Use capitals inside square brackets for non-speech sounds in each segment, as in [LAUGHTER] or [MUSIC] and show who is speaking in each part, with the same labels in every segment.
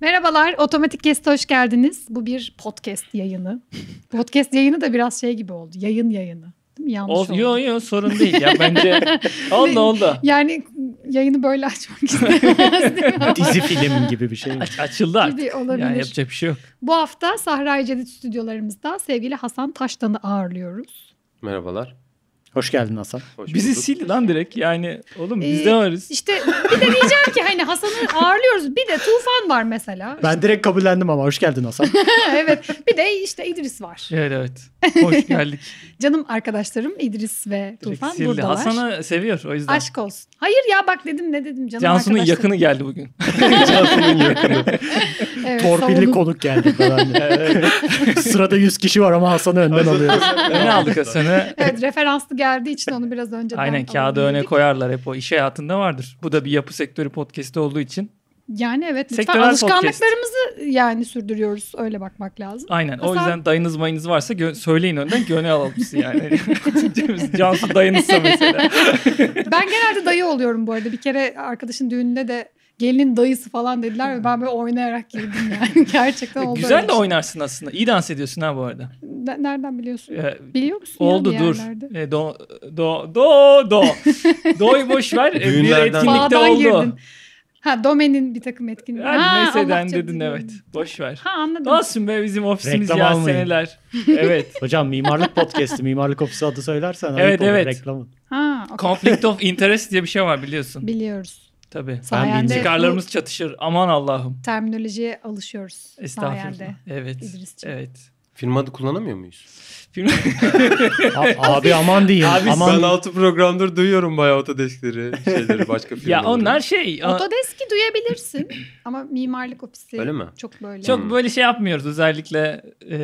Speaker 1: Merhabalar, Otomatik Kest'e hoş geldiniz. Bu bir podcast
Speaker 2: [LAUGHS]
Speaker 1: yayını. podcast yayını da biraz şey gibi oldu. Yayın yayını. Değil mi? Yanlış
Speaker 2: Ol,
Speaker 1: oldu.
Speaker 2: yo yo sorun değil ya
Speaker 1: [LAUGHS]
Speaker 2: bence. oldu oldu.
Speaker 1: Yani yayını böyle
Speaker 2: [LAUGHS]
Speaker 1: açmak istemezdim ama
Speaker 3: [LAUGHS] Dizi film gibi bir şey.
Speaker 2: Aç- açıldı artık.
Speaker 1: gibi olabilir.
Speaker 2: Ya yapacak bir şey yok.
Speaker 1: Bu hafta Sahra Cedid stüdyolarımızda sevgili Hasan Taştan'ı ağırlıyoruz.
Speaker 4: Merhabalar.
Speaker 3: Hoş geldin Hasan.
Speaker 4: Hoş
Speaker 2: Bizi
Speaker 4: bulduk.
Speaker 2: sil lan direkt yani. Oğlum biz
Speaker 1: Ee,
Speaker 2: de varız.
Speaker 1: İşte bir de diyeceğim ki hani Hasan'ı ağırlıyoruz. Bir de Tufan var mesela.
Speaker 3: Ben direkt kabullendim ama hoş
Speaker 2: [LAUGHS]
Speaker 3: geldin Hasan.
Speaker 1: evet. Bir de işte İdris var.
Speaker 2: Evet
Speaker 1: [LAUGHS]
Speaker 2: evet. Hoş geldik.
Speaker 1: Canım arkadaşlarım İdris ve
Speaker 2: Direkt
Speaker 1: Tufan
Speaker 2: sildi.
Speaker 1: buradalar.
Speaker 2: Hasan'ı seviyor o yüzden.
Speaker 1: Aşk olsun. Hayır ya bak dedim ne dedim canım
Speaker 2: Cansu'nun
Speaker 1: arkadaşlarım.
Speaker 2: yakını
Speaker 1: [LAUGHS]
Speaker 2: geldi bugün.
Speaker 1: Evet,
Speaker 3: Torpilli
Speaker 1: savunun.
Speaker 3: konuk geldi falan. [LAUGHS] Sırada 100 kişi var ama Hasan'ı önden alıyoruz.
Speaker 2: Öne aldık Hasan'ı.
Speaker 1: Evet referanslı geldiği için onu biraz önceden
Speaker 2: Aynen kağıda öne
Speaker 1: alabildik.
Speaker 2: koyarlar hep o iş hayatında vardır. Bu da bir yapı sektörü podcast'i olduğu için.
Speaker 1: Yani evet lütfen
Speaker 2: Sektörel podcast.
Speaker 1: alışkanlıklarımızı yani sürdürüyoruz öyle bakmak lazım.
Speaker 2: Aynen o
Speaker 1: Hasan-
Speaker 2: yüzden dayınız mayınız varsa gö- söyleyin önden ki öne alalım sizi yani. [LAUGHS] Cansu dayınızsa mesela.
Speaker 1: Ben genelde dayı oluyorum bu arada. Bir kere arkadaşın düğününde de gelinin dayısı falan dediler ve ben böyle oynayarak girdim yani. [LAUGHS] Gerçekten oldu. öyle
Speaker 2: E, Güzel de
Speaker 1: bir şey.
Speaker 2: oynarsın aslında. İyi dans ediyorsun ha bu arada.
Speaker 1: Ne- Nereden biliyorsun?
Speaker 2: Ee,
Speaker 1: Biliyor musun ya
Speaker 2: Oldu
Speaker 1: bir
Speaker 2: dur.
Speaker 1: yerlerde?
Speaker 2: E, do, do,
Speaker 1: [LAUGHS]
Speaker 2: do, do. Do'yu boş ver. E, bir
Speaker 4: Düğünlerden-
Speaker 2: etkinlikte
Speaker 1: Bağdan
Speaker 2: oldu.
Speaker 1: girdin. Ha domenin bir takım etkinliği.
Speaker 2: Ha,
Speaker 1: Ha,
Speaker 2: neyse
Speaker 1: Allah
Speaker 2: den
Speaker 1: canını
Speaker 2: dedin evet. Boş ver.
Speaker 1: Ha anladım.
Speaker 2: Olsun be bizim ofisimiz
Speaker 3: Reklam
Speaker 2: ya
Speaker 3: almayın.
Speaker 2: seneler. Evet.
Speaker 3: Hocam mimarlık podcast'i, mimarlık ofisi adı söylersen ayıp
Speaker 2: Evet,
Speaker 3: olur,
Speaker 2: evet.
Speaker 3: reklamı.
Speaker 1: Ha okey.
Speaker 2: [LAUGHS] Conflict of interest diye bir şey var biliyorsun.
Speaker 1: biliyoruz.
Speaker 2: Tabii.
Speaker 1: Sayende
Speaker 3: bilmiyorum.
Speaker 2: Çıkarlarımız çatışır. Aman Allah'ım.
Speaker 1: bu terminolojiye alışıyoruz. Sayende.
Speaker 2: Estağfurullah. Evet.
Speaker 1: İdrisciğim.
Speaker 2: Evet.
Speaker 4: Film adı kullanamıyor muyuz?
Speaker 2: Film...
Speaker 3: A- abi aman deyin.
Speaker 2: Abi,
Speaker 3: aman.
Speaker 4: Ben 6 programdır duyuyorum bayağı otodeskleri,
Speaker 2: [LAUGHS]
Speaker 4: şeyleri, başka filmleri.
Speaker 2: ya onlar şey. a-
Speaker 1: Otodeski [CLEARS THROAT] duyabilirsin ama mimarlık ofisi
Speaker 4: Öyle mi?
Speaker 1: çok böyle.
Speaker 2: Çok
Speaker 4: Hmm.
Speaker 2: böyle şey yapmıyoruz özellikle e,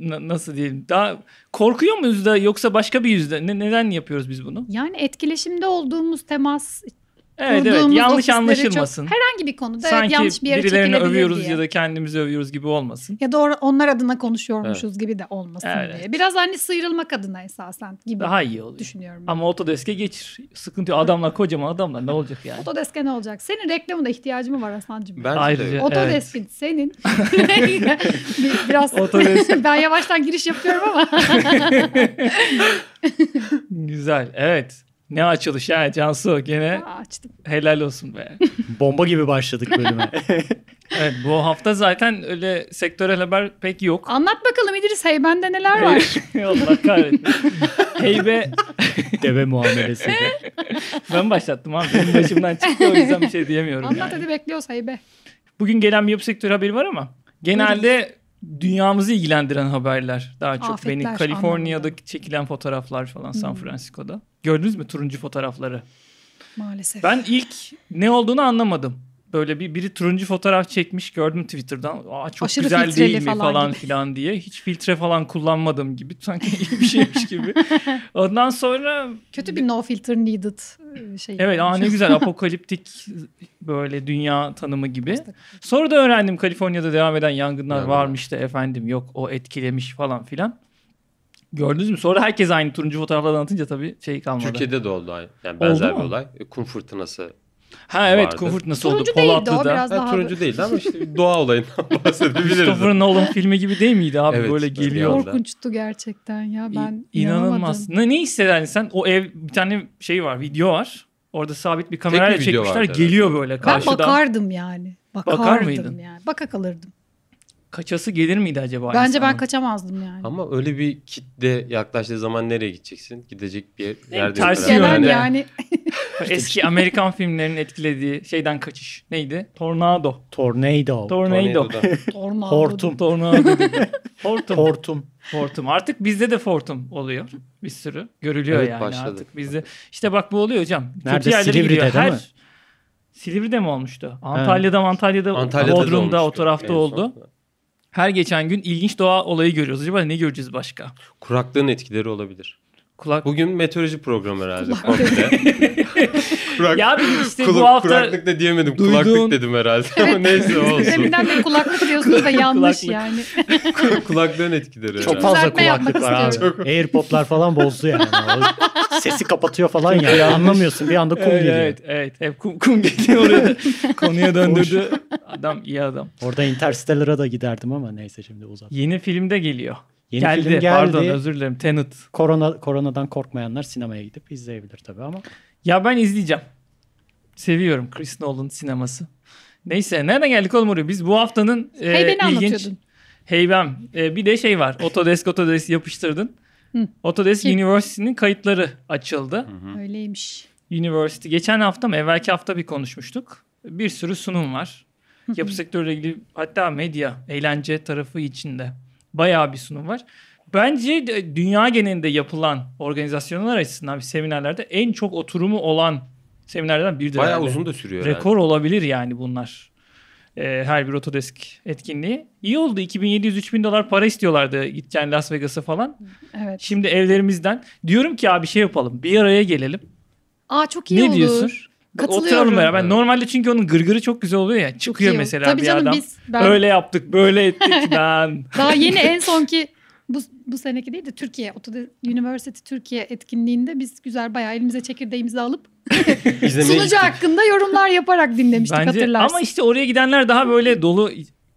Speaker 2: na- nasıl diyeyim daha korkuyor muyuz da yoksa başka bir yüzde ne, neden yapıyoruz biz bunu?
Speaker 1: Yani etkileşimde olduğumuz temas
Speaker 2: Evet evet
Speaker 1: kurduğumuz
Speaker 2: yanlış
Speaker 1: ofisleri
Speaker 2: anlaşılmasın.
Speaker 1: Çok, herhangi bir konuda evet,
Speaker 2: Sanki
Speaker 1: yanlış bir yere
Speaker 2: birilerini
Speaker 1: çekilebilir
Speaker 2: övüyoruz
Speaker 1: diye.
Speaker 2: ya da kendimizi övüyoruz gibi olmasın.
Speaker 1: Ya doğru onlar adına konuşuyormuşuz gibi de olmasın
Speaker 2: Evet.
Speaker 1: diye. Biraz hani sıyrılmak adına esasen gibi
Speaker 2: Daha iyi oluyor.
Speaker 1: düşünüyorum. ben.
Speaker 2: Ama Otodesk'e geçir. Sıkıntı yok. Adamlar kocaman adamlar. Ne olacak yani?
Speaker 1: Otodeske ne olacak? Senin reklamına ihtiyacın mı var Hasan'cığım?
Speaker 4: Bence
Speaker 2: Ayrıca-
Speaker 4: de.
Speaker 1: Otodeskin
Speaker 4: [LAUGHS]
Speaker 1: senin. [LAUGHS] Bir- Biraz [LAUGHS]
Speaker 2: Otodesk.
Speaker 1: ben yavaştan giriş yapıyorum ama.
Speaker 2: Güzel. Evet. Ne açılış yani Cansu. Gene
Speaker 1: Aa, [LAUGHS] açtım.
Speaker 2: helal
Speaker 1: [LAUGHS]
Speaker 2: olsun be.
Speaker 3: Bomba gibi başladık
Speaker 2: [LAUGHS]
Speaker 3: bölüme.
Speaker 2: Evet bu hafta zaten öyle sektörel haber pek yok.
Speaker 1: Anlat bakalım İdris Heyben'de neler
Speaker 2: [LAUGHS]
Speaker 1: var?
Speaker 2: Allah kahretsin. Heybe
Speaker 3: Deve muamelesi.
Speaker 2: ben başlattım abi. Benim başımdan çıktı o yüzden bir şey diyemiyorum.
Speaker 1: Anlat
Speaker 2: yani.
Speaker 1: hadi bekliyoruz Heybe.
Speaker 2: Bugün gelen bir yapı sektörü haberi var ama genelde dünyamızı ilgilendiren haberler daha çok
Speaker 1: Afetler
Speaker 2: beni.
Speaker 1: anlamında.
Speaker 2: Kaliforniya'da çekilen fotoğraflar falan San Francisco'da. Gördünüz mü turuncu fotoğrafları?
Speaker 1: Maalesef.
Speaker 2: Ben ilk ne olduğunu anlamadım. Böyle bir biri turuncu fotoğraf çekmiş gördüm Twitter'dan. Aa çok
Speaker 1: Aşırı
Speaker 2: güzel
Speaker 1: filtreli
Speaker 2: değil mi
Speaker 1: falan
Speaker 2: falan, filan diye. Hiç filtre falan kullanmadım gibi. Sanki iyi bir şeymiş
Speaker 1: [LAUGHS]
Speaker 2: gibi. Ondan sonra
Speaker 1: Kötü bir no filter needed e, şey.
Speaker 2: evet aa
Speaker 1: [LAUGHS]
Speaker 2: ne güzel apokaliptik böyle dünya tanımı gibi. Sonra da öğrendim Kaliforniya'da devam eden yangınlar
Speaker 4: Yangınlar.
Speaker 2: varmış da efendim yok o etkilemiş falan filan. Gördünüz mü? Sonra herkes aynı turuncu fotoğrafları anlatınca tabii şey kalmadı.
Speaker 4: Türkiye'de de oldu. ay- Yani benzer
Speaker 2: Oldu
Speaker 4: bir
Speaker 2: mu?
Speaker 4: olay. E, Kum fırtınası.
Speaker 2: ha evet
Speaker 4: vardı.
Speaker 2: Comfort nasıl oldu?
Speaker 1: Turuncu değildi o
Speaker 2: Polatlı'da.
Speaker 1: biraz
Speaker 4: Ha,
Speaker 1: daha.
Speaker 4: turuncu değil ama işte bir doğa
Speaker 2: [LAUGHS]
Speaker 4: olayından bahsedebiliriz.
Speaker 2: Christopher Nolan filmi gibi değil miydi abi?
Speaker 4: Evet,
Speaker 2: böyle
Speaker 4: evet.
Speaker 2: geliyor.
Speaker 4: Yok,
Speaker 1: Korkunçtu gerçekten ya ben
Speaker 2: İ- inanılmaz.
Speaker 1: inanamadım.
Speaker 2: Ne, ne hisseder sen? O ev bir tane şey var, video var. Orada sabit bir kamerayla
Speaker 4: video
Speaker 2: çekmişler.
Speaker 4: vardı, evet.
Speaker 2: Geliyor böyle
Speaker 1: Ben
Speaker 2: karşıdan.
Speaker 1: bakardım yani. Bakardım
Speaker 2: mıydın?
Speaker 1: yani. Baka kalırdım.
Speaker 2: Kaçası gelir miydi acaba?
Speaker 1: Bence ben
Speaker 2: insanın?
Speaker 1: kaçamazdım yani.
Speaker 4: Ama öyle bir kitle yaklaştığı zaman nereye gideceksin? Gidecek bir yer, yerde
Speaker 2: tersi
Speaker 4: herhalde.
Speaker 1: Gelen
Speaker 2: yönde.
Speaker 1: yani
Speaker 2: Eski Amerikan filmlerinin etkilediği şeyden kaçış. Neydi? Tornado.
Speaker 3: Tornado.
Speaker 2: Tornado.
Speaker 4: Tornadoda.
Speaker 1: tornado.
Speaker 3: Hortum.
Speaker 2: Tornado. dedi. Hortum.
Speaker 3: Hortum.
Speaker 2: Fortum. Artık bizde de fortum oluyor. Bir sürü. Görülüyor
Speaker 4: Evet,
Speaker 2: yani
Speaker 4: başladı.
Speaker 2: artık bizde. İşte bak bu oluyor hocam.
Speaker 3: Nerede?
Speaker 2: Kötü yerlere
Speaker 3: Silivri'de
Speaker 2: gidiyor.
Speaker 3: değil mi?
Speaker 2: Silivri'de mi olmuştu? Antalya'da mı? Antalya'da,
Speaker 4: [LAUGHS] Antalya'da da
Speaker 2: Bodrum'da o
Speaker 4: olmuştu en
Speaker 2: tarafta
Speaker 4: son.
Speaker 2: oldu. Her geçen gün ilginç doğa olayı görüyoruz. Acaba ne göreceğiz başka?
Speaker 4: Kuraklığın etkileri olabilir.
Speaker 2: Kulak.
Speaker 4: Bugün meteoroloji programı herhalde.
Speaker 1: Kulak
Speaker 2: [LAUGHS]
Speaker 4: komple. Kurak,
Speaker 2: Ya abi işte
Speaker 4: kula-
Speaker 2: bu hafta
Speaker 4: Kuraklık da diyemedim.
Speaker 2: Duyduğun-
Speaker 4: Kulaklık dedim herhalde. Ama [LAUGHS] neyse olsun.
Speaker 1: Deminden beri kulaklık diyorsunuz
Speaker 2: [LAUGHS]
Speaker 1: da yanlış
Speaker 2: Kulaklık.
Speaker 1: yani.
Speaker 4: Kulaklığın
Speaker 3: Çok
Speaker 4: etkileri herhalde.
Speaker 3: fazla
Speaker 1: Düzeltme yapmak
Speaker 3: kulaklık var abi.
Speaker 1: istiyorum.
Speaker 3: Airpodlar falan bozdu
Speaker 2: [LAUGHS]
Speaker 3: yani. O Sesi kapatıyor falan yani. Anlamıyorsun bir anda kum
Speaker 2: evet,
Speaker 3: geliyor.
Speaker 2: evet evet hep kum, kum geliyor oraya da konuya döndürdü. adam iyi adam.
Speaker 3: Orada Interstellar'a da giderdim ama neyse şimdi uzat.
Speaker 2: Yeni filmde geliyor.
Speaker 3: Yeni
Speaker 2: geldi,
Speaker 3: film geldi.
Speaker 2: pardon özür dilerim Tenet.
Speaker 3: Korona, koronadan korkmayanlar sinemaya gidip izleyebilir tabii ama.
Speaker 2: Ya ben izleyeceğim. Seviyorum Chris Nolan sineması. Neyse nereden geldik oğlum oraya? Biz bu haftanın e,
Speaker 1: Hey beni
Speaker 2: ilginç
Speaker 1: anlatıyordun.
Speaker 2: heybem. E, bir de şey var. Autodesk Autodesk yapıştırdın.
Speaker 1: Hı.
Speaker 2: Autodesk
Speaker 1: Ki-
Speaker 2: University'nin kayıtları açıldı.
Speaker 1: Öyleymiş.
Speaker 2: University geçen hafta mı evvelki hafta bir konuşmuştuk. Bir sürü sunum var. Yapı sektörüyle ilgili hatta medya, eğlence tarafı içinde bayağı bir sunum var. Bence de dünya genelinde yapılan organizasyonlar açısından bir seminerlerde en çok oturumu olan seminerlerden biri de.
Speaker 4: Bayağı
Speaker 2: herhalde.
Speaker 4: uzun da sürüyor herhalde.
Speaker 2: Rekor olabilir yani bunlar. Ee, her bir Autodesk etkinliği. İyi oldu 2700-3000 dolar para istiyorlardı gideceğin Las Vegas'a falan.
Speaker 1: Evet.
Speaker 2: Şimdi evlerimizden diyorum ki abi şey yapalım bir araya gelelim.
Speaker 1: Aa çok iyi
Speaker 2: ne
Speaker 1: olur.
Speaker 2: diyorsun? Oturalım
Speaker 1: Katılıyorum.
Speaker 2: beraber.
Speaker 4: Evet.
Speaker 2: Normalde çünkü onun gırgırı çok güzel oluyor ya.
Speaker 1: Çok
Speaker 2: Çıkıyor
Speaker 1: iyi olur.
Speaker 2: mesela
Speaker 1: Tabii
Speaker 2: bir
Speaker 1: canım
Speaker 2: adam.
Speaker 1: biz ben
Speaker 2: Öyle yaptık,
Speaker 1: [LAUGHS]
Speaker 2: böyle ettik ben.
Speaker 1: daha yeni en sonki bu, bu seneki değil de Türkiye Otode University Türkiye etkinliğinde biz güzel bayağı elimize çekirdeğimizi alıp
Speaker 4: İzlemeye
Speaker 1: sunucu
Speaker 4: gittik.
Speaker 1: hakkında yorumlar yaparak dinlemiştik
Speaker 2: Bence
Speaker 1: hatırlarsın.
Speaker 2: ama işte oraya gidenler daha böyle dolu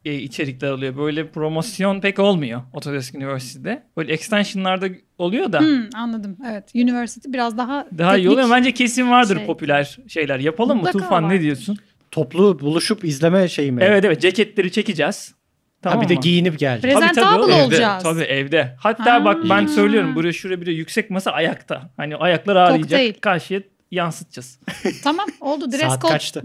Speaker 2: e, içerikler oluyor. Böyle promosyon pek olmuyor Autodesk Üniversitesi'de. Böyle extensionlarda oluyor da
Speaker 1: Hmm, anladım. Evet. University biraz daha
Speaker 2: daha iyi
Speaker 1: teknik.
Speaker 2: oluyor. Bence kesin vardır
Speaker 1: şey.
Speaker 2: popüler şeyler. Yapalım mı
Speaker 1: Mutlaka
Speaker 2: Tufan
Speaker 1: vardır.
Speaker 2: ne diyorsun?
Speaker 3: Toplu buluşup izleme şeyi mi?
Speaker 2: Evet evet ceketleri çekeceğiz. Tamam
Speaker 3: ha, bir de
Speaker 2: mı?
Speaker 3: giyinip geldi.
Speaker 2: Tabii, tabii,
Speaker 1: Presentable
Speaker 2: evde.
Speaker 1: olacağız.
Speaker 2: Tabii evde. Hatta
Speaker 1: Ha.
Speaker 2: bak ben söylüyorum buraya şuraya bir de yüksek masa ayakta. Hani ayaklar ağrıyacak.
Speaker 1: Kokteyl.
Speaker 2: Karşıya yansıtacağız.
Speaker 1: Tamam oldu. Dress
Speaker 3: Saat
Speaker 1: code'la-
Speaker 3: kaçtı?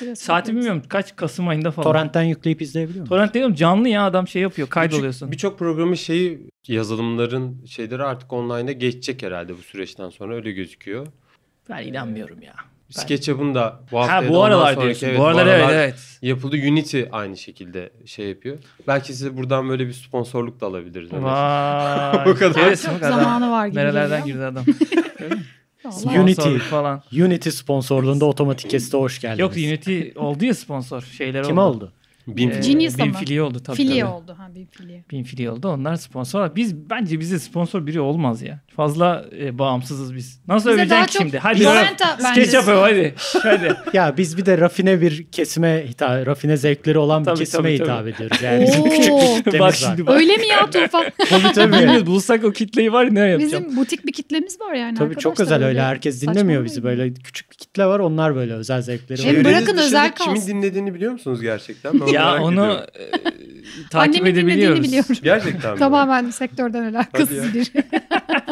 Speaker 1: dress
Speaker 2: Saati
Speaker 1: code'la-
Speaker 2: bilmiyorum kaç Kasım ayında falan. Torrent.
Speaker 3: Torrent'ten yükleyip izleyebiliyor musun?
Speaker 2: Torrent diyorum canlı ya adam şey yapıyor kaydoluyorsun.
Speaker 4: Birçok- Birçok programın şeyi yazılımların şeyleri artık online'a geçecek herhalde bu süreçten sonra öyle gözüküyor.
Speaker 2: Ben inanmıyorum ya. Ben-
Speaker 4: SketchUp'un da bu hafta
Speaker 2: Ha bu aralar diyorsun. bu aralar evet evet.
Speaker 4: yapıldı. Unity aynı şekilde şey yapıyor. Belki size buradan böyle bir sponsorluk da alabiliriz. Hani.
Speaker 2: Vay.
Speaker 4: O kadar.
Speaker 2: Neresi [LAUGHS] bu kadar?
Speaker 1: Zamanı var gibi.
Speaker 2: Nerelerden
Speaker 1: geliyor
Speaker 2: girdi adam.
Speaker 1: [LAUGHS] ama. Vallahi.
Speaker 3: Unity.
Speaker 2: Sponsorluk falan.
Speaker 3: Unity sponsorluğunda otomatik keste hoş geldiniz.
Speaker 2: Yok Unity oldu ya sponsor. Şeyler
Speaker 3: Kim oldu?
Speaker 4: Bin
Speaker 2: Ee,
Speaker 4: film.
Speaker 1: Genius
Speaker 2: bin
Speaker 1: ama.
Speaker 2: fili oldu tabii.
Speaker 1: Filiye
Speaker 2: tabii.
Speaker 1: oldu. Ha bir filiye.
Speaker 2: Bin fili oldu. Onlar sponsor. Biz bence bize sponsor biri olmaz ya. Fazla e, bağımsızız biz. Nasıl
Speaker 1: Bize daha
Speaker 2: öveceksin
Speaker 1: çok
Speaker 2: şimdi? Hadi. öv.
Speaker 1: Jolenta bence.
Speaker 2: Sketch öv hadi. hadi.
Speaker 3: Ya biz bir de rafine bir kesime hitap, rafine zevkleri olan bir
Speaker 2: Tabii,
Speaker 3: kesime
Speaker 2: tabii, tabii.
Speaker 3: hitap ediyoruz. Yani [LAUGHS] bizim
Speaker 1: Oo.
Speaker 3: küçük bir kitlemiz
Speaker 2: bak
Speaker 3: var.
Speaker 2: şimdi bak.
Speaker 1: Öyle mi ya
Speaker 2: [LAUGHS]
Speaker 1: Tufan?
Speaker 3: Tabii tabii.
Speaker 2: Bilmiyorum, bulsak o kitleyi var ya, ne yapacağım?
Speaker 1: Bizim butik bir kitlemiz var yani
Speaker 3: Tabii çok
Speaker 1: arkadaşlar,
Speaker 3: özel öyle. Herkes dinlemiyor bizi.
Speaker 1: saçmalamayın.
Speaker 3: Böyle küçük bir kitle var. Onlar böyle özel zevkleri
Speaker 1: Hem
Speaker 3: var.
Speaker 1: bırak-
Speaker 4: Çevreniz dışında
Speaker 1: özel kalsın.
Speaker 4: Kimin dinlediğini biliyor
Speaker 2: [LAUGHS]
Speaker 4: musunuz gerçekten? Ben
Speaker 2: Ya
Speaker 4: merak
Speaker 2: onu
Speaker 4: ediyorum.
Speaker 2: e, takip
Speaker 1: Annemin dinlediğini
Speaker 2: edebiliyoruz.
Speaker 1: biliyorum.
Speaker 4: Gerçekten mi?
Speaker 1: Tamamen sektörden alakasız
Speaker 4: Hadi
Speaker 1: bir.
Speaker 2: [LAUGHS]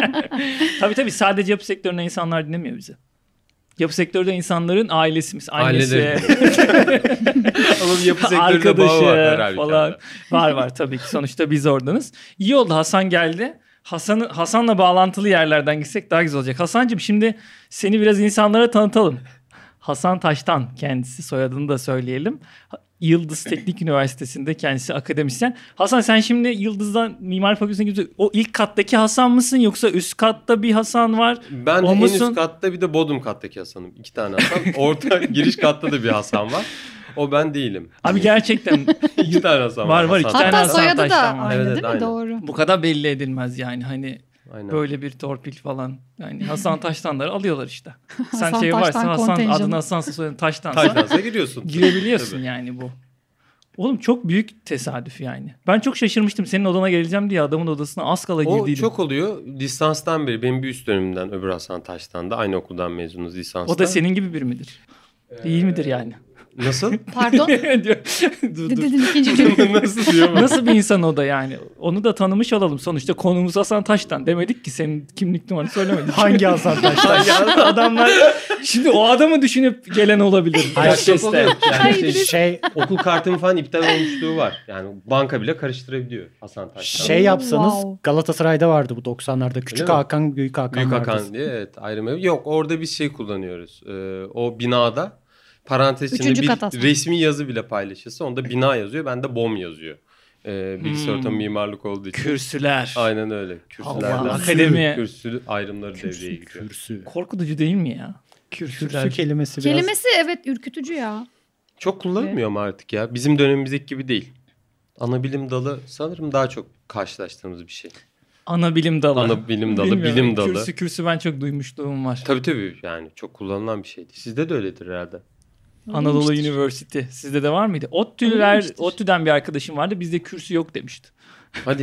Speaker 2: Tabii tabii sadece yapı sektöründen insanlar dinlemiyor bizi. Yapı sektörde insanların ailesimiz, annesi,
Speaker 4: Aileleri. Ama bir yapı sektöründe bağı var
Speaker 2: arkadaşı
Speaker 4: herhalde.
Speaker 2: falan. Var var tabii ki sonuçta biz oradanız. İyi oldu Hasan geldi. Hasan'ı Hasan'la bağlantılı yerlerden gitsek daha güzel olacak. Hasan'cığım şimdi seni biraz insanlara tanıtalım. Hasan Taştan kendisi soyadını da söyleyelim. Yıldız Teknik Üniversitesi'nde kendisi akademisyen. Hasan sen şimdi Yıldız'dan Mimar Fakültesi'ne gidiyorsun. O ilk kattaki Hasan mısın yoksa üst katta bir Hasan var?
Speaker 4: Ben
Speaker 2: O
Speaker 4: en
Speaker 2: musun?
Speaker 4: üst katta bir de bodrum kattaki Hasan'ım. İki tane Hasan. Orta [LAUGHS] giriş katta da bir Hasan var. O ben değilim.
Speaker 2: [LAUGHS] Abi
Speaker 4: [LAUGHS]
Speaker 2: gerçekten
Speaker 4: İki tane Hasan var.
Speaker 2: Var, var, iki
Speaker 4: Hasan.
Speaker 2: tane
Speaker 1: Hatta
Speaker 2: Hasan
Speaker 1: soyadı da
Speaker 2: Taştan var.
Speaker 1: aynı
Speaker 4: Evet,
Speaker 1: değil mi?
Speaker 2: [LAUGHS]
Speaker 4: aynen.
Speaker 1: Doğru.
Speaker 2: bu kadar belli edilmez yani hani
Speaker 4: Aynen.
Speaker 2: böyle bir torpil falan. Yani Hasan Taştanları
Speaker 1: [LAUGHS]
Speaker 2: alıyorlar işte. Sen
Speaker 1: Hasan
Speaker 2: şey varsa
Speaker 1: Taştan
Speaker 2: Hasan
Speaker 1: kontenjanı.
Speaker 2: adın Hasan'sa soyadın Taştan'sa
Speaker 4: Taylansa giriyorsun.
Speaker 2: girebiliyorsun
Speaker 4: Tabii.
Speaker 2: yani bu. Oğlum çok büyük tesadüf yani. Ben çok şaşırmıştım senin odana geleceğim diye adamın odasına az kala
Speaker 4: O
Speaker 2: girdiydim.
Speaker 4: çok oluyor. Lisanstan beri benim bir üst dönemimden öbür Hasan Taş'tan da aynı okuldan mezunuz lisansta.
Speaker 2: O da senin gibi biri midir? İyi midir yani? [LAUGHS]
Speaker 4: Nasıl? [LAUGHS]
Speaker 1: Pardon.
Speaker 2: Diyor. dur, dur.
Speaker 1: Dedim ikinci cümle.
Speaker 4: Nasıl diyor mu?
Speaker 2: Nasıl bir insan o da yani? Onu da tanımış olalım. Sonuçta konumuz Hasan Taştan. Demedik ki senin kimlik numaranı
Speaker 4: [LAUGHS]
Speaker 2: söylemedik.
Speaker 3: Hangi Hasan
Speaker 2: [LAUGHS]
Speaker 3: Taş'tan?
Speaker 2: adamlar şimdi o adamı düşünüp gelen olabilir.
Speaker 4: Hayır,
Speaker 2: Podcast
Speaker 4: çok oluyor. Yani şey,
Speaker 3: şey
Speaker 4: okul kartım falan iptal olmuşluğu var. Yani banka bile karıştırabiliyor Hasan Taş'tan.
Speaker 3: şey yapsanız
Speaker 1: Wow.
Speaker 3: Galatasaray'da vardı bu 90'larda. Küçük
Speaker 4: mi?
Speaker 3: Hakan, Büyük Hakan
Speaker 4: Büyük
Speaker 3: vardı.
Speaker 4: Hakan diye evet ayrım evi. Yok orada biz şey kullanıyoruz. Ee, o binada parantez içinde
Speaker 1: Üçüncü
Speaker 4: bir
Speaker 1: kat aslında.
Speaker 4: resmi yazı bile paylaşırsa onda bina yazıyor. Bende bom yazıyor. Ee, bilgisayar
Speaker 2: Hmm.
Speaker 4: ortamı mimarlık olduğu için.
Speaker 2: Kürsüler.
Speaker 4: Aynen öyle. Kürsülerden
Speaker 2: Allah, akademi.
Speaker 4: kürsü ayrımları devreye giriyor.
Speaker 3: Kürsü.
Speaker 2: Korkutucu değil mi ya? Kürsüler.
Speaker 3: Kürsü kelimesi biraz.
Speaker 1: Kelimesi evet ürkütücü ya.
Speaker 4: Çok kullanmıyorum artık ya. Bizim dönemimizdeki gibi değil. Ana bilim dalı sanırım daha çok karşılaştığımız bir şey.
Speaker 2: Ana bilim dalı.
Speaker 4: Ana bilim dalı,
Speaker 2: Bilmiyorum.
Speaker 4: bilim dalı.
Speaker 2: Kürsü kürsü ben çok duymuşluğum var.
Speaker 4: Tabii tabii yani çok kullanılan bir şeydi. Sizde de öyledir herhalde.
Speaker 2: Anadolu
Speaker 1: Öyleymiştir.
Speaker 2: University. Sizde de var mıydı? ODTÜ'ler,
Speaker 1: Öyleymiştir.
Speaker 2: ODTÜ'den bir arkadaşım vardı. Bizde kürsü yok demişti.
Speaker 4: Hadi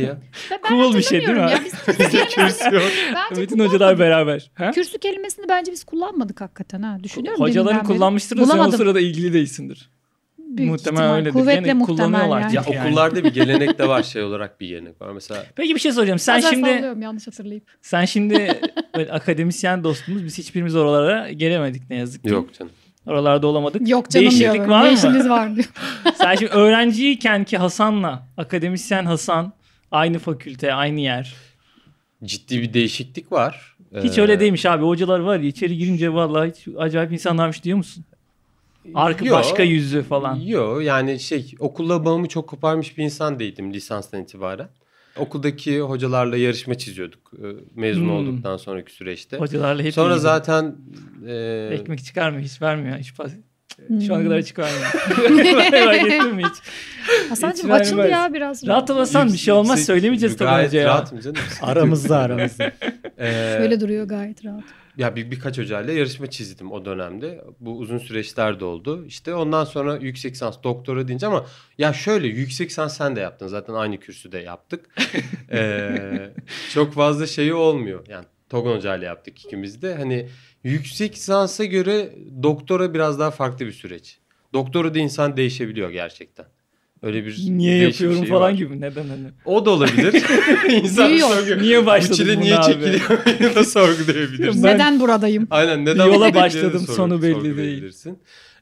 Speaker 1: [LAUGHS]
Speaker 4: ya.
Speaker 1: Ve
Speaker 2: Cool bir şey değil mi?
Speaker 1: hatırlamıyorum ya. Biz kürsü kelimesini bence
Speaker 2: Bütün hocalar
Speaker 1: kullanmadık.
Speaker 2: beraber. Ha?
Speaker 1: Kürsü kelimesini bence biz kullanmadık hakikaten ha. Düşünüyorum
Speaker 2: Hocaların
Speaker 1: deminden beri.
Speaker 2: kullanmıştır da sen o
Speaker 1: Bulamadım.
Speaker 2: sırada ilgili değilsindir.
Speaker 1: Büyük
Speaker 2: Muhtemelen
Speaker 1: ihtimal.
Speaker 2: öyledir.
Speaker 1: Kuvvetle
Speaker 2: Gene
Speaker 1: muhtemel
Speaker 2: kullanıyorlar
Speaker 4: Ya
Speaker 1: yani.
Speaker 2: Yani.
Speaker 4: okullarda bir gelenek de var şey olarak bir gelenek var. Mesela
Speaker 2: Peki bir şey soracağım. Sen
Speaker 1: Bazen
Speaker 2: şimdi
Speaker 1: sallıyorum yanlış hatırlayıp.
Speaker 2: sen şimdi [LAUGHS] böyle akademisyen dostumuz. Biz hiçbirimiz oralara gelemedik ne yazık ki.
Speaker 4: yok canım.
Speaker 1: [LAUGHS]
Speaker 2: Oralarda olamadık.
Speaker 1: Yok canım
Speaker 2: Değişiklik
Speaker 1: diyor.
Speaker 2: var mı?
Speaker 1: Değişiniz var diyor.
Speaker 2: sen şimdi öğrenciyken ki Hasan'la akademisyen Hasan aynı fakülte, aynı yer.
Speaker 4: Ciddi bir değişiklik var.
Speaker 2: Hiç
Speaker 4: Ee,
Speaker 2: öyle değilmiş abi. Hocalar var ya içeri girince vallahi hiç acayip insanlarmış diyor musun? Arka
Speaker 4: Yo.
Speaker 2: başka yüzü falan.
Speaker 4: Yok yani şey okulla bağımı çok koparmış bir insan değildim lisanstan itibaren. Okuldaki hocalarla yarışma çiziyorduk e, mezun
Speaker 2: Hmm.
Speaker 4: olduktan sonraki süreçte.
Speaker 2: Hocalarla hep
Speaker 4: Sonra
Speaker 2: iyiydi.
Speaker 4: zaten e,
Speaker 2: ekmek çıkarmıyor hiç vermiyor. Hiç pas-
Speaker 1: Hmm.
Speaker 2: [LAUGHS] Şu ana kadar hiç
Speaker 4: [LAUGHS]
Speaker 2: vermiyor. Merak ettin mi hiç?
Speaker 1: Hasan'cığım
Speaker 2: İçler
Speaker 1: açıl
Speaker 2: vermez.
Speaker 1: ya biraz.
Speaker 2: Rahat ol Hasan bir şey olmaz
Speaker 4: yüksek-
Speaker 2: söylemeyeceğiz tabii
Speaker 4: Gayet
Speaker 2: hoca ya. [LAUGHS]
Speaker 4: rahatım canım.
Speaker 3: Aramızda aramızda.
Speaker 4: Ee,
Speaker 1: Şöyle duruyor gayet rahat.
Speaker 4: Ya bir, birkaç hocayla yarışma çizdim o dönemde. Bu uzun süreçler de oldu. İşte ondan sonra yüksek lisans doktora deyince ama ya şöyle yüksek lisans sen de yaptın. Zaten aynı kürsüde yaptık.
Speaker 2: [LAUGHS]
Speaker 4: Ee, çok fazla şeyi olmuyor. Yani Togon hocayla yaptık ikimiz de. Hani yüksek lisansa göre doktora biraz daha farklı bir süreç. Doktora da insan değişebiliyor gerçekten. Öyle bir
Speaker 2: Niye
Speaker 4: değişik
Speaker 2: yapıyorum
Speaker 4: şeyi
Speaker 2: falan
Speaker 4: var.
Speaker 2: gibi.
Speaker 1: [LAUGHS]
Speaker 2: Neden hani?
Speaker 4: O
Speaker 2: [LAUGHS]
Speaker 4: da olabilir. insan
Speaker 1: Büyüyor.
Speaker 4: sorguluyor.
Speaker 2: Niye
Speaker 4: Bu
Speaker 2: başladım
Speaker 4: çile
Speaker 2: bunu
Speaker 4: niye
Speaker 2: abi?
Speaker 4: çekiliyor? [LAUGHS] da sorgulayabilirsin.
Speaker 2: Ben-
Speaker 1: Neden buradayım?
Speaker 4: Aynen neden
Speaker 2: Yola
Speaker 4: bu
Speaker 2: başladım,
Speaker 4: dediklerini
Speaker 2: sonu belli
Speaker 4: sorgulayabilirsin.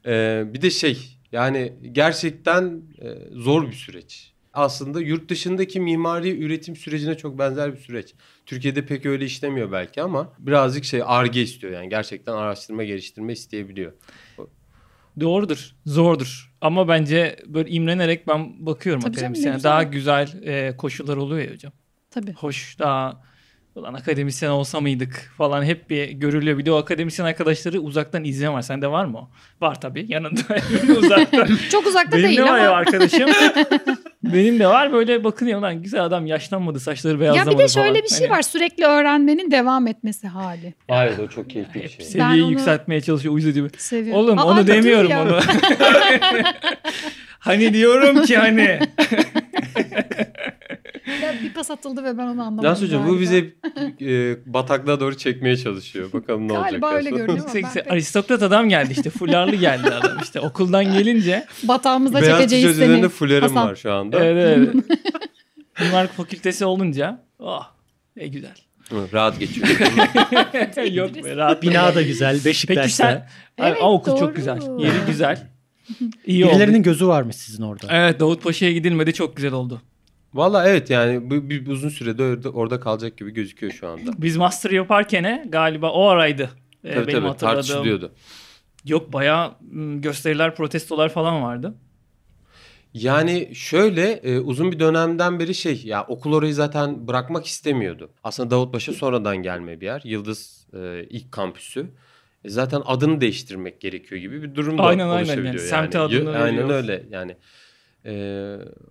Speaker 4: Ee, bir de şey yani gerçekten e, zor bir süreç. Aslında yurt dışındaki mimari üretim sürecine çok benzer bir süreç. Türkiye'de pek öyle işlemiyor belki ama birazcık şey arge istiyor yani gerçekten araştırma geliştirme isteyebiliyor.
Speaker 2: Doğrudur. Zordur. Ama bence böyle imrenerek ben bakıyorum
Speaker 1: Tabii canım, ne
Speaker 2: akademisyene.
Speaker 1: güzel.
Speaker 2: Daha güzel e, koşullar oluyor ya hocam.
Speaker 1: Tabii.
Speaker 2: Hoş daha ulan akademisyen olsa mıydık falan hep bir görülüyor. Bir de o akademisyen arkadaşları uzaktan izleyen var. Sende var mı o? Var tabii. Yanında [LAUGHS] uzaktan.
Speaker 1: Çok uzakta
Speaker 2: Benim de
Speaker 1: değil
Speaker 2: var
Speaker 1: ama. [LAUGHS]
Speaker 2: ya arkadaşım. Benim de var böyle bakınıyor lan güzel adam yaşlanmadı saçları
Speaker 1: Ya
Speaker 2: beyazlamadı
Speaker 1: bir de şöyle
Speaker 2: falan.
Speaker 1: bir şey
Speaker 2: Hani
Speaker 1: var. Sürekli öğrenmenin devam etmeyi hali.
Speaker 4: Evet o çok
Speaker 1: [LAUGHS]
Speaker 4: keyifli bir
Speaker 2: Hep
Speaker 4: şey.
Speaker 2: seviyeyi
Speaker 1: Ben onu-
Speaker 2: yükseltmeye çalışıyor uyuz ediyor.
Speaker 1: Seviyorum.
Speaker 2: Oğlum
Speaker 1: Aa,
Speaker 2: onu
Speaker 1: kötü
Speaker 2: demiyorum
Speaker 1: ya. [LAUGHS]
Speaker 2: onu. hani diyorum ki hani.
Speaker 1: Ya bir pas atıldı ve ben onu anlamadım.
Speaker 4: Nasıl hocam bu
Speaker 1: galiba.
Speaker 4: bize e, bataklığa doğru çekmeye çalışıyor. Bakalım ne olacak.
Speaker 1: Galiba öyle
Speaker 4: daha sonra. [LAUGHS]
Speaker 1: görünüyor ama
Speaker 2: Yüksek-
Speaker 1: ben pek
Speaker 2: aristokrat adam geldi işte. Fularlı geldi adam işte. Okuldan gelince.
Speaker 1: batağımıza
Speaker 4: Beyaz
Speaker 1: çekeceğiz seni.
Speaker 4: tüccarlarında fulerim
Speaker 1: Hasan.
Speaker 4: var şu anda.
Speaker 2: Evet evet. [LAUGHS] Mimar fakültesi olunca. Oh ne güzel.
Speaker 4: Rahat geçiyor.
Speaker 1: [LAUGHS]
Speaker 2: Yok be rahat.
Speaker 3: Bina da güzel. Beşiktaş'ta.
Speaker 2: Peki sen. Ay,
Speaker 1: Evet,
Speaker 2: aa, okul çok
Speaker 1: doğru.
Speaker 2: güzel. Yeri güzel. İyi oldu.
Speaker 3: Birilerinin gözü varmış sizin orada.
Speaker 2: Evet Davutpaşa'ya gidilmedi çok güzel oldu.
Speaker 4: Valla evet yani bu bir uzun sürede orada, orada kalacak gibi gözüküyor şu anda.
Speaker 2: Biz master yaparken e, galiba o araydı. E,
Speaker 4: tabii
Speaker 2: benim
Speaker 4: tabii
Speaker 2: hatırladığım.
Speaker 4: tartışılıyordu.
Speaker 2: Yok bayağı m, gösteriler, protestolar falan vardı.
Speaker 4: Yani şöyle e, uzun bir dönemden beri şey ya okul orayı zaten bırakmak istemiyordu. Aslında Davutpaşa sonradan gelme bir yer. Yıldız e, ilk kampüsü. E, zaten adını değiştirmek gerekiyor gibi bir durum da
Speaker 2: Aynen, aynen.
Speaker 4: oluşabiliyor.
Speaker 2: Yani
Speaker 4: yani.
Speaker 2: semte adını
Speaker 4: Yı- Aynen
Speaker 2: veriyoruz.
Speaker 4: öyle yani. E,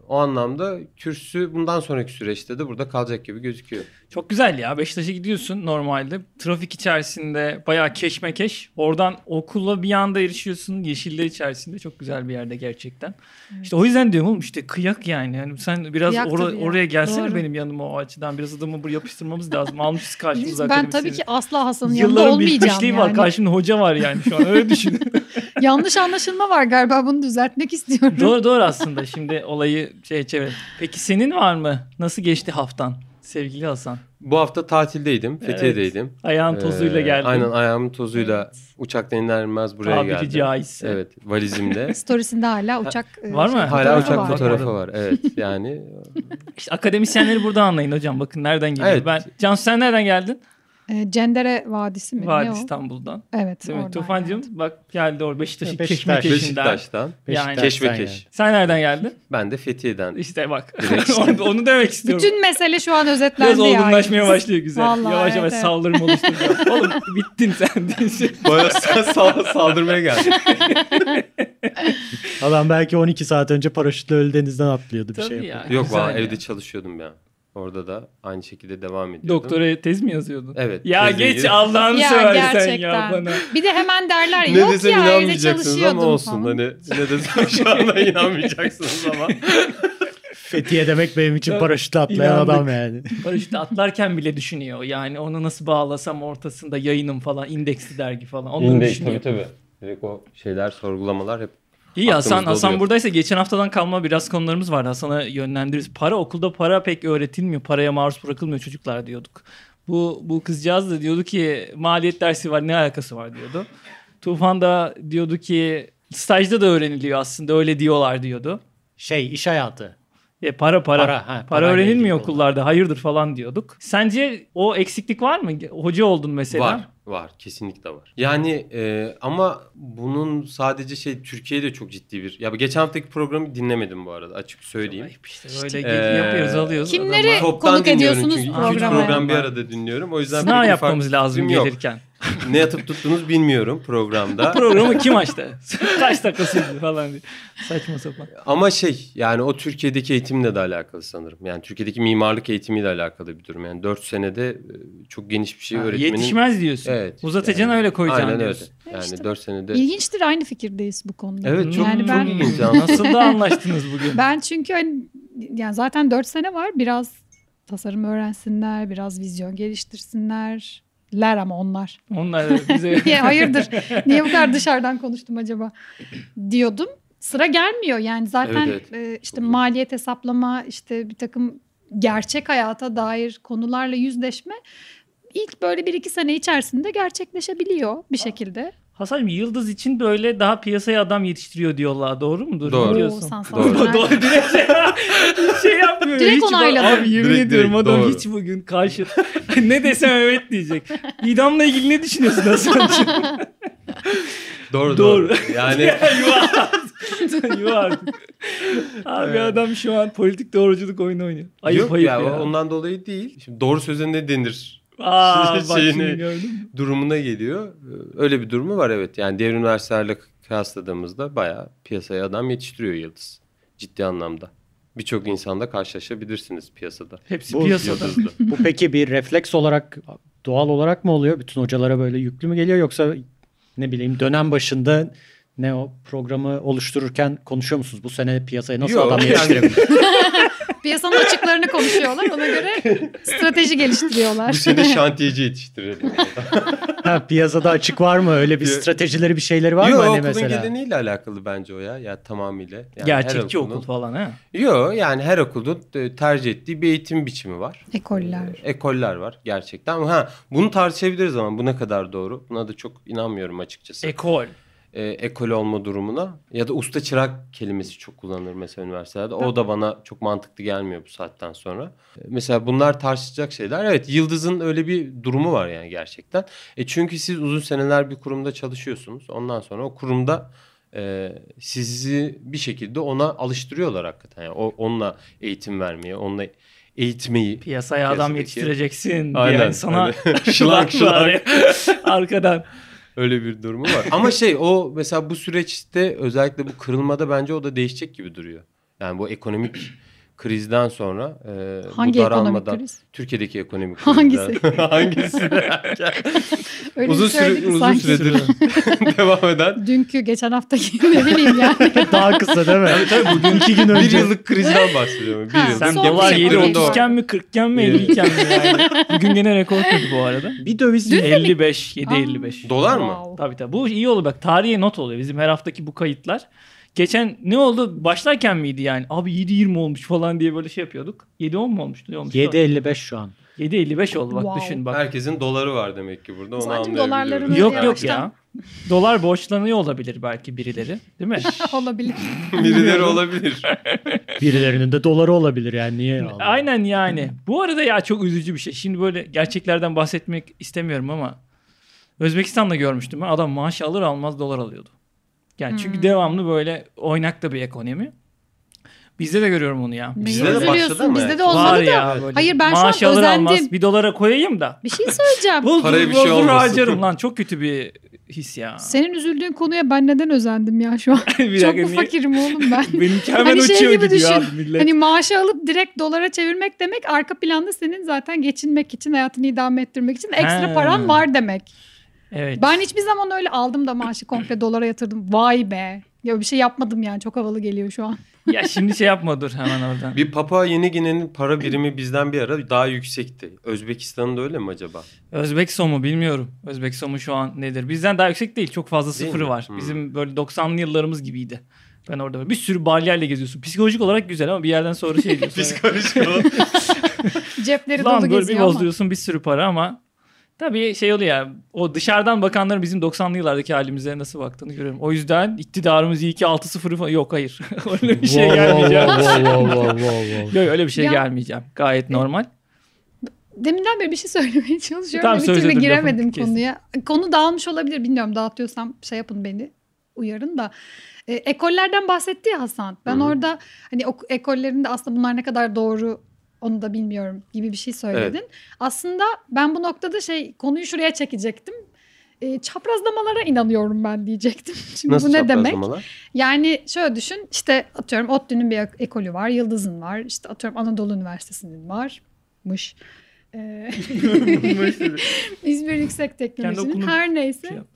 Speaker 4: o anlamda kürsü bundan sonraki süreçte de burada kalacak gibi gözüküyor.
Speaker 2: Çok güzel ya. Beşiktaş'a gidiyorsun normalde. Trafik içerisinde bayağı keşmekeş. Oradan okula bir anda erişiyorsun. Yeşiller içerisinde çok güzel bir yerde gerçekten. İşte o yüzden diyorum oğlum işte kıyak yani. yani sen biraz
Speaker 1: Kıyak
Speaker 2: ora-
Speaker 1: tabii ya.
Speaker 2: oraya gelsene
Speaker 1: Doğru.
Speaker 2: benim yanıma o açıdan. Biraz adamı buraya yapıştırmamız lazım. Almışız
Speaker 1: Biz-
Speaker 2: karşımıza
Speaker 1: Ben tabii
Speaker 2: akademisyeni.
Speaker 1: ki asla Hasan'ın yanında
Speaker 2: Yılların
Speaker 1: olmayacağım
Speaker 2: birikmişliği
Speaker 1: yani.
Speaker 2: var. Karşında hoca var yani şu an
Speaker 1: [LAUGHS]
Speaker 2: öyle düşün.
Speaker 1: Yanlış anlaşılma var galiba bunu düzeltmek istiyorum.
Speaker 2: doğru doğru aslında şimdi olayı şey çevir. Peki senin var mı? Nasıl geçti haftan sevgili Hasan?
Speaker 4: Bu hafta tatildeydim.
Speaker 2: Evet.
Speaker 4: Fethiye'deydim.
Speaker 2: Ayağın tozuyla
Speaker 4: Ee,
Speaker 2: geldin.
Speaker 4: Aynen ayağımın tozuyla
Speaker 1: Evet.
Speaker 4: uçaktan iner inmez buraya
Speaker 2: Tabiri
Speaker 4: geldim.
Speaker 2: caizse.
Speaker 4: Evet
Speaker 2: [LAUGHS]
Speaker 4: valizimde.
Speaker 1: Storiesinde hala uçak e,
Speaker 2: var mı?
Speaker 1: şey,
Speaker 4: Hala
Speaker 1: fotoğrafı
Speaker 4: uçak
Speaker 1: var.
Speaker 4: fotoğrafı var. Evet yani
Speaker 2: [LAUGHS] İşte akademisyenleri burada anlayın hocam. Bakın nereden geliyor.
Speaker 4: Evet.
Speaker 2: Ben Cansu sen nereden geldin?
Speaker 1: E, Cendere Vadisi mi?
Speaker 2: Var
Speaker 1: Ne o?
Speaker 2: İstanbul'dan.
Speaker 1: Evet.
Speaker 2: Değil mi?
Speaker 1: oradan
Speaker 2: Tufancığım
Speaker 1: geldi.
Speaker 2: bak geldi orada Beşiktaş'ın
Speaker 3: Beşiktaş.
Speaker 2: keşmekeşinden.
Speaker 4: Beşiktaş'tan.
Speaker 2: Yani-
Speaker 3: Beşiktaş'tan
Speaker 4: Keşmekeş.
Speaker 3: yani.
Speaker 2: Sen nereden geldin?
Speaker 4: Ben de Fethiye'den.
Speaker 2: İşte bak.
Speaker 4: [LAUGHS] Direkt
Speaker 2: Orada [LAUGHS] onu demek istiyorum.
Speaker 1: Bütün mesele şu an özetlendi
Speaker 2: Biraz
Speaker 1: yani.
Speaker 2: olgunlaşmaya başlıyor güzel.
Speaker 1: Vallahi,
Speaker 2: yavaş yavaş
Speaker 1: evet,
Speaker 2: saldırım
Speaker 1: [LAUGHS]
Speaker 2: oluşturacağım. Oğlum bittin sen.
Speaker 4: Bana sen sal- saldırmaya geldin.
Speaker 3: Adam belki 12 saat önce paraşütle Ölü Deniz'den atlıyordu bir şey. yapıyordu.
Speaker 2: [LAUGHS]
Speaker 4: Yok
Speaker 2: güzel
Speaker 4: valla
Speaker 2: ya.
Speaker 4: evde çalışıyordum ya. Orada da aynı şekilde devam ediyordum.
Speaker 2: Doktora tez mi yazıyordun?
Speaker 4: Evet.
Speaker 2: Ya
Speaker 4: tezle
Speaker 2: geç
Speaker 4: ilgili.
Speaker 2: Allah'ını
Speaker 1: Ya
Speaker 2: seversen ya
Speaker 1: gerçekten.
Speaker 2: bana.
Speaker 1: Bir de hemen derler ya,
Speaker 4: Ne
Speaker 1: yok
Speaker 4: desem
Speaker 1: ya evde
Speaker 4: inanmayacaksınız
Speaker 1: çalışıyordum
Speaker 4: ama olsun.
Speaker 1: falan.
Speaker 4: Hani ne desem
Speaker 2: [LAUGHS]
Speaker 4: şu anda inanmayacaksınız ama.
Speaker 3: Fethiye demek benim için
Speaker 2: Ya,
Speaker 3: paraşütle atlayan
Speaker 2: inandık.
Speaker 3: adam yani.
Speaker 2: Paraşütle atlarken bile düşünüyor. Yani onu nasıl bağlasam ortasında yayınım falan, indeksli dergi falan. Onları düşünüyor.
Speaker 4: tabii. Direkt o şeyler sorgulamalar hep.
Speaker 2: İyi Hasan,
Speaker 4: Aklımızda
Speaker 2: Hasan
Speaker 4: oluyor.
Speaker 2: buradaysa geçen haftadan kalma biraz konularımız var. Hasan'a yönlendiririz. Para okulda para pek öğretilmiyor. Paraya maruz bırakılmıyor çocuklar diyorduk. Bu, bu kızcağız da diyordu ki maliyet dersi var ne alakası var diyordu. Tufan da diyordu ki stajda da öğreniliyor aslında öyle diyorlar diyordu.
Speaker 5: Şey iş hayatı.
Speaker 2: E para para. Para,
Speaker 5: Para, ha, parayla
Speaker 2: öğrenilmiyor
Speaker 5: ilgili
Speaker 2: okullarda. Hayırdır falan diyorduk. Sence o eksiklik var mı? Hoca oldun mesela.
Speaker 4: Var, var. Kesinlikle var. Yani e, ama bunun sadece şey Türkiye'de çok ciddi bir. Ya geçen haftaki programı dinlemedim bu arada açık söyleyeyim.
Speaker 2: Ayıp işte böyle gel-
Speaker 4: Ee,
Speaker 2: yapıyoruz alıyoruz.
Speaker 1: Kimleri-
Speaker 2: adama.
Speaker 4: Toptan
Speaker 1: Konuk
Speaker 4: dinliyorum
Speaker 1: ediyorsunuz
Speaker 4: çünkü iki üç
Speaker 1: programa.
Speaker 4: program bir arada dinliyorum. O yüzden pek
Speaker 2: Sınav
Speaker 4: bir
Speaker 2: yapmamız
Speaker 4: fark-
Speaker 2: lazım
Speaker 4: fikrim yok.
Speaker 2: gelirken.
Speaker 4: ne yatıp tuttunuz bilmiyorum
Speaker 2: [LAUGHS]
Speaker 4: programda.
Speaker 2: Programı kim açtı? [LAUGHS] Kaç dakika sürdü falan diye. Saçma sapan.
Speaker 4: Ama şey yani o Türkiye'deki eğitimle de alakalı sanırım. Yani Türkiye'deki mimarlık eğitimiyle alakalı bir durum. Yani 4 senede e, çok geniş bir şey
Speaker 2: Ha,
Speaker 4: öğretmenin...
Speaker 2: Yetişmez diyorsun.
Speaker 4: Evet.
Speaker 2: Uzatacaksın
Speaker 4: Yani
Speaker 2: öyle koyacaksın
Speaker 4: Aynen öyle.
Speaker 2: diyorsun.
Speaker 4: Yani
Speaker 1: İşte
Speaker 4: 4 senede...
Speaker 1: İlginçtir aynı fikirdeyiz bu konuda.
Speaker 4: Evet çok,
Speaker 1: Yani
Speaker 4: çok
Speaker 1: ben-
Speaker 4: ilginç.
Speaker 2: [LAUGHS]
Speaker 4: Yani
Speaker 2: Nasıl da anlaştınız bugün?
Speaker 1: Ben çünkü hani, yani zaten 4 sene var biraz tasarım öğrensinler, biraz vizyon geliştirsinler. Ler ama onlar. [LAUGHS]
Speaker 2: Onlar da bize...
Speaker 1: Ya Hayırdır niye bu kadar dışarıdan konuştum acaba diyordum. Sıra gelmiyor yani zaten
Speaker 4: Evet,
Speaker 1: e, işte
Speaker 4: Çok iyi.
Speaker 1: maliyet hesaplama işte bir takım gerçek hayata dair konularla yüzleşme ilk böyle bir iki sene içerisinde gerçekleşebiliyor bir şekilde.
Speaker 2: Hasan'cığım Yıldız için böyle daha piyasaya adam yetiştiriyor diyorlar. Doğru mudur?
Speaker 4: Doğru.
Speaker 2: Ne
Speaker 1: Oo,
Speaker 2: diyorsun?
Speaker 1: sen
Speaker 4: Doğru.
Speaker 1: sanatçı- [LAUGHS]
Speaker 2: Doğru direkt şey, hiç şey yapmıyor.
Speaker 1: Direkt
Speaker 2: hiç bu-
Speaker 1: onayladı.
Speaker 2: Abi yemin
Speaker 4: Direkt,
Speaker 2: ediyorum
Speaker 4: direkt,
Speaker 2: adam
Speaker 4: doğru.
Speaker 2: hiç bugün karşı. [LAUGHS] ne desem evet diyecek. İdamla ilgili ne düşünüyorsun
Speaker 1: [LAUGHS]
Speaker 2: Hasan'cığım? Doğru.
Speaker 4: doğru doğru.
Speaker 2: [LAUGHS]
Speaker 4: Yani
Speaker 2: Yuh artık. Abi adam şu an politik doğruculuk oyunu oynuyor. Ayıp
Speaker 4: yok
Speaker 2: ayıp
Speaker 4: ya,
Speaker 2: ya.
Speaker 4: ondan dolayı değil. Şimdi doğru söze ne denir
Speaker 2: Aa,
Speaker 4: [LAUGHS]
Speaker 2: bak şimdi
Speaker 4: Şeyini-
Speaker 2: gördün mü?
Speaker 4: durumuna geliyor. Ee, Öyle bir durumu var evet. Yani diğer üniversitelerle kıyasladığımızda bayağı piyasaya adam yetiştiriyor Yıldız. Ciddi anlamda. Birçok insanla karşılaşabilirsiniz piyasada.
Speaker 2: Hepsi
Speaker 3: Bu-
Speaker 2: piyasada. [LAUGHS]
Speaker 4: Yıldız'da.
Speaker 3: Bu peki bir refleks olarak doğal olarak mı oluyor? Bütün hocalara böyle yüklü mü geliyor yoksa ne bileyim dönem başında ne o programı oluştururken konuşuyor musunuz? Bu sene piyasaya nasıl
Speaker 4: Yok,
Speaker 3: adam
Speaker 4: [LAUGHS] yani-
Speaker 3: yetiştirelim?
Speaker 1: Piyasanın açıklarını konuşuyorlar. Ona göre strateji geliştiriyorlar.
Speaker 4: Bu sene şantiyeci yetiştirelim.
Speaker 3: ha, piyasada açık var mı? Öyle bir
Speaker 4: Yok.
Speaker 3: stratejileri bir şeyleri var
Speaker 4: Yo,
Speaker 3: mı hani
Speaker 4: okulun
Speaker 3: mesela?
Speaker 4: geleneğiyle alakalı bence o ya. Ya tamamıyla. Yani her
Speaker 2: Gerçekçi
Speaker 4: okulun-
Speaker 2: okul falan ha.
Speaker 4: Yo yani her okulun e, tercih ettiği bir eğitim biçimi var.
Speaker 1: Ekoller.
Speaker 4: E, Ekoller var gerçekten. Ama Ha bunu tartışabiliriz ama bu ne kadar doğru? Buna da çok inanmıyorum açıkçası.
Speaker 2: Ekol.
Speaker 4: E, ekol olma durumuna ya da usta çırak kelimesi çok kullanılır mesela üniversitelerde. O da bana çok mantıklı gelmiyor bu saatten sonra. E, Mesela bunlar tartışacak şeyler. Evet Yıldız'ın öyle bir durumu var yani gerçekten. E çünkü siz uzun seneler bir kurumda çalışıyorsunuz. Ondan sonra o kurumda e, sizi bir şekilde ona alıştırıyorlar hakikaten. Yani o, onunla eğitim vermeye, onunla eğitmeyi
Speaker 2: Piyasaya adam
Speaker 4: Piyasadaki-
Speaker 2: yetiştireceksin
Speaker 4: Aynen,
Speaker 2: diyen hani [LAUGHS] sana
Speaker 4: öyle. Şılan,
Speaker 2: şılan [LAUGHS] arkadan.
Speaker 4: Öyle bir durumu var. [LAUGHS] Ama şey o mesela bu süreçte özellikle bu kırılmada bence o da değişecek gibi duruyor. Yani bu ekonomik krizden sonra e,
Speaker 1: Hangi
Speaker 4: bu
Speaker 1: ekonomik
Speaker 4: daralmadan [LAUGHS]
Speaker 1: kriz?
Speaker 4: Türkiye'deki
Speaker 1: [LAUGHS]
Speaker 4: ekonomik
Speaker 1: Hangisi?
Speaker 4: krizden- Hangisi?
Speaker 1: Öyle
Speaker 4: uzun
Speaker 1: bir söyledik
Speaker 4: süre, uzun
Speaker 1: sanki. [LAUGHS]
Speaker 4: süredir devam eden
Speaker 1: Dünkü geçen haftaki [LAUGHS] ne bileyim yani.
Speaker 3: Daha kısa değil mi? bugün iki gün
Speaker 4: bir
Speaker 3: önce.
Speaker 4: yıllık krizden bahsediyorum. Bir
Speaker 1: Ha,
Speaker 4: yıllık.
Speaker 2: Sen
Speaker 1: Son
Speaker 2: dolar
Speaker 1: bir şey
Speaker 2: 7
Speaker 1: konuşalım.
Speaker 2: 30'ken mi 40'ken mi
Speaker 4: Evet.
Speaker 2: 52'ken mi yani.
Speaker 4: [LAUGHS]
Speaker 2: Bugün gene rekor kırdı bu arada.
Speaker 3: Bir döviz mi?
Speaker 2: 55 7 55.
Speaker 4: Dolar mı?
Speaker 1: Wow.
Speaker 2: Tabii tabii. Bu iyi oldu bak. Tarihe not oluyor bizim her haftaki bu kayıtlar. Geçen ne oldu? Başlarken miydi yani? Abi 7.20 olmuş falan diye böyle şey yapıyorduk. 7.10 mu olmuştu? Ne olmuştu?
Speaker 3: 7.55 şu an.
Speaker 2: 7.55 oldu bak
Speaker 1: Wow.
Speaker 2: düşün bak.
Speaker 4: Herkesin doları var demek ki burada. Onu
Speaker 1: Sancım
Speaker 4: anlayabiliyorum.
Speaker 1: dolarlarını
Speaker 2: Yok
Speaker 1: Böyle
Speaker 2: yok
Speaker 1: yavaştan
Speaker 2: ya. dolar borçlanıyor olabilir belki birileri. Değil mi?
Speaker 1: Ah, Olabilir.
Speaker 4: Birileri olabilir.
Speaker 3: Birilerinin de doları olabilir yani niye? alalım?
Speaker 2: Aynen yani. Bu arada ya çok üzücü bir şey. Şimdi böyle gerçeklerden bahsetmek istemiyorum ama Özbekistan'da görmüştüm ben. Adam maaş alır almaz dolar alıyordu. Yani
Speaker 1: Hmm.
Speaker 2: çünkü devamlı böyle oynakta bir ekonomi. Bizde de görüyorum onu ya.
Speaker 1: Neyi
Speaker 4: Bizde de başladı
Speaker 1: üzülüyorsun?
Speaker 4: ama
Speaker 1: Bizde
Speaker 4: yani.
Speaker 1: de
Speaker 2: Var
Speaker 1: olmalı da.
Speaker 2: ya böyle.
Speaker 1: Hayır, ben şu an
Speaker 2: maaş alır almaz
Speaker 1: özendim.
Speaker 2: bir dolara koyayım da.
Speaker 1: Bir şey söyleyeceğim.
Speaker 2: Bozdur,
Speaker 4: Paraya bir şey
Speaker 2: bozdur
Speaker 4: olmasın.
Speaker 2: harcarım lan. Çok kötü bir his ya.
Speaker 1: Senin üzüldüğün konuya ben neden özendim ya şu an?
Speaker 2: [LAUGHS] Bir
Speaker 1: Çok
Speaker 2: dakika,
Speaker 1: mu
Speaker 2: niye- [LAUGHS]
Speaker 1: fakirim oğlum ben?
Speaker 2: Benimki hemen
Speaker 1: Hani şey
Speaker 2: uçuyor
Speaker 1: gibi
Speaker 2: gidiyor
Speaker 1: düşün.
Speaker 2: abi millet.
Speaker 1: Hani maaşı alıp direkt dolara çevirmek demek arka planda senin zaten geçinmek için hayatını idame ettirmek için ekstra
Speaker 2: Ha.
Speaker 1: paran var demek.
Speaker 2: Evet.
Speaker 1: Ben hiçbir zaman öyle aldım da maaşı komple dolara yatırdım. Vay be. Ya bir şey yapmadım yani çok havalı geliyor şu an. [LAUGHS]
Speaker 2: Ya şimdi şey yapma dur hemen oradan.
Speaker 4: bir Papua Yeni Gine'nin para birimi bizden bir ara daha yüksekti. Özbekistan'da öyle mi acaba?
Speaker 2: Özbek somu bilmiyorum. Özbek somu şu an nedir? Bizden daha yüksek değil. Çok fazla
Speaker 4: Değil
Speaker 2: sıfırı
Speaker 4: mi?
Speaker 2: var.
Speaker 4: Hmm.
Speaker 2: Bizim böyle 90'lı yıllarımız gibiydi. Ben orada böyle bir sürü balyayla geziyorsun. Psikolojik olarak güzel ama bir yerden
Speaker 4: [LAUGHS]
Speaker 2: sonra şey diyorsun.
Speaker 4: Psikolojik olarak.
Speaker 1: Cepleri dolu
Speaker 2: Lan böyle bir
Speaker 1: geziyor ama.
Speaker 2: bozluyorsun bir sürü para ama tabii şey oluyor ya o dışarıdan bakanların bizim 90'lı yıllardaki halimize nasıl baktığını görüyorum. O yüzden iktidarımız iyi ki 6-0 falan yok hayır. [LAUGHS] öyle bir şey
Speaker 3: Wow, wow,
Speaker 2: gelmeyeceğim.
Speaker 3: wow, wow, wow, wow, wow.
Speaker 2: Yok öyle bir şey
Speaker 1: Ya- E,
Speaker 2: gelmeyeceğim. Gayet normal.
Speaker 1: Deminden beri bir şey söylemeye çalışıyorum.
Speaker 2: Tamam,
Speaker 1: da bir
Speaker 2: söz
Speaker 1: türlü
Speaker 2: ediyorum,
Speaker 1: giremedim
Speaker 2: lafını kestim.
Speaker 1: konuya. Konu dağılmış olabilir bilmiyorum. Dağıtıyorsam şey yapın beni uyarın da. E, ekollerden bahsetti ya Hasan. Ben
Speaker 4: Hı hı.
Speaker 1: orada hani ok- ekollerinde aslında bunlar ne kadar doğru onu da bilmiyorum gibi bir şey söyledin. Aslında ben bu noktada şey konuyu şuraya çekecektim. E, çaprazlamalara inanıyorum ben diyecektim. [LAUGHS] Şimdi [LAUGHS]
Speaker 4: Nasıl
Speaker 1: bu ne demek?
Speaker 4: çaprazlamalar?
Speaker 1: Yani şöyle düşün işte atıyorum ODTÜ'nün bir ek- ekolü var, Yıldız'ın var, işte atıyorum Anadolu Üniversitesi'nin varmış. Ee, [LAUGHS] İzmir Yüksek Teknoloji'nin
Speaker 2: okulunu
Speaker 1: her neyse.
Speaker 2: şey yap.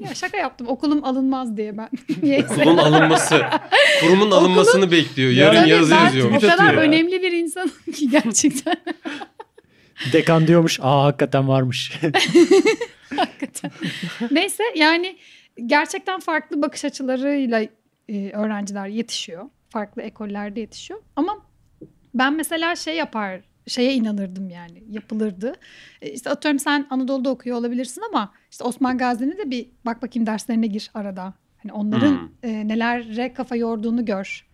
Speaker 1: [LAUGHS] ya şaka yaptım okulum alınmaz diye ben. [LAUGHS] Neyse.
Speaker 4: Kulun alınması. Kurumun alınmasını bekliyor. Yarın
Speaker 1: Tabii
Speaker 4: yazı
Speaker 1: ben
Speaker 4: yazıyor.
Speaker 1: O kadar
Speaker 2: atıyor ya.
Speaker 1: önemli bir insanım ki gerçekten.
Speaker 3: Dekan diyormuş. Aa hakikaten varmış. [LAUGHS]
Speaker 4: [LAUGHS]
Speaker 1: Hakikaten. Neyse yani gerçekten farklı bakış açılarıyla e, öğrenciler yetişiyor. Farklı ekollerde yetişiyor. Ama ben mesela şey yapar şeye inanırdım yani yapılırdı. E, İşte atıyorum sen Anadolu'da okuyor olabilirsin ama işte Osman Gazi'nin de bir bak bakayım derslerine gir arada. Hani onların
Speaker 4: Hmm.
Speaker 1: e, nelere kafa yorduğunu gör.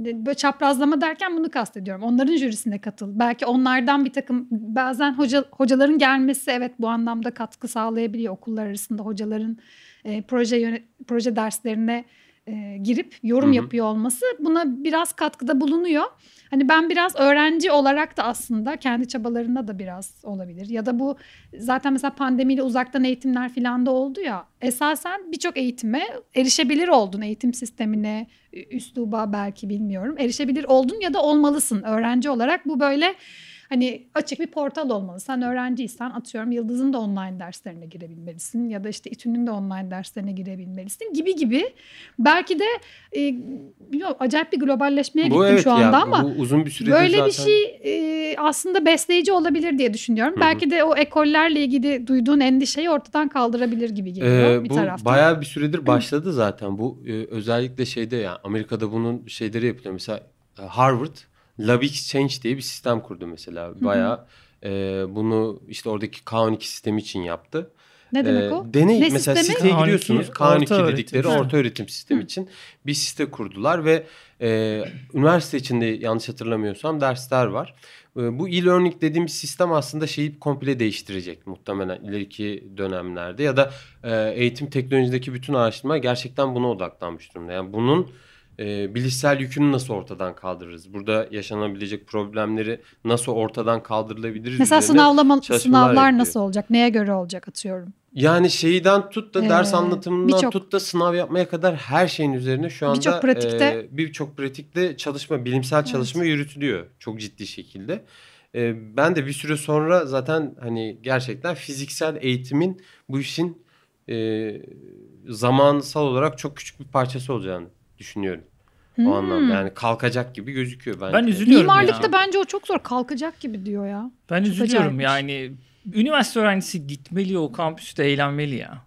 Speaker 1: De- Böyle çaprazlama derken bunu kastediyorum. Onların jürisine katıl. Belki onlardan bir takım bazen hoca, hocaların gelmesi evet bu anlamda katkı sağlayabiliyor. Okullar arasında hocaların e, proje yöne- proje derslerine e, girip yorum
Speaker 4: Hı hı.
Speaker 1: yapıyor olması buna biraz katkıda bulunuyor. Hani ben biraz öğrenci olarak da aslında kendi çabalarına da biraz olabilir. Ya da bu zaten mesela pandemiyle uzaktan eğitimler filan da oldu ya. Esasen birçok eğitime erişebilir oldun. Eğitim sistemine, ü- üsluba belki bilmiyorum. Erişebilir oldun ya da olmalısın. Öğrenci olarak bu böyle hani açık bir portal olmalı. Sen öğrenciysen atıyorum Yıldız'ın da online derslerine girebilmelisin. Ya da işte İTÜ'nün de online derslerine girebilmelisin gibi gibi. Belki de e, bilmiyorum, acayip bir globalleşmeye
Speaker 4: Bu
Speaker 1: gittim
Speaker 4: evet
Speaker 1: şu
Speaker 4: ya,
Speaker 1: anda ama
Speaker 4: bu uzun bir süredir
Speaker 1: Böyle
Speaker 4: zaten.
Speaker 1: bir şey e, aslında besleyici olabilir diye düşünüyorum.
Speaker 4: Hı hı.
Speaker 1: Belki de o ekollerle ilgili duyduğun endişeyi ortadan kaldırabilir gibi geliyor
Speaker 4: Ee,
Speaker 1: bir
Speaker 4: bu
Speaker 1: taraftan.
Speaker 4: bayağı bir süredir başladı zaten. Bu e, özellikle şeyde yani Amerika'da bunun şeyleri yapılıyor. Mesela e, Harvard Lab Exchange diye bir sistem kurdu mesela. Bayağı e, bunu işte oradaki K12 sistemi için yaptı.
Speaker 1: ne demek
Speaker 4: Ee,
Speaker 1: o?
Speaker 4: Deney
Speaker 1: Ne
Speaker 4: mesela
Speaker 1: sistemi?
Speaker 4: siteye
Speaker 2: K12,
Speaker 4: giriyorsunuz.
Speaker 2: orta
Speaker 4: K12
Speaker 2: öğretim.
Speaker 4: dedikleri
Speaker 2: Ha.
Speaker 4: orta öğretim sistemi için bir site kurdular ve e, üniversite içinde yanlış hatırlamıyorsam dersler var. E, bu e-learning dediğimiz sistem aslında şeyi komple değiştirecek muhtemelen ileriki dönemlerde ya da e, eğitim teknolojideki bütün araştırma gerçekten buna odaklanmış durumda. Yani bunun e, bilişsel yükünü nasıl ortadan kaldırırız? Burada yaşanabilecek problemleri nasıl ortadan kaldırılabiliriz?
Speaker 1: Mesela
Speaker 4: üzerine
Speaker 1: sınavlama,
Speaker 4: çalışmalar
Speaker 1: sınavlar
Speaker 4: yapıyor.
Speaker 1: nasıl olacak? Neye göre olacak atıyorum?
Speaker 4: Yani şeyden tut da
Speaker 1: Ee,
Speaker 4: ders anlatımından
Speaker 1: birçok-
Speaker 4: tut da sınav yapmaya kadar her şeyin üzerine şu anda
Speaker 1: Birçok pratikte-
Speaker 4: e, birçok pratikte çalışma, bilimsel çalışma yürütülüyor çok ciddi şekilde. E, ben de bir süre sonra zaten hani gerçekten fiziksel eğitimin bu işin e, zamansal olarak çok küçük bir parçası olacağını düşünüyorum.
Speaker 1: Hmm.
Speaker 4: O anlamda yani kalkacak gibi gözüküyor bence.
Speaker 2: Ben üzülüyorum ya.
Speaker 1: Mimarlıkta bence o çok zor. Kalkacak gibi diyor ya.
Speaker 2: Ben üzülüyorum
Speaker 1: acayipmiş.
Speaker 2: yani. Üniversite öğrencisi gitmeli o kampüste eğlenmeli ya.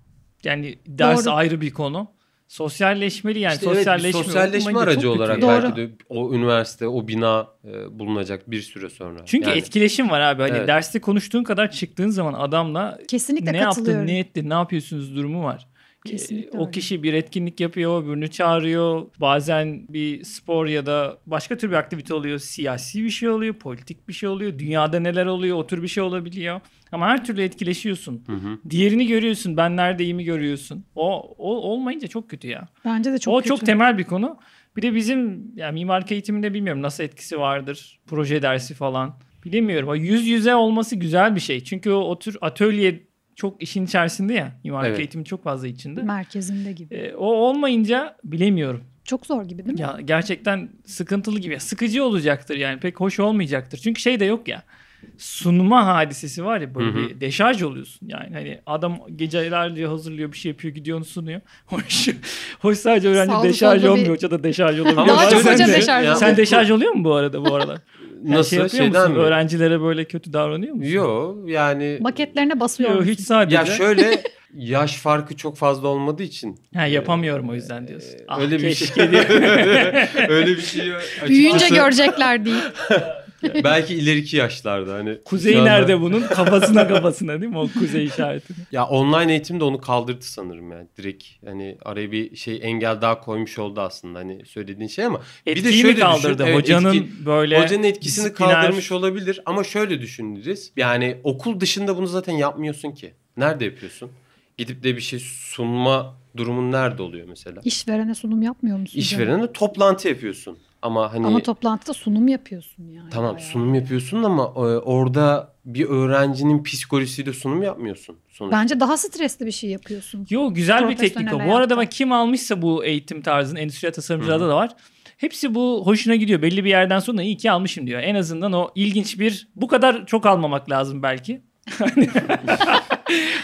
Speaker 2: Yani ders
Speaker 1: Doğru.
Speaker 2: ayrı bir konu. Sosyalleşmeli yani.
Speaker 4: İşte evet, bir
Speaker 2: sosyalleşme, olmayınca
Speaker 4: sosyalleşme
Speaker 2: çok
Speaker 4: aracı
Speaker 2: kötü
Speaker 4: olarak
Speaker 2: ya.
Speaker 1: Doğru.
Speaker 4: belki de o üniversite, o bina e, bulunacak bir süre sonra.
Speaker 2: Çünkü
Speaker 4: Yani-
Speaker 2: etkileşim var abi. Hani
Speaker 4: Evet.
Speaker 2: derste konuştuğun kadar çıktığın zaman adamla
Speaker 1: Kesinlikle
Speaker 2: ne
Speaker 1: katılıyorum.
Speaker 2: yaptın, ne ettin, ne yapıyorsunuz durumu var. Ee,
Speaker 1: Kesinlikle
Speaker 2: o
Speaker 1: öyle.
Speaker 2: kişi bir etkinlik yapıyor, öbürünü çağırıyor. Bazen bir spor ya da başka tür bir aktivite oluyor. Siyasi bir şey oluyor, politik bir şey oluyor. Dünyada neler oluyor, o tür bir şey olabiliyor. Ama her türlü etkileşiyorsun.
Speaker 4: hı.
Speaker 2: Diğerini görüyorsun, ben neredeyimi görüyorsun. O, o olmayınca çok kötü ya.
Speaker 1: Bence de çok
Speaker 2: o
Speaker 1: kötü.
Speaker 2: çok temel bir konu. Bir de bizim yani mimarlık eğitiminde bilmiyorum nasıl etkisi vardır. Proje dersi falan. Bilemiyorum. O yüz yüze olması güzel bir şey. Çünkü o, o tür atölye çok işin içerisinde ya. Mimarlık
Speaker 4: Evet.
Speaker 2: eğitimi çok fazla içinde.
Speaker 1: merkezinde gibi.
Speaker 2: Ee, o olmayınca bilemiyorum.
Speaker 1: Çok zor gibi değil mi?
Speaker 2: Ya gerçekten sıkıntılı gibi. Sıkıcı olacaktır yani. Pek hoş olmayacaktır. Çünkü şey de yok ya. Sunma hadisesi var ya böyle
Speaker 4: Hı hı.
Speaker 2: bir deşarj oluyorsun. Yani hani adam gecelerce hazırlıyor bir şey yapıyor gidiyor onu sunuyor. [LAUGHS] Hoş, hoş sadece öğrenci
Speaker 1: Sağlı
Speaker 2: deşarj
Speaker 1: sollu bir-
Speaker 2: olmuyor. Hoca da deşarj olabiliyor.
Speaker 1: Ama Daha çok
Speaker 2: Sen
Speaker 1: hoca
Speaker 2: de-
Speaker 1: deşarj oluyor.
Speaker 2: Sen deşarj oluyor mu bu arada bu aralar? Yani
Speaker 4: [LAUGHS] Nasıl
Speaker 2: şey yapıyor
Speaker 4: şeyden
Speaker 2: musun?
Speaker 4: mi?
Speaker 2: Öğrencilere böyle kötü davranıyor musun?
Speaker 4: Yo yani
Speaker 1: Maketlerine basıyor.
Speaker 2: Yok
Speaker 1: musun?
Speaker 2: hiç sadece.
Speaker 1: [LAUGHS]
Speaker 4: ya şöyle yaş farkı çok fazla
Speaker 2: [LAUGHS]
Speaker 4: olmadığı için
Speaker 2: Ha, yapamıyorum o yüzden diyorsun.
Speaker 4: Ee,
Speaker 2: Ah,
Speaker 4: öyle bir
Speaker 2: keşke
Speaker 4: şey.
Speaker 2: diye.
Speaker 4: [LAUGHS] öyle bir şey açıkçası-
Speaker 1: Büyüyünce görecekler değil.
Speaker 4: Belki ileriki yaşlarda hani. şu
Speaker 2: Kuzeyi
Speaker 4: anda-
Speaker 2: nerede bunun? Kafasına kafasına değil mi o kuzey işareti?
Speaker 4: Ya online eğitim de onu kaldırdı sanırım yani direkt. Hani araya bir şey engel daha koymuş oldu aslında hani söylediğin şey ama.
Speaker 2: Etkiyi
Speaker 4: bir de
Speaker 2: mi
Speaker 4: şöyle
Speaker 2: kaldırdı?
Speaker 4: düşün. Evet,
Speaker 2: hocanın
Speaker 4: etki-
Speaker 2: böyle
Speaker 4: Hocanın etkisini
Speaker 2: disipliner-
Speaker 4: kaldırmış olabilir ama şöyle düşünürüz. Yani okul dışında bunu zaten yapmıyorsun ki. Nerede yapıyorsun? Gidip de bir şey sunma durumun nerede oluyor mesela?
Speaker 1: İşverene sunum yapmıyor musun? canım?
Speaker 4: İşverene toplantı yapıyorsun. Ama hani
Speaker 1: şey. Ama toplantıda sunum yapıyorsun yani.
Speaker 4: tamam
Speaker 1: bayağı.
Speaker 4: sunum yapıyorsun ama e, orada bir öğrencinin psikolojisiyle sunum yapmıyorsun sonuçta.
Speaker 1: Bence daha stresli bir şey yapıyorsun.
Speaker 2: Yo güzel bir
Speaker 1: Profesyonel
Speaker 2: teknik o. Bu
Speaker 1: hayatta.
Speaker 2: arada bak kim almışsa bu eğitim tarzını endüstriyel tasarımcılarda da var. Hepsi bu hoşuna gidiyor. Belli bir yerden sonra iyi ki almışım diyor. En azından o ilginç bir bu kadar çok almamak lazım belki. [LAUGHS] Hani-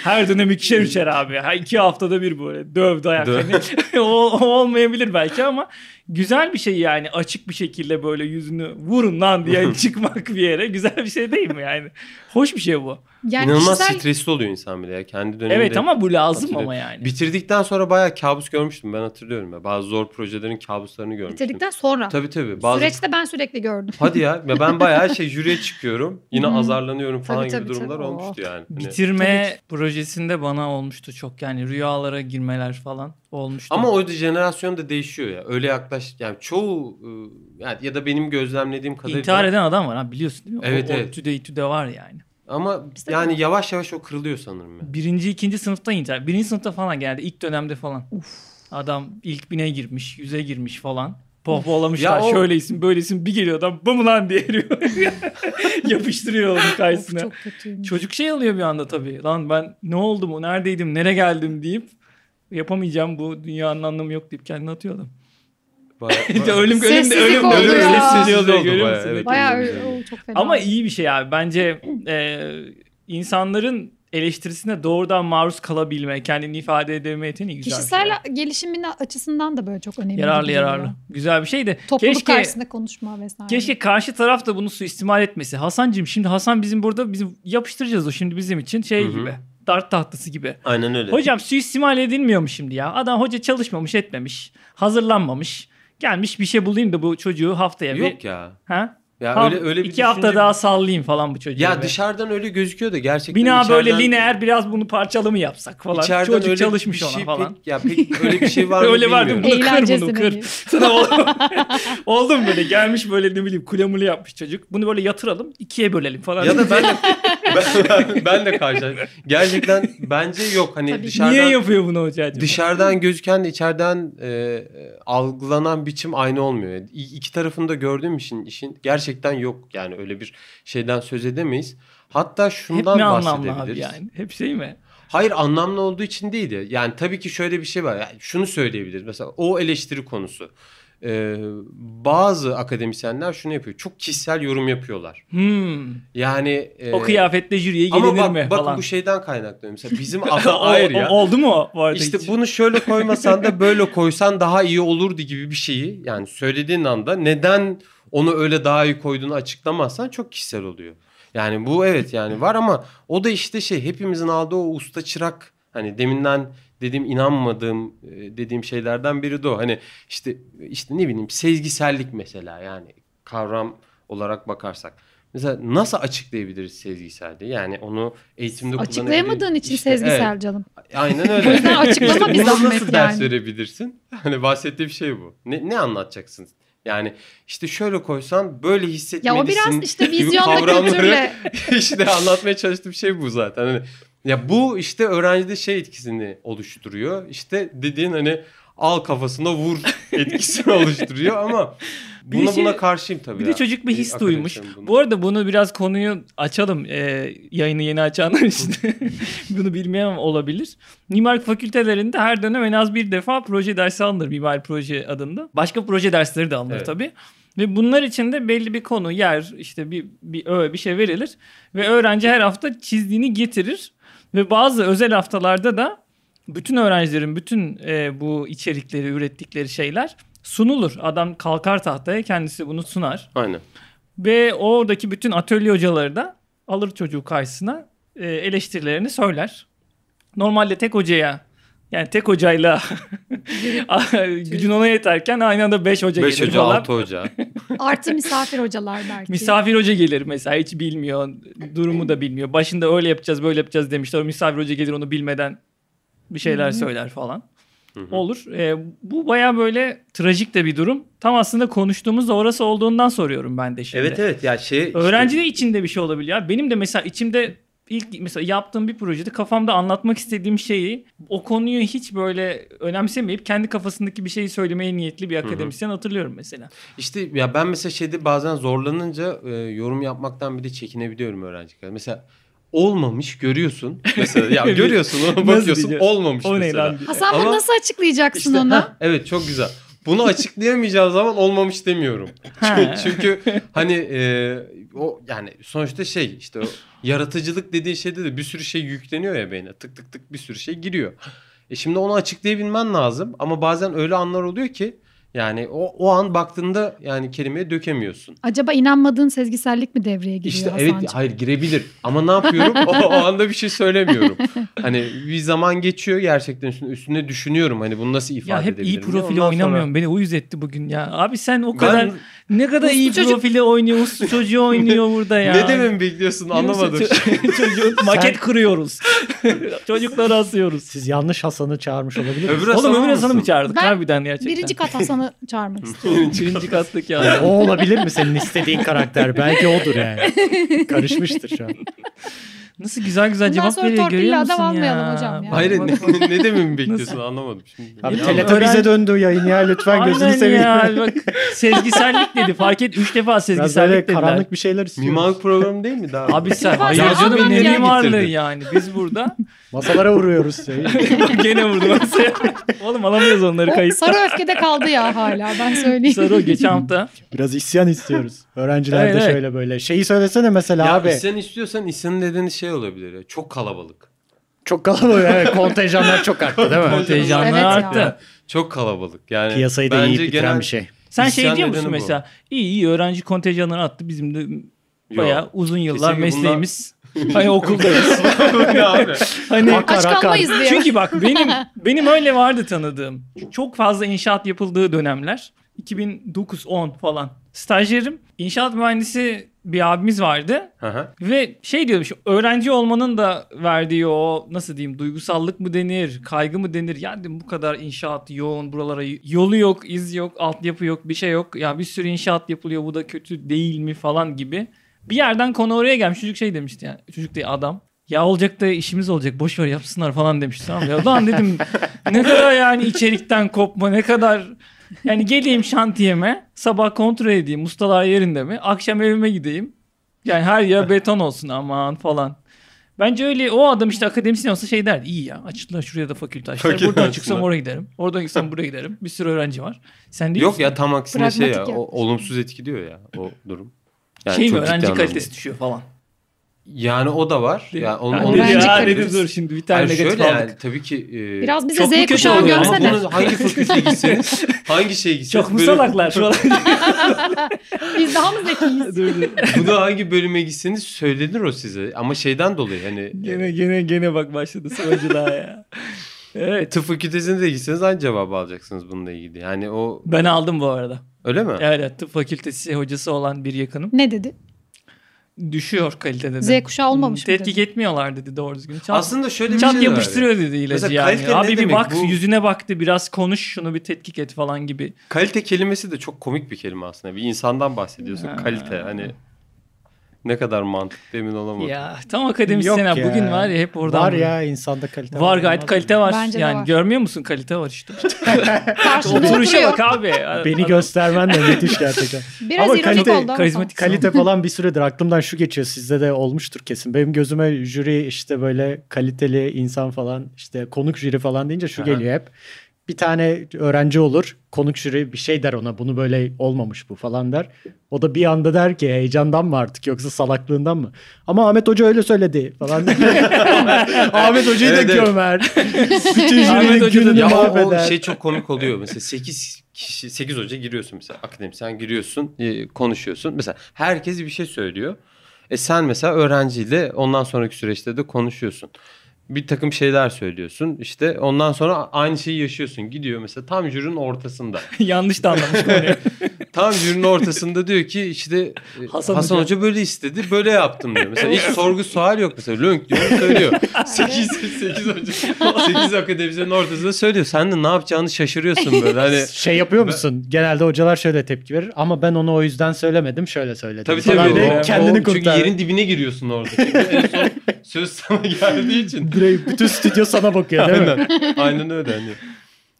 Speaker 2: Her dönem ikişer üçer abi. Ha, iki haftada bir böyle döv dayak.
Speaker 4: Döv.
Speaker 2: hani. [LAUGHS] o, o olmayabilir belki ama güzel bir şey yani açık bir şekilde böyle yüzünü vurun lan
Speaker 4: [LAUGHS]
Speaker 2: diye çıkmak bir yere güzel bir şey değil mi yani? Hoş bir şey bu.
Speaker 1: Yani
Speaker 4: İnanılmaz
Speaker 1: kişisel
Speaker 4: stresli oluyor insan bile ya kendi döneminde.
Speaker 2: Evet ama bu lazım
Speaker 4: hatırlıyorum.
Speaker 2: ama yani. Hani
Speaker 4: Bitirdikten sonra bayağı kabus görmüştüm ben hatırlıyorum ya. Bazı zor projelerin kabuslarını görmüştüm.
Speaker 1: bitirdikten sonra.
Speaker 4: şey. Tabii tabii. Bazı...
Speaker 1: Süreçte ben sürekli gördüm.
Speaker 4: Hadi ya ya ben bayağı şey jüriye çıkıyorum. Yine
Speaker 1: Hmm.
Speaker 4: azarlanıyorum falan
Speaker 1: Tabii,
Speaker 4: gibi
Speaker 1: tabii,
Speaker 4: durumlar
Speaker 1: tabii.
Speaker 4: olmuştu
Speaker 2: Oh.
Speaker 4: yani. Hani-
Speaker 2: Bitirme projesinde bana olmuştu çok yani rüyalara girmeler falan olmuştu.
Speaker 4: Ama o da jenerasyon da değişiyor ya. Öyle yaklaş yani çoğu e, yani ya da benim gözlemlediğim kadarıyla
Speaker 2: intihar eden adam var ha biliyorsun değil mi?
Speaker 4: Evet,
Speaker 2: o,
Speaker 4: evet.
Speaker 2: O tüde tüde var yani.
Speaker 4: ama
Speaker 1: Bizde de
Speaker 4: yani yavaş yavaş o kırılıyor sanırım
Speaker 2: [LAUGHS]
Speaker 4: ya.
Speaker 2: Birinci ikinci sınıfta intihar. Birinci sınıfta falan geldi ilk dönemde falan. Adam ilk bine girmiş yüze girmiş falan. Pohpohlamışlar
Speaker 4: Ya o-
Speaker 2: şöyle isim böyle isim bir geliyor adam bum lan diye
Speaker 4: [LAUGHS]
Speaker 2: eriyor. Yapıştırıyor onun
Speaker 1: Of,
Speaker 2: karşısına.
Speaker 1: çok kötüymüş.
Speaker 2: Çocuk şey oluyor bir anda tabii. Lan ben ne oldu mu neredeydim nereye geldim deyip yapamayacağım bu dünyanın anlamı yok deyip kendini atıyor adam.
Speaker 4: Bayağı-
Speaker 2: Bir de [LAUGHS] ölüm ölüm
Speaker 1: Sessizlik
Speaker 2: ölüm
Speaker 1: oldu
Speaker 2: ölüm
Speaker 1: ya.
Speaker 2: sessizliği
Speaker 4: Sessizlik
Speaker 2: oluyor
Speaker 4: oldu
Speaker 2: görüyor
Speaker 4: bayağı,
Speaker 2: musun?
Speaker 4: evet.
Speaker 1: Bayağı öyle. o çok fena.
Speaker 2: Ama iyi bir şey abi. Bence e, insanların eleştirisine doğrudan maruz kalabilme, kendini ifade edebilme yeteneği güzel. bir şey.
Speaker 1: Kişisel gelişimin açısından da böyle çok önemli.
Speaker 2: yararlı
Speaker 1: gibi geliyor.
Speaker 2: yararlı. Güzel bir şey de
Speaker 1: Topluluk
Speaker 2: keşke
Speaker 1: karşısında konuşma vesaire.
Speaker 2: keşke karşı taraf da bunu suistimal etmesi. Hasancığım şimdi Hasan bizim burada bizim yapıştıracağız o şimdi bizim için şey
Speaker 4: Hı hı.
Speaker 2: gibi. Dart tahtası gibi.
Speaker 4: Aynen öyle.
Speaker 2: Hocam suistimal edilmiyor mu şimdi ya? Adam hoca çalışmamış etmemiş. Hazırlanmamış. Gelmiş bir şey bulayım da bu çocuğu haftaya bir...
Speaker 4: Yok ya.
Speaker 2: Ha?
Speaker 4: Ya
Speaker 2: Tamam,
Speaker 4: öyle öyle bir
Speaker 2: iki hafta
Speaker 4: düşünce-
Speaker 2: daha sallayayım falan bu çocuğu.
Speaker 4: ya
Speaker 2: be.
Speaker 4: dışarıdan öyle gözüküyor da gerçekten
Speaker 2: Bina böyle
Speaker 4: içeriden-
Speaker 2: lineer biraz bunu parçalı mı yapsak falan.
Speaker 4: içeriden
Speaker 2: Çocuk
Speaker 4: öyle
Speaker 2: çalışmış
Speaker 4: bir şey
Speaker 2: ona falan.
Speaker 4: Pek, ya pek öyle bir
Speaker 2: [LAUGHS]
Speaker 4: şey var mı
Speaker 2: Öyle
Speaker 4: bilmiyorum.
Speaker 2: vardı mı? Bunu kır
Speaker 1: Eğlencesine
Speaker 2: bunu kır. [LAUGHS]
Speaker 1: iyi.
Speaker 2: Sana oldu, oldu mu böyle gelmiş böyle ne bileyim kule mule yapmış çocuk. Bunu böyle yatıralım ikiye bölelim falan. [LAUGHS]
Speaker 4: Ya da ben de, ben, [LAUGHS] ben de karşılaştım. Gerçekten bence yok. Hani
Speaker 1: Tabii ki.
Speaker 4: dışarıdan
Speaker 2: Niye yapıyor bunu hoca acaba?
Speaker 4: dışarıdan gözüken de içeriden e, e, algılanan biçim aynı olmuyor. İ- İki tarafını da gördüğüm için işin gerçekten yok. Yani öyle bir şeyden söz edemeyiz. Hatta
Speaker 2: Hep
Speaker 4: şundan
Speaker 2: mi anlamlı abi
Speaker 4: bahsedebiliriz.
Speaker 2: yani? Hep şey mi?
Speaker 4: Hayır anlamlı olduğu için değil de. Yani tabii ki şöyle bir şey var. Yani şunu söyleyebiliriz. Mesela o eleştiri konusu. E, bazı akademisyenler şunu yapıyor. Çok kişisel yorum yapıyorlar.
Speaker 2: Hmm.
Speaker 4: Yani e,
Speaker 2: o kıyafetle jüriye gelinir
Speaker 4: ama bak,
Speaker 2: mi [LAUGHS]
Speaker 4: bakın
Speaker 2: falan.
Speaker 4: bu şeyden kaynaklanıyor.
Speaker 2: [LAUGHS]
Speaker 4: Mesela bizim
Speaker 2: O-
Speaker 4: akla hayır
Speaker 2: o-
Speaker 4: ya.
Speaker 2: oldu mu o bu arada
Speaker 4: İşte
Speaker 2: hiç?
Speaker 4: bunu şöyle koymasan da böyle koysan daha iyi olurdu gibi bir şeyi yani söylediğin anda neden onu öyle daha iyi koyduğunu açıklamazsan çok kişisel oluyor. Yani bu evet yani var ama o da işte şey hepimizin aldığı o usta çırak hani deminden dediğim inanmadığım e, dediğim şeylerden biri de o. Hani işte işte ne bileyim sezgisellik mesela yani kavram olarak bakarsak Mesela nasıl açıklayabiliriz sezgiselliği? Yani onu eğitimde
Speaker 1: Açıklayamadığın
Speaker 4: kullanabilir-
Speaker 1: için
Speaker 4: İşte,
Speaker 1: sezgisel
Speaker 4: evet,
Speaker 1: canım.
Speaker 4: aynen öyle. [LAUGHS]
Speaker 1: yüzden açıklama bir
Speaker 4: İşte buna
Speaker 1: zahmet
Speaker 4: nasıl ders
Speaker 1: yani.
Speaker 4: verebilirsin? Hani bahsettiğim şey bu. Ne, ne anlatacaksın? Yani işte şöyle koysan böyle
Speaker 1: Ya o
Speaker 4: hissetmelisin.
Speaker 1: biraz
Speaker 4: [LAUGHS]
Speaker 1: işte
Speaker 4: gibi
Speaker 1: vizyonla
Speaker 4: kavramları-
Speaker 1: kültürle
Speaker 4: [LAUGHS] işte anlatmaya çalıştığım şey bu zaten. Hani ya bu işte öğrencide şey etkisini oluşturuyor. İşte dediğin hani al kafasına
Speaker 1: [LAUGHS]
Speaker 4: vur etkisini oluşturuyor ama
Speaker 2: Bir
Speaker 4: buna
Speaker 2: de şey-
Speaker 4: buna karşıyım tabii.
Speaker 2: Bir
Speaker 4: ya.
Speaker 2: de çocuk bir his
Speaker 4: akademisyenim
Speaker 2: duymuş.
Speaker 4: bunu.
Speaker 2: Bu arada bunu biraz konuyu açalım. Ee, yayını yeni açanlar
Speaker 4: [LAUGHS]
Speaker 2: için bunu bilmeyen olabilir. Mimarlık fakültelerinde her dönem en az bir defa proje dersi alınır. Mimar proje adında. Başka proje dersleri de alınır
Speaker 4: Evet.
Speaker 2: tabii. Ve bunlar için de belli bir konu, yer, işte bir bir öğe bir şey verilir ve öğrenci her hafta çizdiğini getirir ve bazı özel haftalarda da bütün öğrencilerin bütün e, bu içerikleri ürettikleri şeyler sunulur. Adam kalkar tahtaya kendisi bunu sunar.
Speaker 4: Aynen.
Speaker 2: Ve oradaki bütün atölye hocaları da alır çocuğu karşısına e, eleştirilerini söyler. Normalde tek hocaya yani tek hocayla gücün ona yeterken aynı anda 5 hoca
Speaker 4: 5
Speaker 2: gelir
Speaker 4: hoca,
Speaker 2: falan.
Speaker 4: 6
Speaker 2: [LAUGHS]
Speaker 4: hoca.
Speaker 1: artı misafir hocalar belki.
Speaker 2: Misafir hoca gelir mesela hiç bilmiyor, durumu da bilmiyor. Başında öyle yapacağız, böyle yapacağız demişler. O misafir hoca gelir onu bilmeden bir şeyler söyler falan.
Speaker 4: Hı hı.
Speaker 2: Olur. E, bu baya böyle trajik de bir durum. Tam aslında konuştuğumuz da orası olduğundan soruyorum ben de şimdi.
Speaker 4: evet evet ya şey işte-
Speaker 2: Öğrenci de içinde bir şey olabilir ya. Benim de mesela içimde ilk mesela yaptığım bir projede kafamda anlatmak istediğim şeyi o konuyu hiç böyle önemsemeyip kendi kafasındaki bir şeyi söylemeye niyetli bir akademisyen hatırlıyorum mesela.
Speaker 4: İşte ya ben mesela şeyde bazen zorlanınca e, yorum yapmaktan bir de çekinebiliyorum öğrenciler. Mesela olmamış görüyorsun. Mesela ya
Speaker 2: [LAUGHS]
Speaker 4: görüyorsun ona
Speaker 2: Nasıl
Speaker 4: bakıyorsun
Speaker 2: diyeceğim?
Speaker 4: olmamış
Speaker 2: O ne
Speaker 4: mesela.
Speaker 2: lan diye.
Speaker 1: Hasan bunu
Speaker 4: Ama-
Speaker 1: nasıl açıklayacaksın
Speaker 4: İşte,
Speaker 1: ona?
Speaker 4: heh, evet çok güzel. Bunu açıklayamayacağım zaman olmamış demiyorum.
Speaker 2: Ha.
Speaker 4: [LAUGHS] Çünkü hani e, o yani sonuçta şey işte o yaratıcılık dediğin şeyde de bir sürü şey yükleniyor ya beyne. Tık tık tık bir sürü şey giriyor. E şimdi onu açıklayabilmen lazım ama bazen öyle anlar oluyor ki yani o, o an baktığında yani kelimeye dökemiyorsun.
Speaker 1: Acaba inanmadığın sezgisellik mi devreye giriyor
Speaker 4: İşte
Speaker 1: Hasan'cığım?
Speaker 4: evet hayır girebilir ama
Speaker 2: [LAUGHS]
Speaker 4: ne yapıyorum o, o anda bir şey söylemiyorum. Hani bir zaman geçiyor gerçekten üstüne, üstüne düşünüyorum hani bunu nasıl ifade
Speaker 2: Ya hep
Speaker 4: edebilirim.
Speaker 2: iyi
Speaker 4: diye.
Speaker 2: profili
Speaker 4: Ondan sonra-
Speaker 2: oynamıyorum. Beni uyuz etti bugün ya. Abi sen o
Speaker 4: Ben-
Speaker 2: kadar ne kadar
Speaker 1: Uslu
Speaker 2: iyi
Speaker 1: çocuk.
Speaker 2: profili oynuyor. Uslu çocuğu oynuyor
Speaker 4: [LAUGHS]
Speaker 2: burada ya.
Speaker 4: Ne dememi bekliyorsun anlamadım. [LAUGHS]
Speaker 2: Ço- çocuğu maket kırıyoruz. Çocukları asıyoruz.
Speaker 3: Siz yanlış Hasan'ı çağırmış olabilir
Speaker 4: Öbürü- Biraz
Speaker 2: Oğlum
Speaker 4: anlar
Speaker 2: Ömür Hasan'ı mı
Speaker 4: mısın?
Speaker 2: çağırdık
Speaker 1: Ben
Speaker 2: harbiden gerçekten?
Speaker 1: Birinci kat Hasan'ı çağırmak istiyorum.
Speaker 2: Birinci kattaki adam.
Speaker 4: [LAUGHS]
Speaker 3: o olabilir mi senin istediğin karakter? Belki odur yani. Karışmıştır şu an.
Speaker 2: Nasıl güzel güzel
Speaker 1: Bundan
Speaker 2: cevap
Speaker 1: sonra
Speaker 2: veriyor
Speaker 1: torpille
Speaker 2: görüyor musun
Speaker 1: adam
Speaker 2: ya?
Speaker 1: almayalım hocam ya.
Speaker 2: Bak,
Speaker 4: Hayır
Speaker 2: bak,
Speaker 4: ne,
Speaker 2: bak.
Speaker 4: [LAUGHS] ne dememi bekliyorsun anlamadım. Şimdi.
Speaker 3: Abi
Speaker 2: Ya,
Speaker 3: telete bize
Speaker 2: öğrenci-
Speaker 3: döndü yayın ya lütfen gözünü
Speaker 2: Aynen
Speaker 3: seveyim.
Speaker 2: ya bak [LAUGHS] sezgisellik dedi fark et 3 defa
Speaker 3: Biraz böyle
Speaker 2: sezgisellik dediler.
Speaker 3: karanlık bir şeyler istiyoruz.
Speaker 4: [LAUGHS] Mimarlık programı değil mi daha?
Speaker 2: Abi sen
Speaker 1: Mimarlık-
Speaker 2: hayır
Speaker 1: Mimarlık-
Speaker 2: canım ne
Speaker 1: Mimarlık-
Speaker 2: mimarlığı
Speaker 4: Getirdin.
Speaker 2: yani biz burada [LAUGHS]
Speaker 3: Masalara vuruyoruz. Şey.
Speaker 2: gene vurdum [LAUGHS] Oğlum alamıyoruz onları
Speaker 1: O
Speaker 2: kayıtta.
Speaker 1: sarı öfkede kaldı ya hala ben söyleyeyim.
Speaker 2: Sarı o
Speaker 1: [LAUGHS]
Speaker 2: geçen hafta.
Speaker 3: Biraz isyan istiyoruz. Öğrenciler
Speaker 2: Evet,
Speaker 3: de
Speaker 2: evet.
Speaker 3: şöyle böyle. Şeyi söylesene mesela
Speaker 4: Ya
Speaker 3: abi.
Speaker 4: isyan istiyorsan isyan dediğiniz şey olabilir. ya, Çok kalabalık.
Speaker 3: Çok kalabalık. Evet, kontenjanlar çok arttı değil mi?
Speaker 2: Kontenjanlar
Speaker 1: Evet ya.
Speaker 2: arttı.
Speaker 4: Çok kalabalık. Yani
Speaker 3: Piyasayı da
Speaker 4: bence
Speaker 3: iyi bitiren
Speaker 4: genel-
Speaker 3: bir
Speaker 4: [LAUGHS]
Speaker 3: şey.
Speaker 2: Sen şey
Speaker 4: İsyan
Speaker 2: diyor
Speaker 4: nedeni
Speaker 2: musun
Speaker 4: bu.
Speaker 2: mesela? İyi iyi öğrenci kontenjanları attı. Bizim de
Speaker 4: Yok.
Speaker 2: bayağı uzun yıllar
Speaker 4: Kesinlikle bunlar-
Speaker 2: mesleğimiz. hani
Speaker 4: [LAUGHS]
Speaker 2: okuldayız.
Speaker 3: [LAUGHS]
Speaker 4: Ne abi?
Speaker 2: hani
Speaker 1: Aç
Speaker 3: Akar, akar.
Speaker 1: kalmayız diye.
Speaker 2: Çünkü bak benim benim öyle vardı tanıdığım. Çok fazla inşaat yapıldığı dönemler. 2009-10 falan. Stajyerim inşaat mühendisi bir abimiz vardı.
Speaker 4: Hı hı.
Speaker 2: Ve şey diyorum şu öğrenci olmanın da verdiği o nasıl diyeyim duygusallık mı denir, kaygı mı denir? Ya dedim bu kadar inşaat yoğun, buralara yolu yok, iz yok, altyapı yok, bir şey yok. Ya bir sürü inşaat yapılıyor bu da kötü değil mi falan gibi. Bir yerden konu oraya gelmiş. Çocuk şey demişti yani. Çocuk değil adam. Ya olacak da işimiz olacak. Boş ver yapsınlar falan demişti. Tamam ya lan dedim ne kadar yani içerikten kopma ne kadar yani geleyim şantiyeme sabah kontrol edeyim ustalar yerinde mi akşam evime gideyim yani her yer beton olsun aman falan. Bence öyle o adam işte akademisyen olsa şey derdi iyi ya açtılar şuraya da fakülte açtılar.
Speaker 4: Fakülte
Speaker 2: Buradan
Speaker 4: açtılar.
Speaker 2: çıksam oraya giderim. Oradan çıksam buraya giderim. Bir sürü öğrenci var. Sen değil
Speaker 4: Yok
Speaker 2: misin?
Speaker 4: ya tam aksine şey ya.
Speaker 1: Pragmatik
Speaker 4: O, olumsuz etkiliyor ya o durum. Yani
Speaker 2: şey mi
Speaker 4: çok ciddi
Speaker 2: öğrenci
Speaker 4: anlamda.
Speaker 2: kalitesi düşüyor falan.
Speaker 4: Yani o da var.
Speaker 2: Değil mi?
Speaker 4: Yani onu,
Speaker 2: Yani
Speaker 4: onu
Speaker 1: dedi
Speaker 4: da
Speaker 1: ya,
Speaker 4: çekebiliriz.
Speaker 2: dedim dur şimdi bir tane
Speaker 4: Yani
Speaker 2: negatif
Speaker 4: şöyle
Speaker 2: aldık.
Speaker 4: yani tabii ki. e,
Speaker 1: Biraz bize
Speaker 2: Çok mu
Speaker 1: Z
Speaker 2: kötü
Speaker 1: kuşağı
Speaker 2: oluyor?
Speaker 4: Ama
Speaker 1: görsene.
Speaker 4: bunu hangi
Speaker 2: [LAUGHS]
Speaker 4: fakülteye gitseniz, hangi şeye gitseniz.
Speaker 2: Çok mu
Speaker 4: böyle-
Speaker 2: salaklar şuralar?
Speaker 1: Biz daha mı zekiyiz?
Speaker 2: dur dur.
Speaker 4: Bunu hangi bölüme gitseniz söylenir o size. Ama şeyden dolayı hani
Speaker 2: [LAUGHS] Gene gene gene bak başladı sıvacılığa ya.
Speaker 4: e,
Speaker 2: Evet.
Speaker 4: tıp fakültesine de gitseniz aynı cevabı alacaksınız bununla ilgili. Yani o
Speaker 2: Ben aldım bu arada.
Speaker 4: öyle mi?
Speaker 2: Evet tıp fakültesi hocası olan bir yakınım.
Speaker 1: Ne dedi?
Speaker 2: düşüyor kalitede de.
Speaker 1: Z kuşağı olmamış mı
Speaker 2: Tetkik
Speaker 1: dedi?
Speaker 2: etmiyorlar dedi doğru düzgün. Çat,
Speaker 4: Aslında şöyle bir
Speaker 2: çat
Speaker 4: şey de var.
Speaker 2: yapıştırıyor dedi ilacı
Speaker 4: Mesela
Speaker 2: yani.
Speaker 4: kalite ne
Speaker 2: Abi bir
Speaker 4: demek?
Speaker 2: bak
Speaker 4: Bu-
Speaker 2: yüzüne baktı biraz konuş şunu bir tetkik et falan gibi.
Speaker 4: Kalite kelimesi de çok komik bir kelime aslında. Bir insandan bahsediyorsun.
Speaker 2: Ha.
Speaker 4: Kalite hani ne kadar mantıklı emin olamadım.
Speaker 2: Ya tam akademisyen
Speaker 3: Yok
Speaker 2: ha,
Speaker 3: ya.
Speaker 2: bugün var ya hep oradan.
Speaker 3: Var
Speaker 2: böyle.
Speaker 3: ya insanda kalite
Speaker 2: Var gayet
Speaker 3: olmaz
Speaker 2: kalite var.
Speaker 1: Bence de
Speaker 2: yani
Speaker 1: var. şey
Speaker 2: görmüyor musun kalite var işte.
Speaker 1: Karşında
Speaker 2: Oturuşa
Speaker 1: oturuyor.
Speaker 2: bak abi.
Speaker 3: mı? Beni göstermen de müthiş gerçekten.
Speaker 1: Biraz
Speaker 3: Ama
Speaker 1: ironik
Speaker 3: kalite-
Speaker 1: oldu ama.
Speaker 2: karizmatik-
Speaker 3: Kalite falan bir süredir aklımdan şu geçiyor. Sizde de olmuştur kesin. Benim gözüme jüri işte böyle kaliteli insan falan işte konuk jüri falan deyince şu
Speaker 4: Aha.
Speaker 3: geliyor hep. Bir tane öğrenci olur. Konuk jüri bir şey der ona. Bunu böyle olmamış bu falan der. O da bir anda der ki heyecandan mı artık yoksa salaklığından mı? Ama Ahmet Hoca öyle söyledi falan.
Speaker 4: [LAUGHS]
Speaker 3: Ahmet Hoca'yı
Speaker 4: Evet,
Speaker 3: da
Speaker 4: evet. [LAUGHS]
Speaker 3: gömer. Bütün
Speaker 2: Ahmet
Speaker 3: jürinin
Speaker 2: Hoca da-
Speaker 3: gününü
Speaker 4: Ya o- o,
Speaker 3: mahveder.
Speaker 4: şey çok komik oluyor. Mesela 8 kişi 8 hoca giriyorsun mesela akademisyen giriyorsun, e, konuşuyorsun. Mesela herkes bir şey söylüyor. E sen mesela öğrenciyle ondan sonraki süreçte de konuşuyorsun. Bir takım şeyler söylüyorsun. İşte ondan sonra aynı şeyi yaşıyorsun. Gidiyor mesela tam jürinin ortasında.
Speaker 2: [LAUGHS] Yanlış da anlamış konuyu.
Speaker 4: Tam jürinin ortasında diyor ki işte e,
Speaker 2: Hasan
Speaker 4: Hasan,
Speaker 2: Hoca-
Speaker 4: Hoca. böyle istedi böyle yaptım diyor. Mesela hiç sorgu sual yok mesela lönk diyor
Speaker 3: [LAUGHS]
Speaker 4: söylüyor. 8, 8 hoca 8 akademisyenin ortasında söylüyor. Sen de ne yapacağını şaşırıyorsun
Speaker 3: [LAUGHS]
Speaker 4: böyle hani.
Speaker 3: Şey yapıyor musun? Genelde hocalar şöyle tepki verir ama ben onu o yüzden söylemedim şöyle söyledim.
Speaker 4: Tabii
Speaker 3: falan
Speaker 4: tabii.
Speaker 3: diye
Speaker 2: o-
Speaker 3: kendini
Speaker 4: o- Çünkü
Speaker 3: kurtar.
Speaker 4: yerin dibine giriyorsun orada. Çünkü en son söz sana
Speaker 3: [LAUGHS]
Speaker 4: geldiği için.
Speaker 3: Direkt bütün stüdyo sana bakıyor değil mi?
Speaker 4: Aynen. Aynen öyle hani.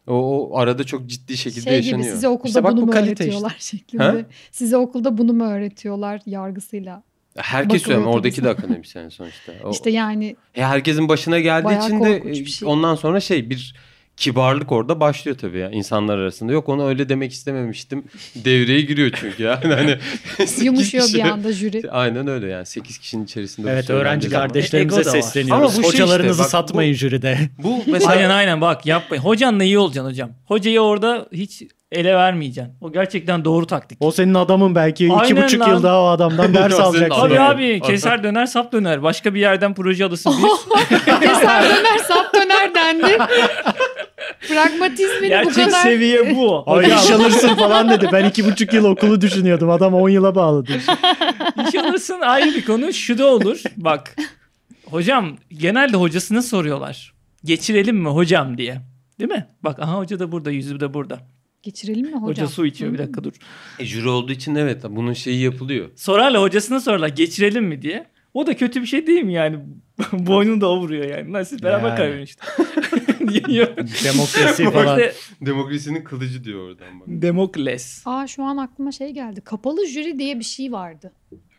Speaker 4: O, o arada çok ciddi şekilde
Speaker 1: Şey gibi
Speaker 4: yaşanıyor.
Speaker 1: size okulda
Speaker 3: İşte bak
Speaker 1: bunu
Speaker 3: bu
Speaker 1: mu
Speaker 3: kalite
Speaker 1: öğretiyorlar şeklinde.
Speaker 4: Ha?
Speaker 1: Size okulda bunu mu öğretiyorlar yargısıyla.
Speaker 4: Herkes
Speaker 1: Bakılıyor
Speaker 4: söylüyor. Oradaki
Speaker 1: tabii.
Speaker 4: de akademisyen sonuçta. O-
Speaker 1: İşte yani
Speaker 4: E, herkesin başına geldiği
Speaker 1: Bayağı
Speaker 4: için de
Speaker 1: korkunç bir
Speaker 4: e,
Speaker 1: şey.
Speaker 4: ondan sonra şey bir kibarlık orada başlıyor tabii ya insanlar arasında. Yok onu öyle
Speaker 1: [LAUGHS]
Speaker 4: demek istememiştim. Devreye giriyor çünkü yani. Hani sekiz
Speaker 1: yumuşuyor bir
Speaker 4: kişi-
Speaker 1: anda jüri.
Speaker 4: [LAUGHS] Aynen öyle yani 8 kişinin içerisinde. bu
Speaker 3: Evet
Speaker 4: söylendiği
Speaker 3: öğrenci
Speaker 4: zaman.
Speaker 2: E,
Speaker 3: kardeşlerimize
Speaker 2: ego da var.
Speaker 4: Ama
Speaker 3: sesleniyoruz.
Speaker 4: bu şey işte,
Speaker 3: Hocalarınızı
Speaker 4: bak bu-
Speaker 3: satmayın jüride.
Speaker 1: [LAUGHS]
Speaker 4: Bu mesela
Speaker 2: aynen aynen bak yapmayın. Hocanla iyi olacaksın hocam. Hocayı orada hiç ele vermeyeceksin. O gerçekten doğru taktik.
Speaker 3: O senin adamın belki iki
Speaker 2: Aynen
Speaker 3: buçuk
Speaker 2: lan.
Speaker 3: yıl daha o adamdan ders
Speaker 4: [LAUGHS] Senin
Speaker 3: alacaksın.
Speaker 2: Abi
Speaker 4: Aynen.
Speaker 2: abi keser döner sap döner. Başka bir yerden proje alırsın.
Speaker 1: [LAUGHS]
Speaker 2: Bir-
Speaker 1: Keser döner sap döner dendi. Pragmatizmin bu
Speaker 2: Gerçek
Speaker 1: kadar...
Speaker 2: seviye bu.
Speaker 3: Ay
Speaker 2: Hocam,
Speaker 3: iş alırsın falan dedi. Ben iki buçuk yıl okulu düşünüyordum. Adam on yıla bağladı.
Speaker 2: iş şey alırsın ayrı bir konu. Şu da olur. Bak. Hocam genelde hocasına soruyorlar. Geçirelim mi hocam diye. Değil mi? Bak aha hoca da burada, yüzü de burada.
Speaker 1: Geçirelim mi hocam?
Speaker 2: Hoca su içiyor bir dakika dur.
Speaker 4: e, jüri olduğu için evet bunun şeyi yapılıyor.
Speaker 2: Sorarlar hocasına sorarlar geçirelim mi diye. O da kötü bir şey değil mi yani? [LAUGHS] Boynunu da o vuruyor yani. Lan siz beraber
Speaker 3: Yani.
Speaker 2: kaybedin işte. [LAUGHS] Diyor.
Speaker 3: Demokrasi falan.
Speaker 2: İşte
Speaker 4: Demokrasinin kılıcı diyor
Speaker 1: [LAUGHS]
Speaker 4: oradan bak.
Speaker 2: Demokles.
Speaker 1: Aa şu an aklıma şey geldi. Kapalı jüri diye bir şey vardı.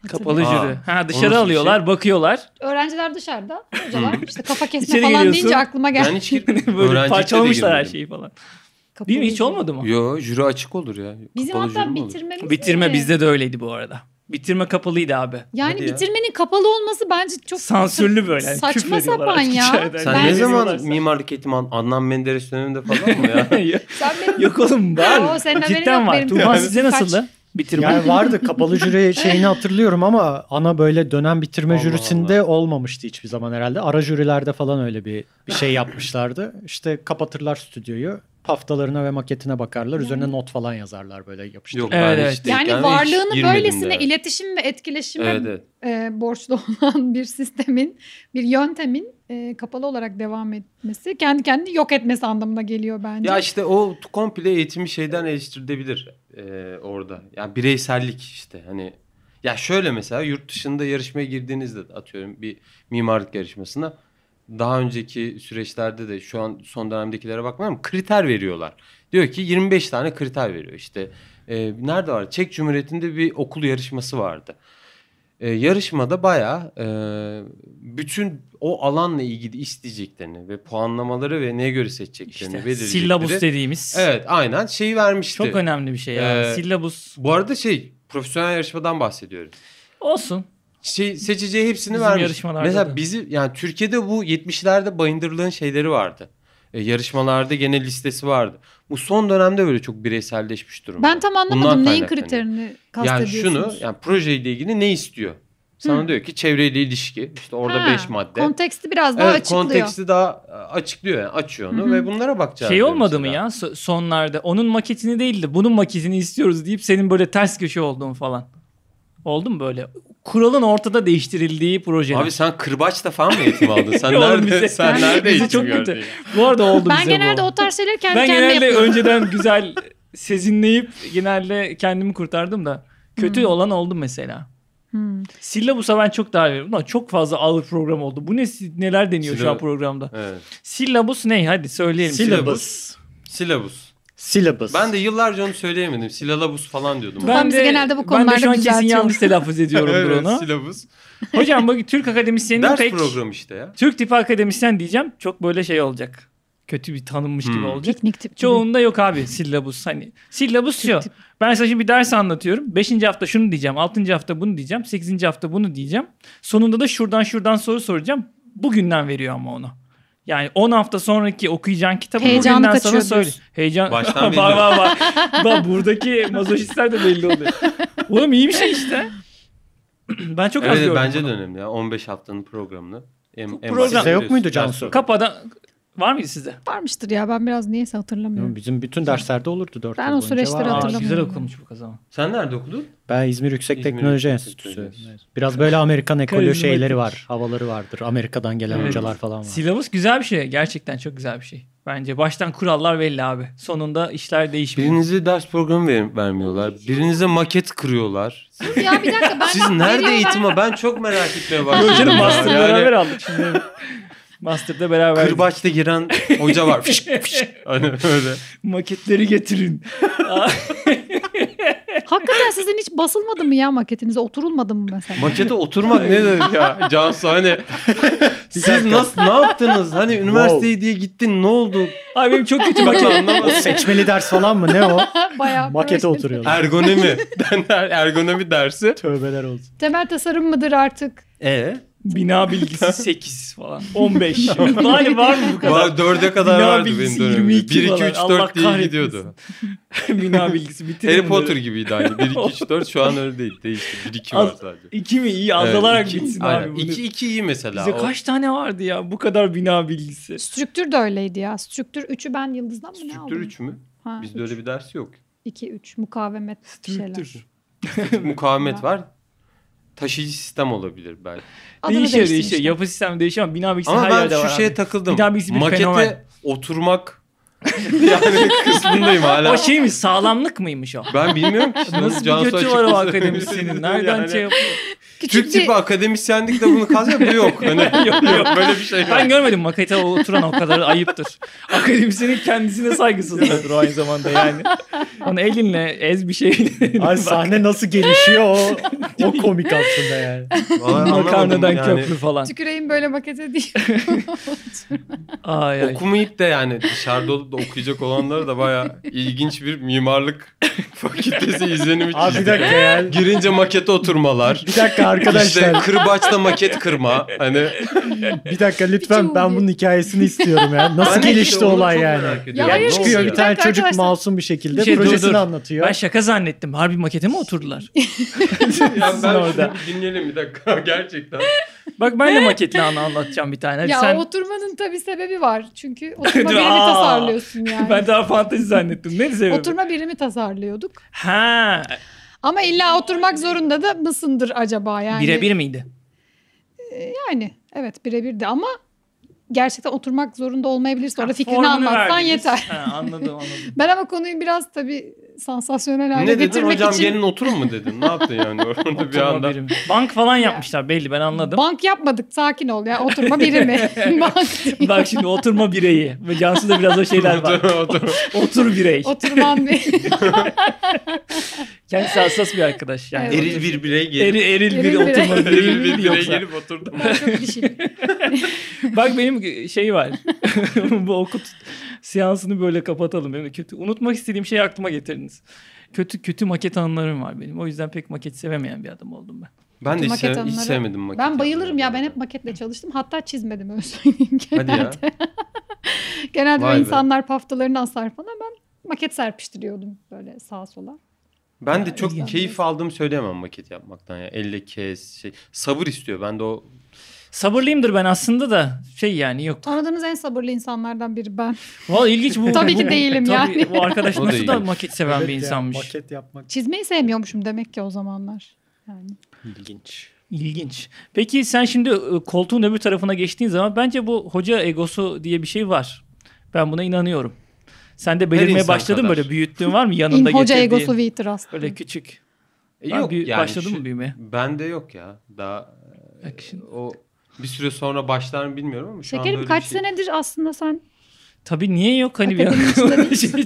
Speaker 2: Kapalı
Speaker 4: Aa,
Speaker 2: jüri. Ha
Speaker 4: o
Speaker 2: dışarı
Speaker 4: nasıl bir
Speaker 2: alıyorlar,
Speaker 4: şey?
Speaker 2: bakıyorlar. [LAUGHS]
Speaker 1: Öğrenciler dışarıda. Hocalar işte kafa kesme
Speaker 2: İçeri
Speaker 1: falan
Speaker 2: giriyorsun.
Speaker 1: deyince aklıma geldi.
Speaker 4: Ben hiç girmedim.
Speaker 2: [LAUGHS] Böyle
Speaker 4: Öğrencilikte de
Speaker 2: parçalamışlar her
Speaker 4: girmedim.
Speaker 2: şeyi falan.
Speaker 1: Kapalı
Speaker 2: Değil mi? Hiç
Speaker 1: jüri.
Speaker 2: olmadı mı?
Speaker 4: Yo jüri açık olur ya.
Speaker 1: Bizim
Speaker 4: Kapalı jüri
Speaker 1: hatta
Speaker 4: mi olur?
Speaker 1: bitirmemiz
Speaker 2: Bitirme
Speaker 1: bile-
Speaker 2: bizde de öyleydi bu arada. Bitirme kapalıydı abi.
Speaker 1: Yani
Speaker 4: Hadi ya.
Speaker 1: bitirmenin kapalı olması bence çok
Speaker 2: Sansürlü böyle. Yani
Speaker 1: Saçma
Speaker 2: küfür ediyorlar
Speaker 1: sapan
Speaker 2: artık [LAUGHS]
Speaker 1: ya.
Speaker 2: içeriden.
Speaker 4: Sen
Speaker 1: Ben-
Speaker 4: ne zaman
Speaker 2: Veriyorlarsa.
Speaker 4: mimarlık eğitimi aldın? Adnan Menderes döneminde falan mı
Speaker 1: [LAUGHS]
Speaker 4: ya?
Speaker 1: Sen benim
Speaker 2: [LAUGHS] Yok oğlum var.
Speaker 1: Oo, senin haberin
Speaker 2: Cidden
Speaker 1: yok
Speaker 2: var.
Speaker 1: benim.
Speaker 2: Tuğba
Speaker 1: Yani
Speaker 2: size
Speaker 1: saç-
Speaker 2: nasıldı? Bitirme.
Speaker 3: Yani vardı kapalı jüri şeyini hatırlıyorum ama ana böyle dönem bitirme
Speaker 4: Allah
Speaker 3: jürisinde olmamıştı hiçbir zaman herhalde. Ara jürilerde falan öyle bir, bir şey yapmışlardı. İşte kapatırlar stüdyoyu. Paftalarına ve maketine bakarlar.
Speaker 4: Hmm.
Speaker 3: Üzerine not falan yazarlar böyle yapıştırır.
Speaker 4: Yok
Speaker 2: Evet,
Speaker 4: ben
Speaker 2: evet.
Speaker 4: hiç
Speaker 1: Yani
Speaker 4: değilken ve hiç
Speaker 1: varlığını
Speaker 4: girmedim de.
Speaker 1: böylesine iletişim ve etkileşime
Speaker 4: Evet evet.
Speaker 1: e, borçlu [LAUGHS] olan bir sistemin, bir yöntemin e, kapalı olarak devam etmesi, kendi kendini yok etmesi anlamına geliyor bence.
Speaker 4: Ya işte o t- komple eğitimi şeyden eleştirilebilir e, orada. Yani bireysellik işte hani. Ya şöyle mesela yurt dışında yarışmaya girdiğinizde de atıyorum bir mimarlık yarışmasına daha önceki süreçlerde de şu an son dönemdekilere bakmıyorum ama kriter veriyorlar. Diyor ki 25 tane kriter veriyor işte. E, nerede var? Çek Cumhuriyeti'nde bir okul yarışması vardı. E, yarışmada bayağı e, bütün o alanla ilgili isteyeceklerini ve puanlamaları ve neye göre seçeceklerini
Speaker 2: İşte
Speaker 4: belirleyecekleri.
Speaker 2: Syllabus dediğimiz.
Speaker 4: Evet aynen şeyi vermişti.
Speaker 2: Çok önemli bir şey ya.
Speaker 4: Ee,
Speaker 2: Syllabus
Speaker 4: Bu arada şey profesyonel yarışmadan bahsediyorum.
Speaker 2: olsun.
Speaker 4: Şey, seçeceği hepsini
Speaker 2: Bizim
Speaker 4: vermiş.
Speaker 2: yarışmalarda
Speaker 4: Mesela
Speaker 2: da.
Speaker 4: bizi yani Türkiye'de bu 70'lerde bayındırlığın şeyleri vardı. E, yarışmalarda gene listesi vardı. Bu son dönemde böyle çok bireyselleşmiş durumda.
Speaker 1: ben tam
Speaker 4: Bundan
Speaker 1: anlamadım neyin
Speaker 4: kaynaklanıyor.
Speaker 1: kriterini
Speaker 4: Yani
Speaker 1: kastediyorsunuz.
Speaker 4: şunu yani projeyle ilgili ne istiyor? Sana diyor ki çevreyle ilişki işte orada
Speaker 1: Ha,
Speaker 4: 5 madde.
Speaker 1: Konteksti biraz daha
Speaker 4: evet
Speaker 1: açıklıyor.
Speaker 4: konteksti daha e, açıklıyor yani açıyor onu
Speaker 1: Hı hı.
Speaker 4: ve bunlara bakacağız.
Speaker 2: Şey
Speaker 4: diyor
Speaker 2: olmadı mı
Speaker 4: mesela.
Speaker 2: ya so- sonlarda? Onun maketini değil de bunun maketini istiyoruz deyip senin böyle ters köşe olduğun falan. Oldu mu böyle? Kuralın ortada değiştirildiği projeler.
Speaker 4: Abi sen kırbaçla falan mı eğitim aldın?
Speaker 2: [LAUGHS]
Speaker 4: Sen
Speaker 2: Oğlum bize-
Speaker 4: nerede, sen nerede
Speaker 2: bizi
Speaker 4: eğitim
Speaker 2: çok
Speaker 4: gördün?
Speaker 2: kötü.
Speaker 4: ya?
Speaker 2: Bu arada oldu
Speaker 1: ben
Speaker 2: bize
Speaker 1: genelde
Speaker 2: bu.
Speaker 1: o tarz şeyleri kendi
Speaker 2: ben
Speaker 1: kendime
Speaker 2: genelde
Speaker 1: yapıyorum. [LAUGHS]
Speaker 2: önceden güzel sezinleyip genelde kendimi kurtardım da kötü olan oldu mesela.
Speaker 1: Hmm.
Speaker 2: Sillabus'a ben çok daha veriyorum. Ulan çok fazla ağır program oldu. Bu ne neler deniyor şu an
Speaker 4: Syllabus.
Speaker 2: programda?
Speaker 4: Evet.
Speaker 2: Sillabus ne? Hadi söyleyelim.
Speaker 4: Syllabus.
Speaker 3: Syllabus.
Speaker 4: Silabus.
Speaker 3: Syllabus.
Speaker 4: Ben de yıllarca onu söyleyemedim. Silalabus falan diyordum.
Speaker 1: Ben- Tufan bizi genelde bu
Speaker 2: ben de şu
Speaker 1: konularda
Speaker 2: an kesin
Speaker 1: düzeltiyor.
Speaker 2: yanlış telaffuz
Speaker 4: [LAUGHS]
Speaker 2: ediyorumdur
Speaker 4: Evet,
Speaker 2: onu.
Speaker 4: Silabus.
Speaker 2: Hocam bugün Türk akademisyeninin
Speaker 4: Ders
Speaker 2: pek
Speaker 4: programı işte ya.
Speaker 2: Türk tipi akademisyen diyeceğim. Çok böyle şey olacak. Kötü bir tanınmış gibi
Speaker 4: Hmm.
Speaker 2: olacak.
Speaker 1: Piknik tip.
Speaker 2: Çoğunda yok abi sillabus. Hani sillabus şu.
Speaker 1: tip.
Speaker 2: Ben sana şimdi bir ders anlatıyorum. Beşinci hafta şunu diyeceğim. Altıncı hafta bunu diyeceğim. Sekizinci hafta bunu diyeceğim. Sonunda da şuradan şuradan soru soracağım. Bugünden veriyor ama onu. Yani 10 hafta sonraki okuyacağın kitabı
Speaker 1: Heyecanı
Speaker 2: bugünden sana
Speaker 1: kaçıyor
Speaker 2: söyle.
Speaker 1: diyorsun.
Speaker 2: Heyecan. [LAUGHS]
Speaker 4: Baştan belli.
Speaker 2: Bak bak bak. Bak buradaki mazoşistler de belli oluyor. Oğlum iyi bir şey işte. [CLEARS THROAT] ben çok az
Speaker 4: evet
Speaker 2: gördüm
Speaker 4: bence
Speaker 2: bunu.
Speaker 4: de önemli ya. 15 haftanın programını. En,
Speaker 2: Bu
Speaker 4: en
Speaker 2: program-
Speaker 4: başta
Speaker 2: Size
Speaker 3: yok muydu
Speaker 4: biliyorsun,
Speaker 3: Cansu?
Speaker 4: ders programı.
Speaker 2: Kapada var mıydı sizde?
Speaker 1: Varmıştır ya ben biraz niyeyse hatırlamıyorum.
Speaker 3: Bizim bütün derslerde olurdu 4
Speaker 1: Ben
Speaker 3: yıl
Speaker 1: o
Speaker 3: boyunca.
Speaker 1: süreçleri
Speaker 3: Vay.
Speaker 1: hatırlamıyorum.
Speaker 2: Aa, güzel okunmuş bu kazan.
Speaker 4: Sen nerede okudun?
Speaker 3: Ben İzmir Yüksek
Speaker 4: İzmir
Speaker 3: Teknoloji
Speaker 4: Yüksek
Speaker 3: Enstitüsü.
Speaker 4: Teknoloji. Evet.
Speaker 3: Biraz böyle Amerikan ekolü
Speaker 2: Karizmatik.
Speaker 3: şeyleri var. Havaları vardır. Amerika'dan gelen
Speaker 2: Evet.
Speaker 3: hocalar falan var.
Speaker 2: Silabus güzel bir şey. Gerçekten çok güzel bir şey. Bence baştan kurallar belli abi. Sonunda işler değişmiyor.
Speaker 4: Birinize ders programı ver- vermiyorlar. Birinize maket kırıyorlar.
Speaker 1: ya bir dakika ben
Speaker 4: Siz nerede eğitime? Ben çok merak etmeye başladım.
Speaker 2: Yok canım
Speaker 4: ya.
Speaker 2: master'ı
Speaker 4: Yani
Speaker 2: beraber aldık şimdi. Master'da beraber [LAUGHS]
Speaker 4: Kırbaçla giren hoca var. Fış, fış. Hani öyle.
Speaker 2: maketleri getirin. [LAUGHS]
Speaker 1: Hakikaten sizin hiç basılmadı mı ya maketinize? Oturulmadı mı mesela?
Speaker 4: Makete oturmak ne demek ya [LAUGHS] Cansu hani siz nasıl ne yaptınız hani üniversiteyi diye gittin ne oldu
Speaker 2: Abi benim çok kötü
Speaker 4: bak
Speaker 2: maket.
Speaker 3: O
Speaker 4: anlamadım
Speaker 3: seçmeli ders falan mı? Ne
Speaker 1: [LAUGHS]
Speaker 3: o?
Speaker 1: Bayağı
Speaker 3: Makete
Speaker 1: proje.
Speaker 3: oturuyorlar.
Speaker 2: [LAUGHS]
Speaker 4: ergonomi derler ergonomi dersi
Speaker 3: Tövbeler olsun.
Speaker 1: [LAUGHS] Temel tasarım mıdır artık?
Speaker 4: e
Speaker 2: Bina bilgisi 8
Speaker 4: [LAUGHS]
Speaker 2: falan. 15. Hali var mı bu kadar?
Speaker 4: dörde kadar
Speaker 2: Bina
Speaker 4: vardı
Speaker 2: bilgisi
Speaker 4: benim dönemimde 1 2
Speaker 2: falan.
Speaker 4: 3 4
Speaker 2: Allah
Speaker 4: diye
Speaker 2: kahretmesin.
Speaker 4: gidiyordu
Speaker 2: [LAUGHS] Bina bilgisi bitirin.
Speaker 4: Harry Potter gibiydi aynı 1
Speaker 2: [LAUGHS]
Speaker 4: 2 3 4 şu an öyle değil değişti 1 2 var
Speaker 2: Az-
Speaker 4: sadece
Speaker 2: 2 mi iyi azalarak bitsin abi. bunu.
Speaker 4: 2 2 iyi mesela
Speaker 2: Bize
Speaker 4: O-
Speaker 2: kaç tane vardı ya bu kadar bina bilgisi.
Speaker 1: Strüktür de öyleydi ya. Strüktür 3'ü ben yıldızdan mı ne
Speaker 4: Strüktür
Speaker 1: aldım?
Speaker 4: 3 mü?
Speaker 1: Ha,
Speaker 4: Bizde öyle bir ders yok.
Speaker 1: 2 3 mukavemet bir şeyler.
Speaker 2: Strüktür.
Speaker 4: Mukavemet var. Taşıyıcı sistem olabilir belki.
Speaker 1: Adını
Speaker 2: Değişiyor değişiyor.
Speaker 1: değiştirmişler.
Speaker 2: Yapı sistem değişiyor ama bina bilgisi
Speaker 4: Ama
Speaker 2: her
Speaker 4: ben
Speaker 2: yerde
Speaker 4: şu
Speaker 2: var.
Speaker 4: şeye
Speaker 2: abi.
Speaker 4: takıldım.
Speaker 2: Bir daha birisi bir
Speaker 4: Makete
Speaker 2: fenomen.
Speaker 4: oturmak [LAUGHS] yani kısmındayım hala.
Speaker 2: O şey mi sağlamlık
Speaker 4: [LAUGHS]
Speaker 2: mıymış o?
Speaker 4: Ben bilmiyorum ki. işte.
Speaker 2: Nasıl
Speaker 4: Cansu
Speaker 2: bir götü var
Speaker 4: açıklasın.
Speaker 2: o
Speaker 4: [LAUGHS]
Speaker 2: akademisyenin? Nereden
Speaker 4: Yani
Speaker 2: şey yapıyor?
Speaker 1: Küçük
Speaker 4: Türk tipi
Speaker 1: bir
Speaker 4: akademisyenlik de bunu kazanıyor. Bu yok. Hani, yok, böyle bir şey yok.
Speaker 2: Ben görmedim makete oturan o kadar
Speaker 4: [LAUGHS]
Speaker 2: ayıptır. Akademisyenin kendisine saygısızlıktır o aynı zamanda yani. Onu elinle ez bir şey. [LAUGHS]
Speaker 3: Ay sahne nasıl gelişiyor o, o komik aslında yani.
Speaker 4: Vallahi anlamadım
Speaker 2: Makarnadan
Speaker 4: yani.
Speaker 2: köprü falan.
Speaker 1: tüküreyim böyle makete değil.
Speaker 2: Ay, ay.
Speaker 4: [LAUGHS] Okumayıp da yani dışarıda olup da okuyacak olanlara da baya ilginç bir mimarlık [LAUGHS] fakültesi izlenimi
Speaker 3: Abi bir
Speaker 4: çizdi.
Speaker 3: dakika ya.
Speaker 4: Girince makete oturmalar.
Speaker 3: Bir dakika
Speaker 4: İşte
Speaker 3: arkadaşlar.
Speaker 4: kırbaçla maket kırma. Hani
Speaker 3: Bir dakika lütfen
Speaker 1: Biçim
Speaker 3: ben
Speaker 1: diye.
Speaker 3: bunun hikayesini istiyorum ya. Nasıl
Speaker 4: Ben de
Speaker 3: gelişti
Speaker 4: işte onu
Speaker 3: olay
Speaker 4: çok
Speaker 3: yani?
Speaker 4: merak
Speaker 1: Ya
Speaker 4: ediyorum.
Speaker 1: hayır,
Speaker 4: Ne oldu
Speaker 3: Çıkıyor
Speaker 1: Bir
Speaker 3: bir
Speaker 4: ya?
Speaker 3: tane
Speaker 1: dakika
Speaker 3: çocuk
Speaker 1: arkadaşlar.
Speaker 3: masum bir şekilde
Speaker 2: Bir şey, dur,
Speaker 3: projesini
Speaker 2: dur.
Speaker 3: anlatıyor.
Speaker 2: Ben şaka zannettim. Harbi makete mi oturdular?
Speaker 4: Ya
Speaker 2: Sizin
Speaker 4: ben
Speaker 2: orada.
Speaker 4: orada. dinleyelim bir dakika [LAUGHS] gerçekten.
Speaker 2: Bak ben de maketle anı anlatacağım bir tane. Hadi
Speaker 1: ya
Speaker 2: sen...
Speaker 1: oturmanın tabii sebebi var. Çünkü oturma
Speaker 2: Dur,
Speaker 1: birimi
Speaker 2: aa.
Speaker 1: tasarlıyorsun yani.
Speaker 2: [LAUGHS] Ben daha fantezi zannettim. Ne sebebi?
Speaker 1: Oturma birimi tasarlıyorduk.
Speaker 2: Ha,
Speaker 1: Ama illa oturmak zorunda da mısındır acaba yani? E,
Speaker 2: birebir miydi?
Speaker 1: Yani evet birebir de ama gerçekten oturmak zorunda olmayabilirsin. Orada fikrini
Speaker 2: Formunu
Speaker 1: anlatsan
Speaker 2: verdiniz.
Speaker 1: yeter. [LAUGHS]
Speaker 2: Ha, anladım [LAUGHS] anladım.
Speaker 1: Ben ama konuyu biraz tabii sansasyonel hale
Speaker 4: ne dedin
Speaker 1: getirmek
Speaker 4: hocam
Speaker 1: için
Speaker 4: gelin oturun mu dedin? Ne yaptın yani [LAUGHS] orada bir anda?
Speaker 2: Oturma birimi. Bank falan yapmışlar belli ben anladım.
Speaker 1: bank yapmadık. Sakin ol ya. Oturma
Speaker 4: [LAUGHS]
Speaker 1: birimi. [LAUGHS] bank değil.
Speaker 2: Bak şimdi oturma bireyi. Ve Cansu'da biraz o şeyler [LAUGHS] var.
Speaker 4: [LAUGHS] Otur, otur.
Speaker 2: Otur birey.
Speaker 1: Oturman
Speaker 4: [LAUGHS]
Speaker 1: bir.
Speaker 2: Kendisi hassas bir arkadaş. Yani
Speaker 1: Evet.
Speaker 4: Eril bir birey gelip.
Speaker 2: Eri, eril bir
Speaker 1: Eril birey.
Speaker 2: oturma bireyi
Speaker 4: Eril bir
Speaker 2: miydi
Speaker 4: birey
Speaker 2: yoksa?
Speaker 4: gelip oturdu.
Speaker 1: Ben çok
Speaker 4: şey.
Speaker 1: dişiyim.
Speaker 2: Bak benim şey var. [LAUGHS] Bu okut seansını böyle kapatalım. Benim de kötü. Unutmak istediğim şeyi aklıma getirdiniz. Kötü kötü maket anılarım var benim. O yüzden pek maket sevemeyen bir adam oldum ben.
Speaker 4: Ben de hiç,
Speaker 1: Maket
Speaker 4: sev- hiç
Speaker 1: anıları.
Speaker 4: sevmedim maket.
Speaker 1: Ben bayılırım ya. Ben hep maketle çalıştım. Hatta çizmedim öyle söyleyeyim.
Speaker 4: Hadi [LAUGHS] ya.
Speaker 1: Genelde
Speaker 4: Vay
Speaker 1: böyle
Speaker 4: be.
Speaker 1: insanlar paftalarını asar falan. Ben maket serpiştiriyordum böyle sağa sola.
Speaker 4: Ben de çok
Speaker 1: ilginç.
Speaker 4: keyif aldığımı söyleyemem maket yapmaktan ya. Elle kes şey. Sabır istiyor. Ben de o
Speaker 2: Sabırlıyımdır ben aslında da şey yani yok.
Speaker 1: Tanıdığınız en sabırlı insanlardan biri
Speaker 4: [LAUGHS]
Speaker 1: ben.
Speaker 2: Vallahi ilginç bu.
Speaker 1: Tabii
Speaker 2: bu-
Speaker 1: ki değilim
Speaker 2: tabii
Speaker 1: yani.
Speaker 2: [LAUGHS] Bu arkadaş
Speaker 4: O da
Speaker 2: nasıl da
Speaker 4: ilginç.
Speaker 2: maket seven
Speaker 3: Evet
Speaker 2: bir şey.
Speaker 3: ya,
Speaker 2: insanmış.
Speaker 3: Maket yapmak.
Speaker 1: Çizmeyi sevmiyormuşum demek ki o zamanlar. Yani.
Speaker 3: İlginç.
Speaker 2: İlginç. Peki sen şimdi e, koltuğun öbür tarafına geçtiğin zaman bence bu hoca egosu diye bir şey var. Ben buna inanıyorum. Sen de belirmeye
Speaker 4: insan
Speaker 2: başladın mı
Speaker 4: kadar.
Speaker 2: böyle büyüttüğün var mı
Speaker 1: İn [LAUGHS]
Speaker 2: yanında
Speaker 1: hoca
Speaker 2: getirdiğin?
Speaker 1: egosu ve itiraz.
Speaker 2: Böyle küçük.
Speaker 4: E,
Speaker 2: Var, büyü-
Speaker 4: yani
Speaker 2: başladı
Speaker 4: şu-
Speaker 2: mı büyümeye?
Speaker 4: Bende yok ya. Daha e,
Speaker 2: Bak şimdi.
Speaker 4: o bir süre sonra başlar mı bilmiyorum ama şu an
Speaker 1: Şekerim
Speaker 4: böyle
Speaker 1: kaç
Speaker 4: bir şey.
Speaker 1: senedir aslında sen
Speaker 2: Tabii niye yok hani bir
Speaker 1: Akademinin içinde
Speaker 2: [LAUGHS] an şey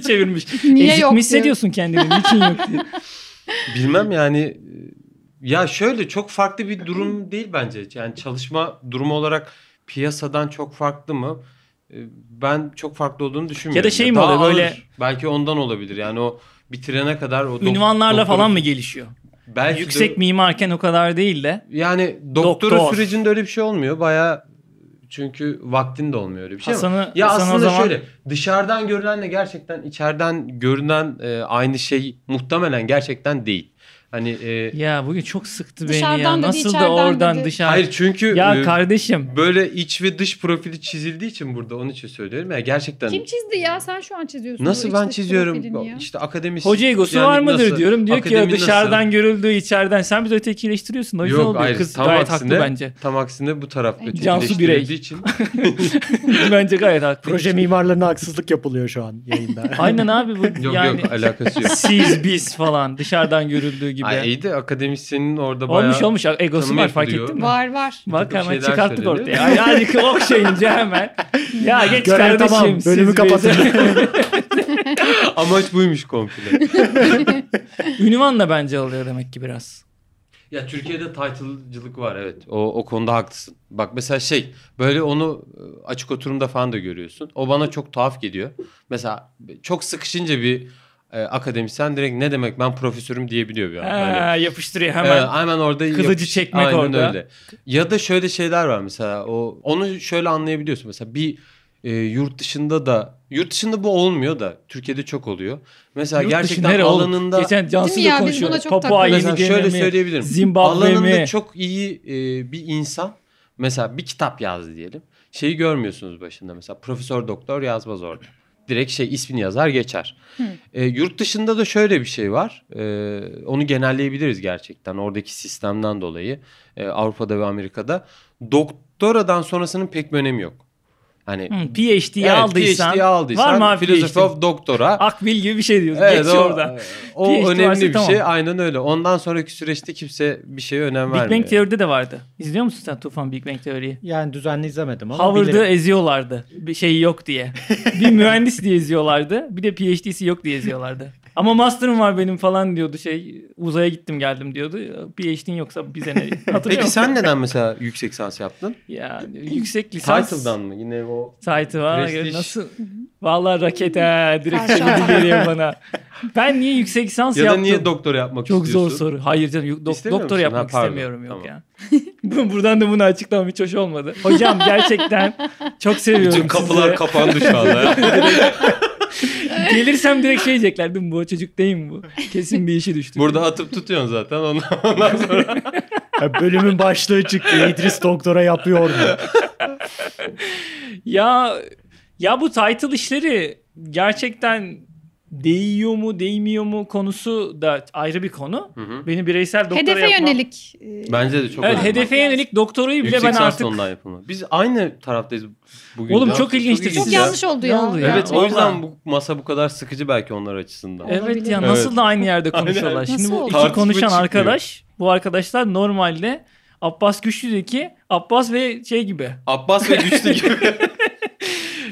Speaker 1: [LAUGHS]
Speaker 2: çevirmiş.
Speaker 1: niye
Speaker 2: Ezik
Speaker 1: yok
Speaker 2: mi
Speaker 1: diyor.
Speaker 2: hissediyorsun kendini? Niçin
Speaker 4: [LAUGHS]
Speaker 2: yok diye. Ee,
Speaker 4: Bilmem yani e, ya şöyle çok farklı bir durum değil bence. Yani çalışma durumu olarak piyasadan çok farklı mı? E, Ben çok farklı olduğunu düşünmüyorum.
Speaker 2: Ya da şey mi
Speaker 4: Daha
Speaker 2: oluyor böyle-
Speaker 4: ağır. belki ondan olabilir. Yani o bitirene kadar o dok-
Speaker 2: Ünvanlarla
Speaker 4: doktora-
Speaker 2: falan mı gelişiyor?
Speaker 4: Belki
Speaker 2: Yüksek
Speaker 4: de-
Speaker 2: mimarken o kadar değil de.
Speaker 4: Yani doktora
Speaker 2: Doktor.
Speaker 4: sürecinde öyle bir şey olmuyor. Baya çünkü vaktin de olmuyor öyle bir şey ama-
Speaker 2: Hasan'ı
Speaker 4: Ya
Speaker 2: Hasan o
Speaker 4: aslında
Speaker 2: zaman
Speaker 4: şöyle dışarıdan görülenle gerçekten içeriden görünen e, aynı şey muhtemelen gerçekten değil. Hani e,
Speaker 2: ya bugün çok sıktı beni
Speaker 1: Dışarıdan
Speaker 2: ya.
Speaker 1: dedi,
Speaker 2: Nasıl da
Speaker 1: içeriden
Speaker 2: oradan
Speaker 1: dedi.
Speaker 2: dışarı.
Speaker 4: hayır çünkü
Speaker 2: Ya
Speaker 4: e,
Speaker 2: kardeşim
Speaker 4: böyle iç ve dış profili çizildiği için burada onun için söylüyorum ya gerçekten.
Speaker 1: kim çizdi ya sen şu an çiziyorsun.
Speaker 4: nasıl
Speaker 1: bu
Speaker 4: ben
Speaker 1: iç dış profilini
Speaker 4: çiziyorum
Speaker 1: ya.
Speaker 4: işte akademisyen.
Speaker 2: hoca egosu var mıdır diyorum. Diyor ki ya
Speaker 4: Akademi nasıl?
Speaker 2: dışarıdan görüldüğü içeriden. Sen bir de ötekileştiriyorsun. O yüzden
Speaker 4: Yok,
Speaker 2: oluyor.
Speaker 4: hayır,
Speaker 2: Kız
Speaker 4: tam
Speaker 2: gayet
Speaker 4: aksine-
Speaker 2: haklı bence. [LAUGHS]
Speaker 4: Tam aksine bu tarafta
Speaker 2: Cansu
Speaker 4: çiftleştirildiği
Speaker 2: Birey.
Speaker 4: için.
Speaker 2: bence gayet haklı.
Speaker 3: Proje mimarlarına haksızlık yapılıyor şu an
Speaker 2: [LAUGHS]
Speaker 3: yayında.
Speaker 2: Aynen abi bu
Speaker 4: [LAUGHS] Yok
Speaker 2: yani
Speaker 4: yok alakası yok.
Speaker 2: siz biz falan dışarıdan görüldüğü [LAUGHS] gibi.
Speaker 4: Ay, iyi de akademisyenin orada bayağı.
Speaker 2: olmuş olmuş egosu
Speaker 4: tanıma
Speaker 2: var fark
Speaker 4: yapılıyor.
Speaker 2: ettin mi?
Speaker 1: Var var.
Speaker 2: Bak
Speaker 4: takım
Speaker 2: hemen
Speaker 4: şeyler
Speaker 2: çıkarttık
Speaker 4: söyleniyor.
Speaker 2: ortaya. Ay, hadi
Speaker 4: [LAUGHS]
Speaker 2: okşayınca hemen. Ya geç
Speaker 3: Görev
Speaker 2: kardeşim.
Speaker 3: tamam.
Speaker 2: siz
Speaker 3: Bölümü
Speaker 2: biz.
Speaker 3: kapatın.
Speaker 4: Amaç
Speaker 2: [LAUGHS]
Speaker 4: buymuş komple.
Speaker 2: Ünvanla bence oluyor demek ki biraz.
Speaker 4: Ya Türkiye'de title'cılık var evet. O, o konuda haklısın. Bak mesela şey böyle onu e, açık oturumda falan da görüyorsun. O bana çok tuhaf geliyor. Mesela çok sıkışınca bir e, akademisyen direkt ne demek ben profesörüm diyebiliyor bir an. Hani,
Speaker 2: Ha, yapıştırıyor
Speaker 4: e,
Speaker 2: hemen.
Speaker 4: hemen orada
Speaker 2: Kılıcı
Speaker 4: yapış-
Speaker 2: çekmek
Speaker 4: Aynen
Speaker 2: orada.
Speaker 4: öyle. Ya da şöyle şeyler var mesela o onu şöyle anlayabiliyorsun mesela bir e, yurt dışında da yurt dışında bu olmuyor da Türkiye'de çok oluyor. Mesela
Speaker 2: Yurt dışı
Speaker 4: gerçekten
Speaker 2: nere oğlum?
Speaker 4: alanında
Speaker 2: Geçen
Speaker 1: Değil mi
Speaker 2: Cansu'yla
Speaker 1: ya? Biz
Speaker 2: konuşuyoruz.
Speaker 1: buna çok
Speaker 2: Papua
Speaker 1: takıldık.
Speaker 2: Yeni
Speaker 4: Mesela şöyle
Speaker 2: Gine mi?
Speaker 4: söyleyebilirim.
Speaker 2: Zimbabwe
Speaker 4: alanında
Speaker 2: mi?
Speaker 4: çok iyi e, bir insan mesela bir kitap yazdı diyelim. Şeyi görmüyorsunuz başında mesela profesör doktor yazmaz orada. Direkt şey ismini yazar geçer.
Speaker 1: Hı.
Speaker 4: E, yurt dışında da şöyle bir şey var. E, onu genelleyebiliriz gerçekten oradaki sistemden dolayı. E, Avrupa'da ve Amerika'da doktoradan sonrasının pek bir önemi yok. Hani
Speaker 2: Hı, PhD'yi
Speaker 4: evet,
Speaker 2: aldıysan,
Speaker 4: PhD'yi aldıysan
Speaker 2: var mı abi
Speaker 4: Philosophy
Speaker 2: PhD?
Speaker 4: of Doktora
Speaker 2: Akbil gibi bir şey diyorsun.
Speaker 4: Evet,
Speaker 2: geç
Speaker 4: o,
Speaker 2: oradan.
Speaker 4: o
Speaker 2: PhD varsa
Speaker 4: önemli bir
Speaker 2: tamam.
Speaker 4: şey. Aynen öyle. Ondan sonraki süreçte kimse bir şeye önem
Speaker 2: Big
Speaker 4: vermiyor.
Speaker 2: Bang Theory'de de vardı. İzliyor musun sen Tufan Big Bang Theory'yi?
Speaker 3: yani düzenli izlemedim ama
Speaker 2: Howard'ı
Speaker 3: bilirim.
Speaker 2: eziyorlardı. Bir şey yok
Speaker 4: [LAUGHS]
Speaker 2: diye. bir mühendis diye eziyorlardı. Bir de PhD'si yok diye eziyorlardı. Ama master'ım var benim falan diyordu. Şey uzaya gittim geldim diyordu. PhD'in yoksa bize ne?
Speaker 4: [LAUGHS]
Speaker 2: Hatırlıyor
Speaker 4: Peki
Speaker 2: musun?
Speaker 4: sen neden mesela yüksek sans yaptın?
Speaker 2: Ya yüksek [LAUGHS] lisans.
Speaker 4: Title'dan mı? Yine o
Speaker 2: Title ha,
Speaker 4: Prestij.
Speaker 2: nasıl? Vallahi raket ha direkt
Speaker 1: Karşı
Speaker 2: şimdi geliyor bana. Ben niye yüksek lisans
Speaker 4: ya da
Speaker 2: yaptım?
Speaker 4: niye doktora yapmak
Speaker 2: Çok
Speaker 4: istiyorsun?
Speaker 2: zor soru. Hayır canım yok- dok-
Speaker 4: İstemiyor
Speaker 2: doktor
Speaker 4: musun?
Speaker 2: yapmak
Speaker 4: Ha, pardon.
Speaker 2: istemiyorum yok
Speaker 4: Tamam.
Speaker 2: ya. [LAUGHS] Bu- Buradan da bunu açıklamam hiç hoş olmadı. Hocam gerçekten çok seviyorum
Speaker 4: Bütün kapılar
Speaker 2: sizi.
Speaker 4: kapandı şu anda. ya.
Speaker 2: [LAUGHS] Gelirsem direkt şey diyecekler değil mi? Bu çocuk değil mi bu? Kesin bir işi düştü.
Speaker 4: Burada atıp tutuyorsun zaten. Ondan, ondan sonra
Speaker 3: Ya Bölümün başlığı çıktı. İdris doktora yapıyor mu?
Speaker 2: Ya ya bu title işleri gerçekten değiyor mu değmiyor mu konusu da ayrı bir konu.
Speaker 4: Hı hı.
Speaker 2: Beni bireysel doktora
Speaker 1: Hedefe
Speaker 2: yapmam-
Speaker 1: yönelik. e,
Speaker 4: Bence de çok
Speaker 2: Evet,
Speaker 4: önemli.
Speaker 2: hedefe yönelik doktorayı bile
Speaker 4: Yüksek
Speaker 2: ben
Speaker 4: sans da
Speaker 2: artık
Speaker 4: ondan yapılmalı. Biz aynı taraftayız bugün.
Speaker 2: Oğlum
Speaker 4: ya.
Speaker 2: çok ilginçti
Speaker 1: Çok
Speaker 2: siz ya.
Speaker 1: yanlış oldu
Speaker 2: Ne
Speaker 1: ya.
Speaker 2: oldu ya?
Speaker 4: Evet
Speaker 1: Yani.
Speaker 4: o
Speaker 2: Vallahi.
Speaker 4: yüzden bu masa bu kadar sıkıcı belki onlar açısından.
Speaker 1: Evet.
Speaker 2: Evet ya
Speaker 1: Olabilir.
Speaker 2: nasıl
Speaker 4: Evet.
Speaker 2: da aynı yerde konuşuyorlar.
Speaker 4: Aynen.
Speaker 2: Şimdi
Speaker 1: Nasıl
Speaker 2: bu
Speaker 1: oldu?
Speaker 2: iki
Speaker 4: Tartışma
Speaker 2: konuşan
Speaker 4: çıkmıyor.
Speaker 2: arkadaş bu arkadaşlar normalde Abbas Güçlü'deki Abbas ve şey gibi.
Speaker 4: Abbas ve Güçlü gibi.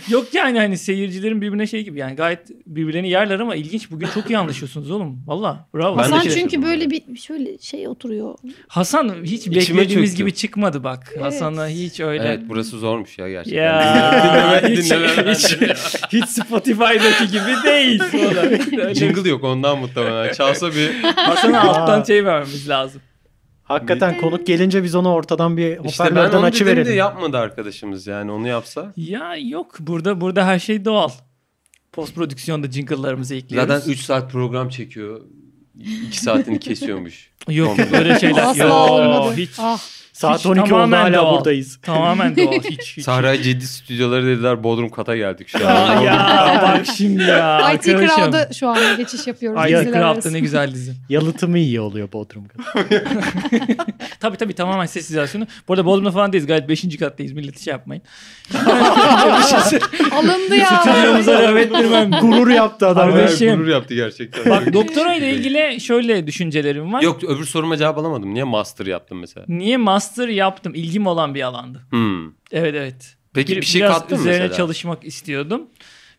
Speaker 2: Yok yani hani seyircilerin birbirine şey gibi yani gayet birbirlerini yerler ama ilginç. Bugün çok iyi anlaşıyorsunuz oğlum. Valla bravo.
Speaker 4: Ben de
Speaker 1: Hasan
Speaker 4: şey
Speaker 1: çünkü
Speaker 4: düşündüm.
Speaker 1: böyle bir şöyle şey oturuyor.
Speaker 2: Hasan hiç
Speaker 4: İçime
Speaker 2: beklediğimiz
Speaker 4: çöktü.
Speaker 2: gibi çıkmadı bak. Hasan'a hiç öyle.
Speaker 4: evet burası zormuş ya gerçekten. [LAUGHS]
Speaker 2: Ya
Speaker 4: Dinleme-
Speaker 2: hiç,
Speaker 4: dinleme-
Speaker 2: hiç, hiç Spotify'daki gibi değil. Öyle-
Speaker 4: Jingle yok ondan muhtemelen. Çalsa bir
Speaker 2: Hasan'a
Speaker 3: Aa.
Speaker 2: alttan şey vermemiz lazım.
Speaker 3: Hakikaten konuk gelince biz onu ortadan bir
Speaker 4: [LAUGHS] İşte ben
Speaker 3: hoparlörden
Speaker 4: onu dedim de
Speaker 3: açıverelim.
Speaker 4: yapmadı arkadaşımız yani onu yapsa.
Speaker 2: Ya yok burada burada her şey doğal. Post prodüksiyonda jingle'larımızı ekliyoruz.
Speaker 4: Zaten 3 saat program çekiyor. 2 saatini kesiyormuş.
Speaker 2: Yok
Speaker 4: [LAUGHS] Komple.
Speaker 2: böyle şeyler.
Speaker 1: Asla
Speaker 2: Yok,
Speaker 1: olmadı.
Speaker 2: Hiç.
Speaker 1: Ah,
Speaker 3: Saat
Speaker 2: Hiç
Speaker 3: 12 oldu
Speaker 2: tamamen
Speaker 3: hala
Speaker 2: doğal.
Speaker 3: buradayız.
Speaker 2: Tamamen doğal. Hiç, hiç.
Speaker 4: Sahra Ciddi Stüdyoları dediler Bodrum kata geldik şu an. [LAUGHS]
Speaker 2: Aa, ya bak
Speaker 1: [LAUGHS]
Speaker 2: şimdi ya.
Speaker 1: IT
Speaker 2: arkadaşım.
Speaker 1: Crowd'da şu an geçiş yapıyoruz.
Speaker 2: IT
Speaker 1: diziler arası.
Speaker 2: Crowd'da ne güzel dizi.
Speaker 3: Yalıtımı iyi oluyor Bodrum.
Speaker 2: Tabii tabii tamamen sessizasyonu. Bu arada Bodrum'da falan değiliz. Gayet 5. kattayız. Milleti şey yapmayın.
Speaker 1: Alındı ya.
Speaker 3: [LAUGHS]
Speaker 2: Stüdyomuza rağbet bilmem.
Speaker 3: Gurur yaptı adam.
Speaker 2: Abi- Kardeşim.
Speaker 4: Bayağı Gurur yaptı gerçekten.
Speaker 2: Bak doktora ile ilgili şöyle düşüncelerim var.
Speaker 4: Şey- Yok öbür soruma cevap alamadım. Niye master yaptın mesela?
Speaker 2: Niye master yaptım? İlgim olan bir alandı.
Speaker 4: Hmm.
Speaker 2: Evet evet.
Speaker 4: Peki bir, şey
Speaker 2: biraz
Speaker 4: kattın mı
Speaker 2: üzerine
Speaker 4: mesela?
Speaker 2: çalışmak istiyordum.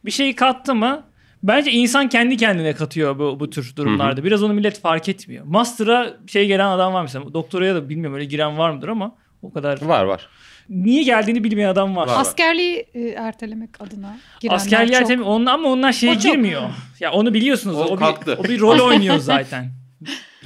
Speaker 2: Bir şey kattı mı? Bence insan kendi kendine katıyor bu, bu tür durumlarda. Biraz onu millet fark etmiyor. Master'a şey gelen adam var mesela. Doktoraya da bilmiyorum öyle giren var mıdır ama o kadar.
Speaker 4: var var.
Speaker 2: Niye geldiğini bilmeyen adam var.
Speaker 4: Var.
Speaker 1: Askerliği e, ertelemek adına girenler
Speaker 2: Askerler
Speaker 1: çok.
Speaker 2: tabii onun ama onlar şeye
Speaker 1: O çok.
Speaker 2: girmiyor. Ya onu biliyorsunuz.
Speaker 4: O
Speaker 2: O,
Speaker 4: kalktı.
Speaker 2: bir, o bir rol oynuyor
Speaker 4: [LAUGHS]
Speaker 2: zaten.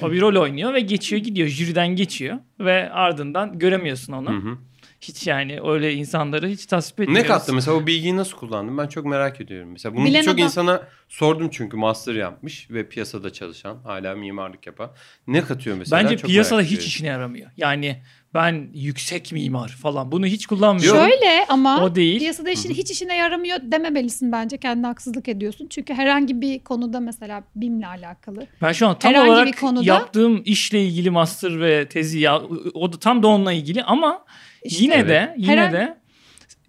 Speaker 2: o bir rol oynuyor ve geçiyor gidiyor. Jüriden geçiyor ve ardından göremiyorsun onu.
Speaker 4: Hı hı.
Speaker 2: Hiç yani öyle insanları hiç tasvip
Speaker 4: Ne
Speaker 2: etmiyoruz.
Speaker 4: kattı mesela o bilgiyi nasıl kullandın? Ben çok merak ediyorum. Mesela bunu
Speaker 1: Bilen
Speaker 4: birçok
Speaker 1: adam-
Speaker 4: insana sordum çünkü master yapmış ve piyasada çalışan hala mimarlık yapan. Ne katıyor mesela?
Speaker 2: Bence
Speaker 4: Çok
Speaker 2: piyasada
Speaker 4: merak
Speaker 2: hiç
Speaker 4: ediyorum.
Speaker 2: işine yaramıyor. Yani ben yüksek mimar falan bunu hiç kullanmıyorum.
Speaker 1: Şöyle ama
Speaker 2: O değil.
Speaker 1: piyasada işin hiç işine yaramıyor dememelisin bence. Kendine haksızlık ediyorsun. Çünkü herhangi bir konuda mesela BİM'le alakalı.
Speaker 2: Ben şu an tam
Speaker 1: Herhangi bir
Speaker 2: olarak
Speaker 1: konuda-
Speaker 2: yaptığım işle ilgili master ve tezi ya o da tam da onunla ilgili ama
Speaker 1: İşte
Speaker 2: yine
Speaker 4: Evet.
Speaker 2: de yine
Speaker 1: Herhangi-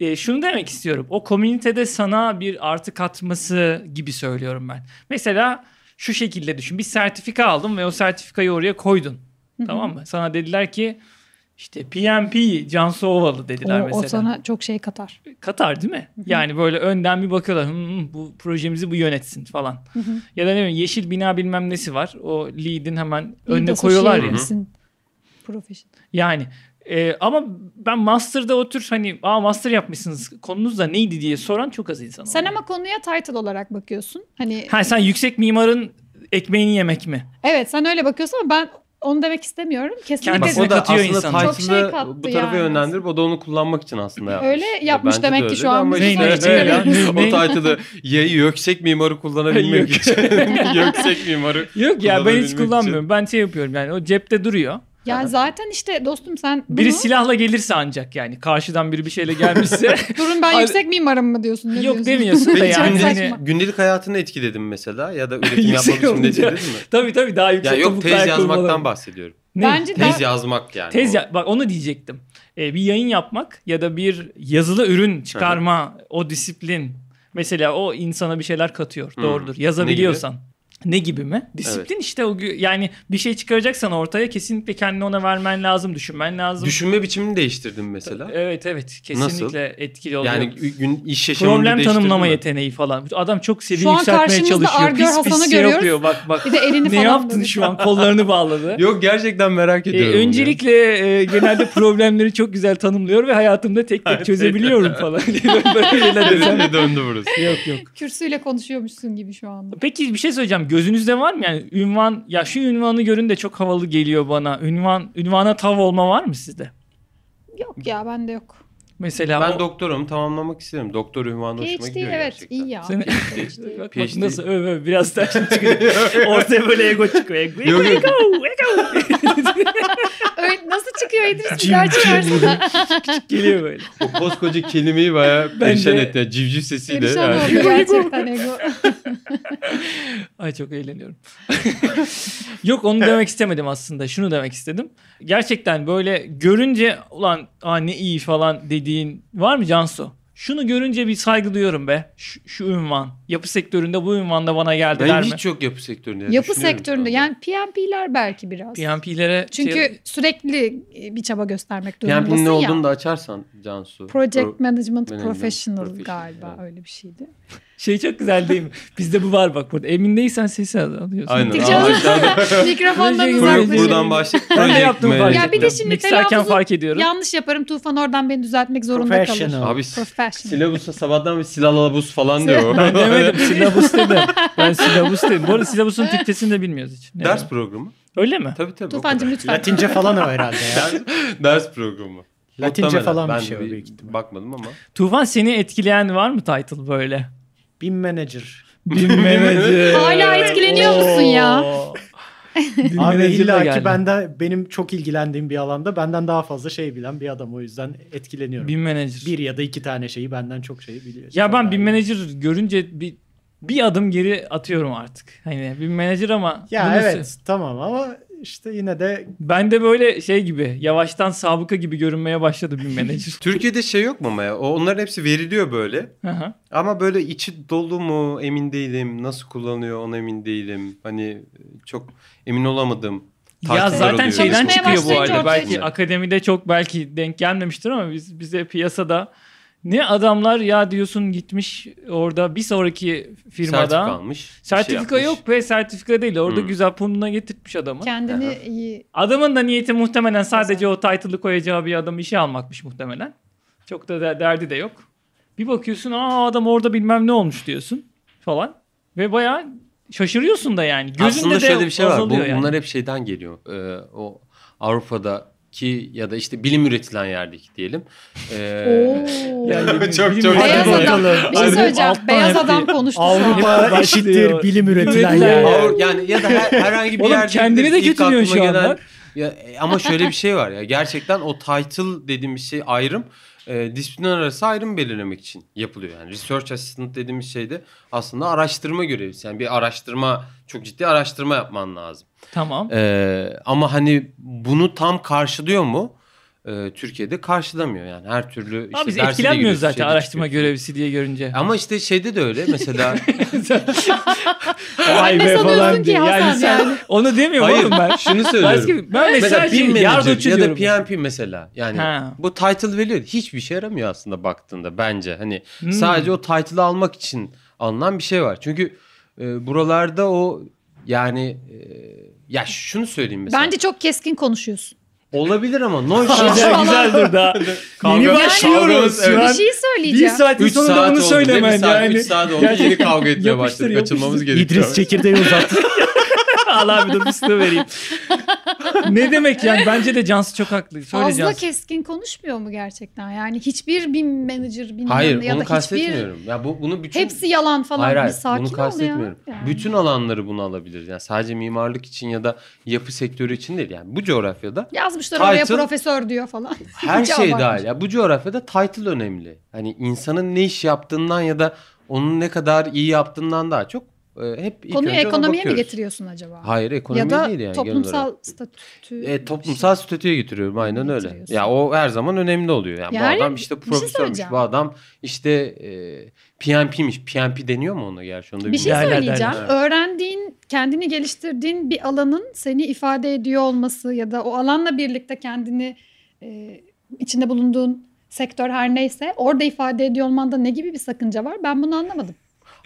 Speaker 2: de e, şunu demek istiyorum. O komünitede sana bir artı katması gibi söylüyorum ben. Mesela şu şekilde düşün. Bir sertifika aldın ve o sertifikayı oraya koydun.
Speaker 1: Hı hı.
Speaker 2: Tamam mı? Sana dediler ki işte PMP Cansu Ovalı dediler
Speaker 1: o,
Speaker 2: mesela.
Speaker 1: o sana çok şey katar.
Speaker 2: Katar değil mi? Yani böyle önden bir bakıyorlar. "Hmm, bu projemizi bu yönetsin falan.
Speaker 1: Hı hı.
Speaker 2: Ya da ne bileyim yeşil bina bilmem nesi var. O lead'in hemen önüne
Speaker 1: Lead
Speaker 2: koyuyorlar ya.
Speaker 1: associate misin? Profession.
Speaker 2: Yani e, ama ben master'da o tür hani aa master yapmışsınız konunuz da neydi diye soran çok az insan
Speaker 1: Sen
Speaker 2: oluyor.
Speaker 1: ama konuya title olarak bakıyorsun. Hani
Speaker 2: Ha sen yüksek mimarın ekmeğini yemek mi?
Speaker 1: evet sen öyle bakıyorsun ama ben onu demek istemiyorum. Kesinlikle
Speaker 4: Bak
Speaker 2: Kendisi-
Speaker 4: o da
Speaker 2: katıyor
Speaker 4: aslında
Speaker 2: insanı.
Speaker 1: Çok şey
Speaker 4: title'ı
Speaker 1: kattı
Speaker 4: bu tarafa
Speaker 1: yani.
Speaker 4: yönlendirip o da onu kullanmak için aslında yapmış.
Speaker 1: Öyle yapmış
Speaker 4: Bence
Speaker 1: demek
Speaker 4: de
Speaker 1: ki
Speaker 4: öyle
Speaker 1: şu an
Speaker 4: ama
Speaker 1: bizim
Speaker 4: işte-
Speaker 2: için öyle.
Speaker 4: o
Speaker 2: Ne?
Speaker 4: title'ı y- yüksek mimarı kullanabilmek
Speaker 2: Yok.
Speaker 4: için. [LAUGHS] yüksek mimarı.
Speaker 2: Yok ya ben
Speaker 4: Kullanabilmek
Speaker 2: hiç
Speaker 4: için.
Speaker 2: kullanmıyorum. Ben şey yapıyorum yani o cepte duruyor.
Speaker 1: yani zaten işte dostum sen bunu,
Speaker 2: Biri silahla gelirse ancak yani karşıdan biri bir şeyle gelmişse
Speaker 1: durun ben
Speaker 2: Hayır.
Speaker 1: yüksek mimarım mı diyorsun? [LAUGHS] Ne
Speaker 2: yok
Speaker 1: diyorsun?
Speaker 2: demiyorsun da
Speaker 1: Çok
Speaker 2: yani.
Speaker 1: saçma.
Speaker 2: Hani,
Speaker 4: Gündelik hayatını etkiledin mesela ya da üretim yapmak
Speaker 2: Yüksek
Speaker 4: için
Speaker 2: olunca-
Speaker 4: etkiledin mi?
Speaker 2: tabii tabii daha yüksek
Speaker 4: Ya yok
Speaker 2: topuklu
Speaker 4: tez
Speaker 2: ayakkabı
Speaker 4: yazmaktan
Speaker 2: falan.
Speaker 4: bahsediyorum.
Speaker 2: Ne?
Speaker 1: Bence
Speaker 4: Tez
Speaker 1: ben-
Speaker 4: yazmak yani.
Speaker 2: Tez
Speaker 4: o.
Speaker 2: ya- bak onu diyecektim. Ee, bir yayın yapmak ya da bir yazılı ürün çıkarma o disiplin mesela o insana bir şeyler katıyor.
Speaker 4: Hmm.
Speaker 2: Doğrudur. Yazabiliyorsan. Ne gibi mi? Disiplin işte o gü- yani bir şey çıkaracaksan ortaya kesinlikle kendini ona vermen lazım, düşünmen lazım.
Speaker 4: Düşünme biçimini değiştirdin mesela.
Speaker 2: Evet evet kesinlikle
Speaker 4: Nasıl?
Speaker 2: etkili oluyor.
Speaker 4: Yani gün iş yaşamını
Speaker 2: problem
Speaker 4: değiştirdin
Speaker 2: tanımlama
Speaker 4: mi?
Speaker 2: yeteneği falan. Adam çok seviye
Speaker 1: Şu an
Speaker 2: yükseltmeye
Speaker 1: karşımızda
Speaker 2: çalışıyor.
Speaker 1: Argör
Speaker 2: Pis
Speaker 1: Hasan'ı
Speaker 2: pis şey
Speaker 1: görüyoruz.
Speaker 2: yapıyor. Bak
Speaker 1: [LAUGHS]
Speaker 2: bak.
Speaker 1: Bir de elini
Speaker 2: ne
Speaker 1: falan
Speaker 2: yaptın
Speaker 1: böyle-
Speaker 2: şu an?
Speaker 1: [LAUGHS]
Speaker 2: Kollarını bağladı.
Speaker 4: Yok gerçekten merak
Speaker 2: E,
Speaker 4: ediyorum. ya. [LAUGHS]
Speaker 2: öncelikle e, genelde problemleri çok güzel tanımlıyor ve hayatımda tek tek çözebiliyorum falan. [LAUGHS] Böyle şeyler desem.
Speaker 4: Nereye şey döndü
Speaker 2: [LAUGHS]
Speaker 4: burası?
Speaker 2: Yok yok.
Speaker 1: Kürsüyle konuşuyormuşsun gibi şu anda.
Speaker 2: Peki bir şey söyleyeceğim. Gözünüzde var mı yani ünvan ya şu ünvanı görün de çok havalı geliyor bana. Ünvan ünvana tav olma var mı sizde?
Speaker 1: Yok ya bende yok.
Speaker 2: Mesela
Speaker 4: ben
Speaker 2: o-
Speaker 4: doktorumu tamamlamak isterim. Doktor ünvanı hoşuma
Speaker 1: PhD
Speaker 4: gidiyor
Speaker 1: evet
Speaker 4: gerçekten.
Speaker 1: iyi
Speaker 4: [LAUGHS]
Speaker 1: ya.
Speaker 2: Seni-
Speaker 1: PhD.
Speaker 2: Bak, bak
Speaker 4: PhD.
Speaker 2: nasıl öv öv biraz daha şimdi
Speaker 4: [LAUGHS]
Speaker 2: çıkıyor. Ortaya böyle ego çıkıyor. Ego, ego,
Speaker 4: Yok, yok.
Speaker 2: ego, ego.
Speaker 1: [LAUGHS] Öyle, nasıl çıkıyor İdris? Bir daha çıkarsana.
Speaker 2: Geliyor böyle.
Speaker 4: O koskoca kelimeyi bayağı
Speaker 2: [LAUGHS] Ben
Speaker 4: perişan
Speaker 2: de-
Speaker 4: etti. Yani Civciv sesiyle.
Speaker 1: Perişan
Speaker 4: yani.
Speaker 1: oldu gerçekten ego.
Speaker 2: Ay çok eğleniyorum. [LAUGHS] Yok onu demek istemedim aslında. Şunu demek istedim. Gerçekten böyle görünce ulan aa ne iyi falan dediğin var mı Cansu? Şunu görünce bir saygı duyuyorum be. Şu, şu ünvan. Yapı sektöründe bu ünvanda bana
Speaker 4: Benim
Speaker 2: geldiler mi?
Speaker 4: hiç yok yapı sektöründe.
Speaker 1: Yapı
Speaker 4: Düşünüyorum
Speaker 1: sektöründe
Speaker 4: şu anda.
Speaker 1: yani PMP'ler belki biraz.
Speaker 2: PMP'lere
Speaker 1: Çünkü
Speaker 2: şey-
Speaker 1: sürekli e, bir çaba göstermek
Speaker 4: Yani
Speaker 1: durumundasın
Speaker 4: ne olduğunu
Speaker 1: ya.
Speaker 4: da açarsan
Speaker 1: [LAUGHS]
Speaker 4: Cansu.
Speaker 1: Project Management
Speaker 4: Management
Speaker 1: Professional
Speaker 4: Professional,
Speaker 1: galiba
Speaker 4: evet.
Speaker 1: öyle bir
Speaker 4: [LAUGHS]
Speaker 1: şeydi.
Speaker 2: şey çok güzel değil mi? Bizde bu var bak burada. Emin değilsen sesi alıyorsun.
Speaker 4: Aynen.
Speaker 1: Gittikçe
Speaker 4: Aa,
Speaker 1: [LAUGHS]
Speaker 4: aşağıda-
Speaker 1: Mikrofondan
Speaker 2: Project-
Speaker 4: Pro-
Speaker 2: Uzaklaşın.
Speaker 4: buradan
Speaker 1: uzaklaşalım.
Speaker 4: başla.
Speaker 2: Ben de
Speaker 4: Project
Speaker 2: yaptım
Speaker 4: manager.
Speaker 2: fark
Speaker 1: şey. Ya bir de şey-
Speaker 2: ettim.
Speaker 1: şimdi
Speaker 2: Mikserken
Speaker 1: telaffuzu-
Speaker 2: fark ediyorum.
Speaker 1: Yanlış yaparım Tufan oradan beni düzeltmek zorunda kalır.
Speaker 3: Professional.
Speaker 4: Abi
Speaker 1: Professional.
Speaker 4: silabusa sabahtan bir
Speaker 1: [LAUGHS]
Speaker 4: silalabus falan diyor.
Speaker 2: Ben demedim. Silabus dedi. Ben silabus dedim. Bu arada silabusun Türkçesini de bilmiyoruz hiç. Ne
Speaker 4: Ders
Speaker 2: var?
Speaker 4: programı.
Speaker 2: Öyle mi?
Speaker 4: Tabii tabii. o
Speaker 1: Tufancım
Speaker 4: kadar.
Speaker 1: lütfen.
Speaker 3: Latince falan o herhalde ya.
Speaker 4: Ders, [LAUGHS] ders programı.
Speaker 3: Latince
Speaker 4: Muhtemelen.
Speaker 3: falan
Speaker 4: Ben
Speaker 3: bir şey o
Speaker 4: bir
Speaker 3: büyük ihtimal.
Speaker 4: Bakmadım ama.
Speaker 2: Tufan seni etkileyen var mı title
Speaker 3: [LAUGHS]
Speaker 2: böyle?
Speaker 3: BİM manager.
Speaker 2: Bilmemedi. [LAUGHS]
Speaker 1: Hala etkileniyor musun ya?
Speaker 3: Abi
Speaker 2: Dinleyici de
Speaker 3: illa ki
Speaker 2: geldi.
Speaker 3: bende benim çok ilgilendiğim bir alanda benden daha fazla şey bilen bir adam o yüzden etkileniyorum.
Speaker 2: BİM Manager.
Speaker 3: Bir ya da iki tane şeyi benden çok şey şeyi biliyor.
Speaker 2: Ya ben BİM
Speaker 3: bir
Speaker 2: Manager görünce bir bir adım geri atıyorum artık. Hani BİM Manager ama
Speaker 3: Ya
Speaker 2: bunu-
Speaker 3: evet tamam ama işte yine de
Speaker 2: Ben de böyle şey gibi yavaştan sabıka gibi görünmeye başladı BİM
Speaker 3: [LAUGHS]
Speaker 2: Manager.
Speaker 4: Türkiye'de şey yok mu ama ya? O- Onların hepsi veriliyor böyle.
Speaker 2: Aha.
Speaker 4: Ama böyle içi dolu mu emin değilim. Nasıl kullanıyor ona emin değilim. Hani çok emin olamadım.
Speaker 2: ya
Speaker 4: Takipler
Speaker 2: zaten
Speaker 4: oluyor.
Speaker 2: şeyden
Speaker 1: Çalışmaya
Speaker 2: çıkıyor bu
Speaker 1: başlayınca
Speaker 2: arada.
Speaker 1: ortaya
Speaker 2: Belki
Speaker 4: çıkıyor.
Speaker 2: akademide çok belki denk gelmemiştir ama biz bize piyasada ne adamlar ya diyorsun gitmiş orada bir sonraki firmada
Speaker 4: Sertifika
Speaker 2: sertifika,
Speaker 4: almış. bir şey yapmış.
Speaker 2: yok be sertifika değil orada
Speaker 4: Hmm.
Speaker 2: güzel punduna getirtmiş adamı.
Speaker 1: Kendini
Speaker 4: Aha.
Speaker 1: iyi
Speaker 2: Adamın da niyeti muhtemelen sadece o title'ı koyacağı bir adam işe almakmış muhtemelen. Çok da de- derdi de yok. Bir bakıyorsun aa adam orada bilmem ne olmuş diyorsun falan. Ve bayağı şaşırıyorsun da yani. Gözünde
Speaker 4: Aslında
Speaker 2: de
Speaker 4: şöyle bir şey var. Bu,
Speaker 2: azalıyor yani.
Speaker 4: Bunlar hep şeyden geliyor. Ee, o Avrupa'daki ya da işte bilim üretilen yerdeki diyelim. Ee,
Speaker 1: Oo.
Speaker 3: [LAUGHS]
Speaker 2: Yani
Speaker 4: Çok-
Speaker 2: bilim-
Speaker 4: çok-
Speaker 2: bilim-
Speaker 1: Beyaz
Speaker 2: Bilim-
Speaker 1: adam. Bir şey
Speaker 2: Aynen.
Speaker 1: söyleyeceğim.
Speaker 2: Alttan
Speaker 1: Beyaz
Speaker 2: yaptı.
Speaker 1: adam konuştu. şu an.
Speaker 3: Avrupa
Speaker 2: Başlıyor.
Speaker 3: eşittir bilim üretilen
Speaker 2: Üretilen
Speaker 3: yer.
Speaker 2: yer.
Speaker 4: Avru- yani ya da her- herhangi bir
Speaker 2: Oğlum
Speaker 4: yerde
Speaker 2: kendini de
Speaker 4: ilk
Speaker 2: kötülüyorsun
Speaker 4: aklıma
Speaker 2: şu anda.
Speaker 4: Ya, e, ama şöyle bir şey var ya gerçekten o title dediğimiz şey ayrım e, disiplin arası ayrım belirlemek için yapılıyor. Yani research assistant dediğimiz şey de aslında araştırma görevlisi. Yani bir araştırma çok ciddi araştırma yapman lazım.
Speaker 2: Tamam.
Speaker 4: E, ama hani bunu tam karşılıyor mu? E, Türkiye'de karşılamıyor yani her türlü işte
Speaker 2: Abi biz
Speaker 4: derse de
Speaker 2: etkilenmiyoruz
Speaker 4: giriyorsun,
Speaker 2: zaten
Speaker 4: şeyde
Speaker 2: araştırma
Speaker 4: çıkıyorsun.
Speaker 2: görevlisi diye
Speaker 4: [LAUGHS]
Speaker 2: görünce.
Speaker 4: Ama işte şeyde de öyle
Speaker 2: [LAUGHS]
Speaker 4: mesela
Speaker 3: Vay
Speaker 1: Ne
Speaker 3: be
Speaker 1: sanıyorsun
Speaker 3: falan
Speaker 1: ki
Speaker 3: diye.
Speaker 1: Hasan
Speaker 3: Yani sen-
Speaker 1: yani?
Speaker 2: Onu demiyorum
Speaker 4: Hayır,
Speaker 2: oğlum ben.
Speaker 4: şunu söylüyorum.
Speaker 2: Başka bir- ben mesela,
Speaker 4: Mesela BİM
Speaker 2: şey,
Speaker 4: Manager
Speaker 2: yardımcı
Speaker 4: ya da
Speaker 2: diyorum.
Speaker 4: PMP mesela. Yani
Speaker 2: Ha.
Speaker 4: bu title veriyor. Hiçbir şey yaramıyor aslında baktığında bence. Hani
Speaker 2: Hmm.
Speaker 4: sadece o title'ı almak için alınan bir şey var. Çünkü e, buralarda o yani e, ya şunu söyleyeyim mesela.
Speaker 1: Bence çok keskin konuşuyorsun.
Speaker 4: Olabilir ama
Speaker 1: [LAUGHS]
Speaker 4: nonchalant.
Speaker 2: Güzel, güzeldir daha. Yeni
Speaker 1: Yani-
Speaker 2: başlıyoruz.
Speaker 4: Evet.
Speaker 2: şu an.
Speaker 1: Bir şey
Speaker 2: Bir
Speaker 1: söyleyeceğim.
Speaker 2: saatin
Speaker 4: 3
Speaker 2: sonunda
Speaker 4: saat
Speaker 2: onu
Speaker 4: oldu.
Speaker 2: söylemen
Speaker 4: Söylemen saat,
Speaker 2: yani.
Speaker 4: Üç saat oldu.
Speaker 2: Gerçekten
Speaker 4: Yeni kavga etmeye
Speaker 2: yapıştır,
Speaker 4: başladık.
Speaker 2: yapıştır.
Speaker 4: Kaçınmamız gerekiyor.
Speaker 3: İdris çekirdeği uzattı.
Speaker 2: Al abi dur bir süre [LAUGHS] vereyim. ne demek yani bence de Cansu çok haklı. Söyle
Speaker 1: Fazla
Speaker 2: Cansu.
Speaker 1: keskin konuşmuyor mu gerçekten? Yani hiçbir bir manager bilmem
Speaker 4: Hayır
Speaker 1: ne ya da
Speaker 4: onu
Speaker 1: hiçbir
Speaker 4: kastetmiyorum. Ya bu, bunu bütün
Speaker 1: hepsi yalan falan.
Speaker 4: Hayır hayır
Speaker 1: bir sakin
Speaker 4: bunu
Speaker 1: ol ya.
Speaker 4: kastetmiyorum.
Speaker 1: Yani.
Speaker 4: Bütün alanları bunu alabilir. Yani sadece mimarlık için ya da yapı sektörü için değil. Yani bu coğrafyada
Speaker 1: Yazmışlar
Speaker 4: Title-
Speaker 1: oraya profesör diyor falan.
Speaker 4: her
Speaker 1: Hiç
Speaker 4: şey
Speaker 1: abartmış.
Speaker 4: dahil. Ya bu coğrafyada title önemli. Hani insanın ne iş yaptığından ya da onun ne kadar iyi yaptığından daha çok e, hep ilk
Speaker 1: Konuyu
Speaker 4: önce ona
Speaker 1: ekonomiye mi
Speaker 4: bakıyoruz.
Speaker 1: getiriyorsun acaba?
Speaker 4: Hayır ekonomiye
Speaker 1: ya da
Speaker 4: değil yani. genel olarak.
Speaker 1: toplumsal statü. şey.
Speaker 4: E, toplumsal statüye getiriyorum aynen öyle.
Speaker 1: Getiriyorsun.
Speaker 4: Ya o her zaman önemli oluyor. Yani,
Speaker 1: Yani
Speaker 4: bu adam işte
Speaker 1: bir şey
Speaker 4: profesörmüş.
Speaker 1: söyleyeceğim.
Speaker 4: bu adam işte e, PMP'miş. PMP deniyor mu ona gerçi? Onda
Speaker 1: Bir şey
Speaker 2: Derler,
Speaker 1: söyleyeceğim.
Speaker 4: derler.
Speaker 1: Öğrendiğin, kendini geliştirdiğin bir alanın seni ifade ediyor olması ya da o alanla birlikte kendini e, içinde bulunduğun sektör her neyse orada ifade ediyor olmanda ne gibi bir sakınca var? Ben bunu anlamadım.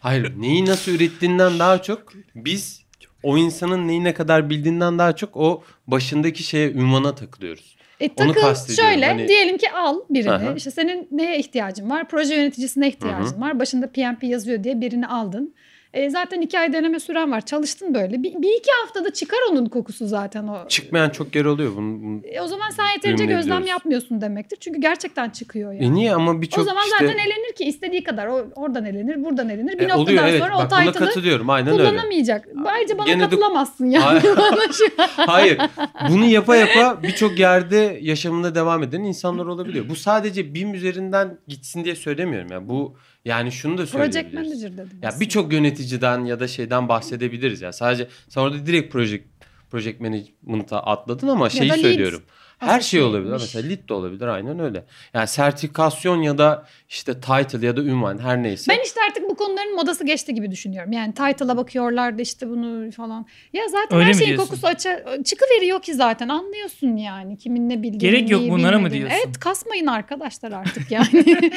Speaker 4: Hayır neyi nasıl ürettiğinden daha çok biz o insanın neyi ne kadar bildiğinden daha çok o başındaki şeye ünvana takılıyoruz.
Speaker 1: E,
Speaker 4: Onu
Speaker 1: takıl
Speaker 4: kastediyorum.
Speaker 1: şöyle
Speaker 4: Hani-
Speaker 1: diyelim ki al birini.
Speaker 4: Aha.
Speaker 1: İşte senin neye ihtiyacın var? Proje yöneticisine ihtiyacın var. Başında PMP yazıyor diye birini aldın. E, zaten iki ay deneme süren var. Çalıştın böyle. Bir, bir iki haftada çıkar onun kokusu zaten o.
Speaker 4: Çıkmayan çok yer oluyor. Bunun, bunun-
Speaker 1: E, o zaman sen yeterince
Speaker 4: Düğümle
Speaker 1: gözlem
Speaker 4: gidiyoruz.
Speaker 1: yapmıyorsun demektir. Çünkü gerçekten çıkıyor yani.
Speaker 4: E niye ama
Speaker 1: o
Speaker 4: birçok
Speaker 1: zaman
Speaker 4: işte...
Speaker 1: zaten elenir ki istediği kadar. O, oradan elenir, buradan elenir.
Speaker 4: E,
Speaker 1: Bir noktadan
Speaker 4: oluyor evet.
Speaker 1: sonra
Speaker 4: Bak
Speaker 1: o
Speaker 4: buna
Speaker 1: title'ı
Speaker 4: katılıyorum aynen öyle.
Speaker 1: kullanamayacak. Ayrıca bana
Speaker 4: Gene de-
Speaker 1: katılamazsın yani.
Speaker 4: [LAUGHS] Hayır. Bunu yapa yapa birçok yerde yaşamında devam eden insanlar olabiliyor. Bu sadece BİM üzerinden gitsin diye söylemiyorum. Yani bu yani şunu
Speaker 1: [LAUGHS]
Speaker 4: da
Speaker 1: Project
Speaker 4: söyleyebiliriz.
Speaker 1: manager dedim.
Speaker 4: Ya
Speaker 1: aslında.
Speaker 4: birçok yöneticiden ya da şeyden bahsedebiliriz ya. Sadece sen orada direkt project project management'a atladın ama şeyi
Speaker 1: da lead.
Speaker 4: söylüyorum. Her şey
Speaker 1: Associate'miş.
Speaker 4: olabilir. Mesela lead de olabilir aynen öyle. Yani sertifikasyon ya da işte title ya da ünvan her neyse.
Speaker 1: Ben işte artık bu konuların modası geçti gibi düşünüyorum. Yani title'a bakıyorlar da işte bunu falan. Ya zaten
Speaker 2: Öyle
Speaker 1: her
Speaker 2: mi
Speaker 1: şeyin
Speaker 2: diyorsun?
Speaker 1: kokusu açı, çıkıveriyor ki zaten. Anlıyorsun yani kimin ne bildiğini.
Speaker 2: Gerek yok
Speaker 1: neyi
Speaker 2: bunlara mı
Speaker 1: bilmediğini.
Speaker 2: diyorsun?
Speaker 1: Evet kasmayın arkadaşlar artık yani. [LAUGHS]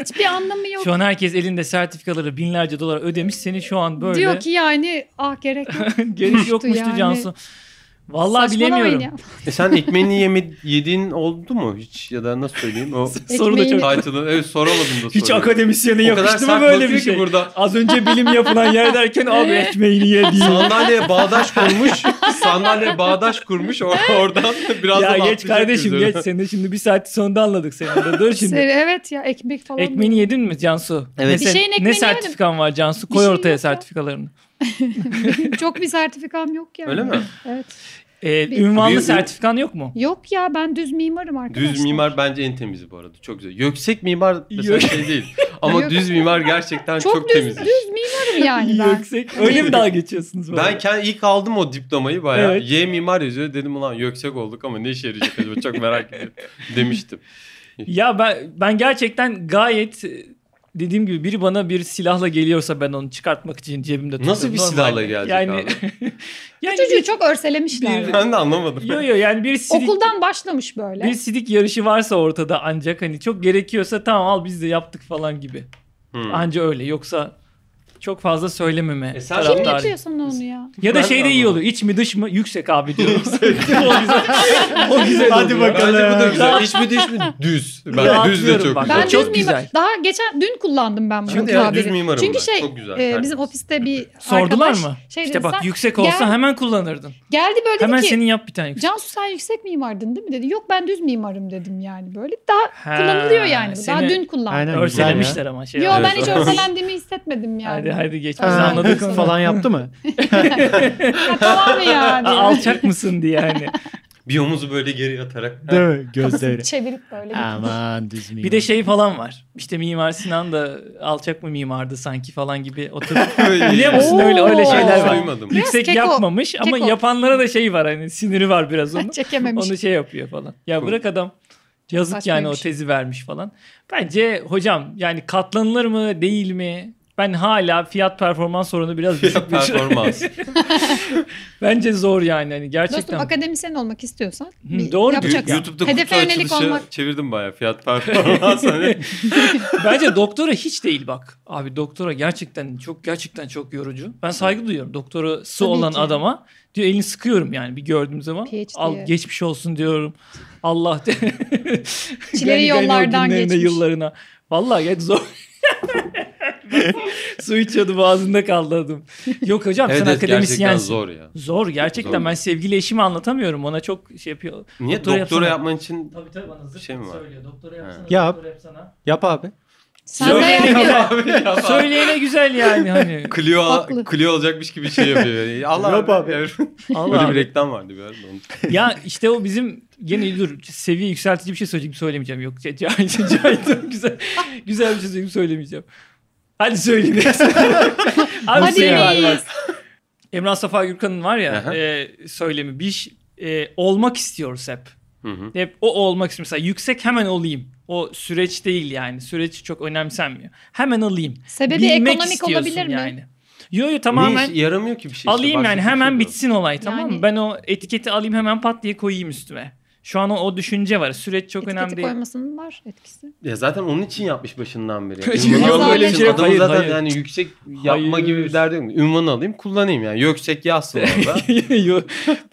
Speaker 1: Hiçbir anlamı yok.
Speaker 2: Şu an herkes elinde sertifikaları binlerce dolar ödemiş. Seni şu an böyle
Speaker 1: Diyor ki yani ah gerek yok.
Speaker 2: geniş yokmuştu
Speaker 1: yani.
Speaker 2: Cansu. [LAUGHS] Vallahi
Speaker 1: Saçmalamayın
Speaker 2: bilemiyorum.
Speaker 1: ya.
Speaker 4: E sen ekmeğini yeme, yediğin oldu mu hiç ya da nasıl söyleyeyim o
Speaker 2: [LAUGHS] Soru da çok...
Speaker 1: Ekmeğini-
Speaker 4: title'ın evet soramadım da soruyu.
Speaker 2: Hiç akademisyene
Speaker 4: O kadar
Speaker 2: yakıştı mı
Speaker 4: sert
Speaker 2: böyle
Speaker 4: bakıyor
Speaker 2: bir
Speaker 4: ki
Speaker 2: şey?
Speaker 4: burada.
Speaker 2: Az önce bilim yapılan yer derken abi ekmeğini
Speaker 4: [LAUGHS]
Speaker 2: ye diye.
Speaker 4: Sandalyeye bağdaş kurmuş. sandalyeye bağdaş kurmuş. Or- oradan biraz
Speaker 2: ya geç kardeşim geç. Seni de şimdi bir saat sonunda anladık seni. de. Dur şimdi.
Speaker 1: Seri- Evet ya ekmek falan.
Speaker 2: Ekmeğini yedin mi Cansu?
Speaker 4: Evet.
Speaker 2: Ne,
Speaker 1: Bir
Speaker 2: sen-
Speaker 1: şeyin
Speaker 2: ne
Speaker 1: ekmeğini
Speaker 2: sertifikan var Cansu?
Speaker 1: Bir
Speaker 2: Koy
Speaker 1: şey
Speaker 2: ortaya
Speaker 1: yok ya.
Speaker 2: sertifikalarını.
Speaker 1: Benim Çok bir sertifikam yok yani.
Speaker 4: Öyle mi?
Speaker 1: Evet.
Speaker 2: Ee,
Speaker 1: Bir-
Speaker 2: ünvanlı
Speaker 4: Bir-
Speaker 2: sertifikan yok mu?
Speaker 1: Yok ya ben düz mimarım arkadaşlar.
Speaker 4: Düz mimar bence en temizi bu arada. Çok güzel. Yüksek mimar mesela
Speaker 2: Yok.
Speaker 4: şey değil. Ama
Speaker 1: Yok.
Speaker 4: düz mimar gerçekten çok,
Speaker 1: çok, düz,
Speaker 4: temiz. iş.
Speaker 1: düz mimarım
Speaker 2: [LAUGHS]
Speaker 1: yani ben.
Speaker 2: Yüksek.
Speaker 1: [LAUGHS]
Speaker 2: Öyle mi dalga geçiyorsunuz? bana?
Speaker 4: Ben kendi ilk aldım o diplomayı bayağı.
Speaker 2: Evet.
Speaker 4: Y mimar yazıyor. Dedim ulan yüksek olduk ama ne işe yarayacak acaba çok merak ediyorum [LAUGHS] demiştim.
Speaker 2: Ya ben ben gerçekten gayet e, dediğim gibi biri bana bir silahla geliyorsa ben onu çıkartmak için cebimde tutarım.
Speaker 4: Nasıl bir
Speaker 2: Normal.
Speaker 4: silahla gelecek
Speaker 2: yani,
Speaker 4: abi?
Speaker 2: [LAUGHS] yani
Speaker 1: Çocuğu
Speaker 2: bir-
Speaker 1: çok örselemişler.
Speaker 2: Bir-
Speaker 1: ya.
Speaker 4: Ben de anlamadım.
Speaker 2: Yo yo yani bir sidik,
Speaker 1: Okuldan başlamış böyle.
Speaker 2: bir sidik yarışı varsa ortada ancak hani çok gerekiyorsa tamam al biz de yaptık falan gibi.
Speaker 4: Hmm.
Speaker 2: Anca öyle yoksa çok fazla söylememe
Speaker 4: E sen-
Speaker 1: Kim
Speaker 4: Taraftar-
Speaker 2: taraftarı.
Speaker 1: yapıyorsun onu ya?
Speaker 2: Ya da
Speaker 4: Ben de
Speaker 2: şey de iyi
Speaker 4: anlamadım.
Speaker 2: oluyor. iç mi dış mı? Yüksek abi
Speaker 4: [LAUGHS]
Speaker 2: diyorum. [LAUGHS] o güzel. O güzel
Speaker 3: Hadi
Speaker 2: oluyor.
Speaker 3: bakalım.
Speaker 4: Bence bu da güzel. Hiç mi düz mü? Düz. Ben düz de
Speaker 2: Rahatlıyorum
Speaker 4: çok
Speaker 2: bak.
Speaker 4: güzel.
Speaker 1: Ben
Speaker 2: Çok
Speaker 1: düz
Speaker 2: güzel.
Speaker 1: mimar. Daha geçen dün kullandım ben bunu
Speaker 4: Şimdi ya,
Speaker 1: tabiri.
Speaker 4: düz mimarım
Speaker 1: Çünkü
Speaker 4: ben.
Speaker 1: şey
Speaker 4: Çok güzel,
Speaker 1: e,
Speaker 4: tertemiz.
Speaker 1: bizim ofiste bir
Speaker 2: Sordular
Speaker 1: arkadaş
Speaker 2: mı?
Speaker 1: Şey
Speaker 2: İşte
Speaker 1: dedi,
Speaker 2: bak
Speaker 1: "Sen-
Speaker 2: yüksek olsa
Speaker 1: Gel-
Speaker 2: hemen kullanırdın.
Speaker 1: geldi böyle dedi
Speaker 2: Hemen
Speaker 1: ki
Speaker 2: senin yap bir tane yüksek.
Speaker 1: Cansu sen yüksek mimardın değil mi dedi. Yok ben düz mimarım dedim yani böyle. Daha
Speaker 2: Ha,
Speaker 1: kullanılıyor yani. bu. Daha
Speaker 2: seni
Speaker 1: dün kullandım.
Speaker 3: Aynen.
Speaker 2: Örselemişler ama şey.
Speaker 1: Yo
Speaker 2: olarak.
Speaker 1: ben hiç
Speaker 4: Evet.
Speaker 1: örselendiğimi hissetmedim yani.
Speaker 2: Hadi hadi geç. Biz
Speaker 3: Ha,
Speaker 2: anladık
Speaker 4: [LAUGHS]
Speaker 2: onu.
Speaker 3: falan yaptı mı?
Speaker 1: Ha, tamam mı yani?
Speaker 2: [LAUGHS] Aa, Alçak mısın diye hani.
Speaker 4: [LAUGHS]
Speaker 2: yani.
Speaker 4: Bir omuzu böyle geri atarak.
Speaker 3: Değil mi? Gözleri.
Speaker 2: [LAUGHS]
Speaker 1: Kafasını çevirip böyle.
Speaker 3: Aman düz mimar.
Speaker 2: Bir de şey falan var. İşte Mimar Sinan da alçak mı mimardı sanki falan gibi oturup.
Speaker 4: [LAUGHS]
Speaker 2: Biliyor musun öyle öyle
Speaker 1: Oo.
Speaker 2: şeyler var.
Speaker 4: Duymadım.
Speaker 2: Yüksek
Speaker 1: keko-
Speaker 2: yapmamış ama
Speaker 1: keko.
Speaker 2: yapanlara da şey var hani siniri var biraz onun.
Speaker 1: gidiyor. [LAUGHS] Çekememiş.
Speaker 2: Onu şey yapıyor falan. Ya
Speaker 4: Cool.
Speaker 2: bırak adam yazık yani o
Speaker 1: Saçmaymış.
Speaker 2: tezi vermiş falan. Bence hocam yani katlanılır mı değil mi? Ben hala fiyat performans sorunu biraz düşük bir şey.
Speaker 4: Performans.
Speaker 2: [LAUGHS] Bence zor yani hani
Speaker 1: Dostum
Speaker 2: gerçekten.
Speaker 1: akademisyen olmak istiyorsan
Speaker 2: Hı,
Speaker 1: bir
Speaker 2: doğru.
Speaker 1: yapacaksın.
Speaker 4: YouTube'da kutu
Speaker 1: Hedefe yönelik
Speaker 4: açılışı
Speaker 1: olmak.
Speaker 4: çevirdim bayağı.
Speaker 2: [LAUGHS]
Speaker 4: Fiyat performans. Hani
Speaker 2: Bence doktora hiç değil bak. Abi doktora gerçekten çok gerçekten çok yorucu. Ben saygı duyuyorum doktorası
Speaker 1: Tabii
Speaker 2: olan
Speaker 1: ki.
Speaker 2: adama. Diyor elini sıkıyorum yani bir gördüğüm zaman.
Speaker 1: PhD.
Speaker 2: Al geçmiş olsun diyorum. Allah de.
Speaker 1: [LAUGHS] Çileli
Speaker 2: Gani gani o
Speaker 1: yollardan
Speaker 2: günlerine,
Speaker 1: geçmiş.
Speaker 2: yıllarına. Vallahi geç zor.
Speaker 4: [LAUGHS]
Speaker 2: Su içiyordu boğazında kaldı adım. Yok hocam
Speaker 4: evet,
Speaker 2: sen
Speaker 4: evet gerçekten
Speaker 2: akademisyensin. Zor.
Speaker 4: zor ya.
Speaker 2: gerçekten
Speaker 4: Zor.
Speaker 2: ben sevgili eşime anlatamıyorum. Ona çok şey yapıyor.
Speaker 4: Niye
Speaker 2: Doktora
Speaker 4: doktora,
Speaker 2: yapsana.
Speaker 4: yapman için
Speaker 2: Tabii tabii bana zırt
Speaker 4: Şey mi var?
Speaker 2: söylüyor. Doktora
Speaker 4: yapsana,
Speaker 3: Yap. doktora
Speaker 2: yapsana.
Speaker 3: Yap abi.
Speaker 1: Sen de yap ya.
Speaker 4: [LAUGHS]
Speaker 2: Söyleyene güzel yani hani.
Speaker 4: Clio,
Speaker 1: Haklı.
Speaker 4: Clio olacakmış gibi şey
Speaker 1: [LAUGHS]
Speaker 4: yapıyor. Yani Allah
Speaker 3: Yok abi.
Speaker 2: [LAUGHS]
Speaker 4: Öyle
Speaker 2: Allah.
Speaker 4: bir reklam vardı bir arada. onu-
Speaker 2: ya işte o bizim gene dur seviye yükseltici bir şey söyleyeceğim söylemeyeceğim. Yok ca- [LAUGHS] cahil cahil dur, güzel güzel bir şey söyleyeyim söylemeyeceğim. Hadi
Speaker 4: [LAUGHS]
Speaker 2: söyleyin. Abi
Speaker 1: Hadi
Speaker 2: şey var, var.
Speaker 1: reis.
Speaker 2: Emrah Safa Gürkan'ın var ya
Speaker 4: Aha.
Speaker 2: e, söylemi bir ş- e, olmak istiyoruz hep.
Speaker 4: Hı hı.
Speaker 2: Hep o olmak istiyoruz. Mesela yüksek hemen olayım. O süreç değil yani. Süreç çok önemsenmiyor. Hemen alayım.
Speaker 1: Sebebi
Speaker 2: Bilmek
Speaker 1: ekonomik
Speaker 2: istiyorsun
Speaker 1: olabilir mi?
Speaker 2: yani. Yo yo
Speaker 4: Ne
Speaker 2: tamamen
Speaker 4: işe- yaramıyor ki bir şey. işte,
Speaker 2: alayım
Speaker 4: başka
Speaker 2: yani
Speaker 4: bir
Speaker 2: hemen
Speaker 4: şey de-
Speaker 2: bitsin olay tamam mı?
Speaker 1: Yani.
Speaker 2: Ben o etiketi alayım hemen pat diye koyayım üstüme. Şu an o, o düşünce var. Süreç çok
Speaker 1: Etiketi
Speaker 2: önemli değil.
Speaker 1: koymasının var etkisi.
Speaker 4: Ya zaten onun için yapmış başından beri.
Speaker 2: Yok,
Speaker 4: Ünvanı
Speaker 1: yok,
Speaker 4: almak
Speaker 1: öyle bir
Speaker 4: için
Speaker 1: şey
Speaker 2: yok.
Speaker 4: adamın
Speaker 2: Hayır,
Speaker 4: zaten
Speaker 2: hayır.
Speaker 4: yani yüksek yapma
Speaker 2: Hayır.
Speaker 4: gibi bir derdi yok. Ünvanı alayım kullanayım yani. Yüksek
Speaker 2: [LAUGHS]
Speaker 4: yazsın orada.
Speaker 2: Yo,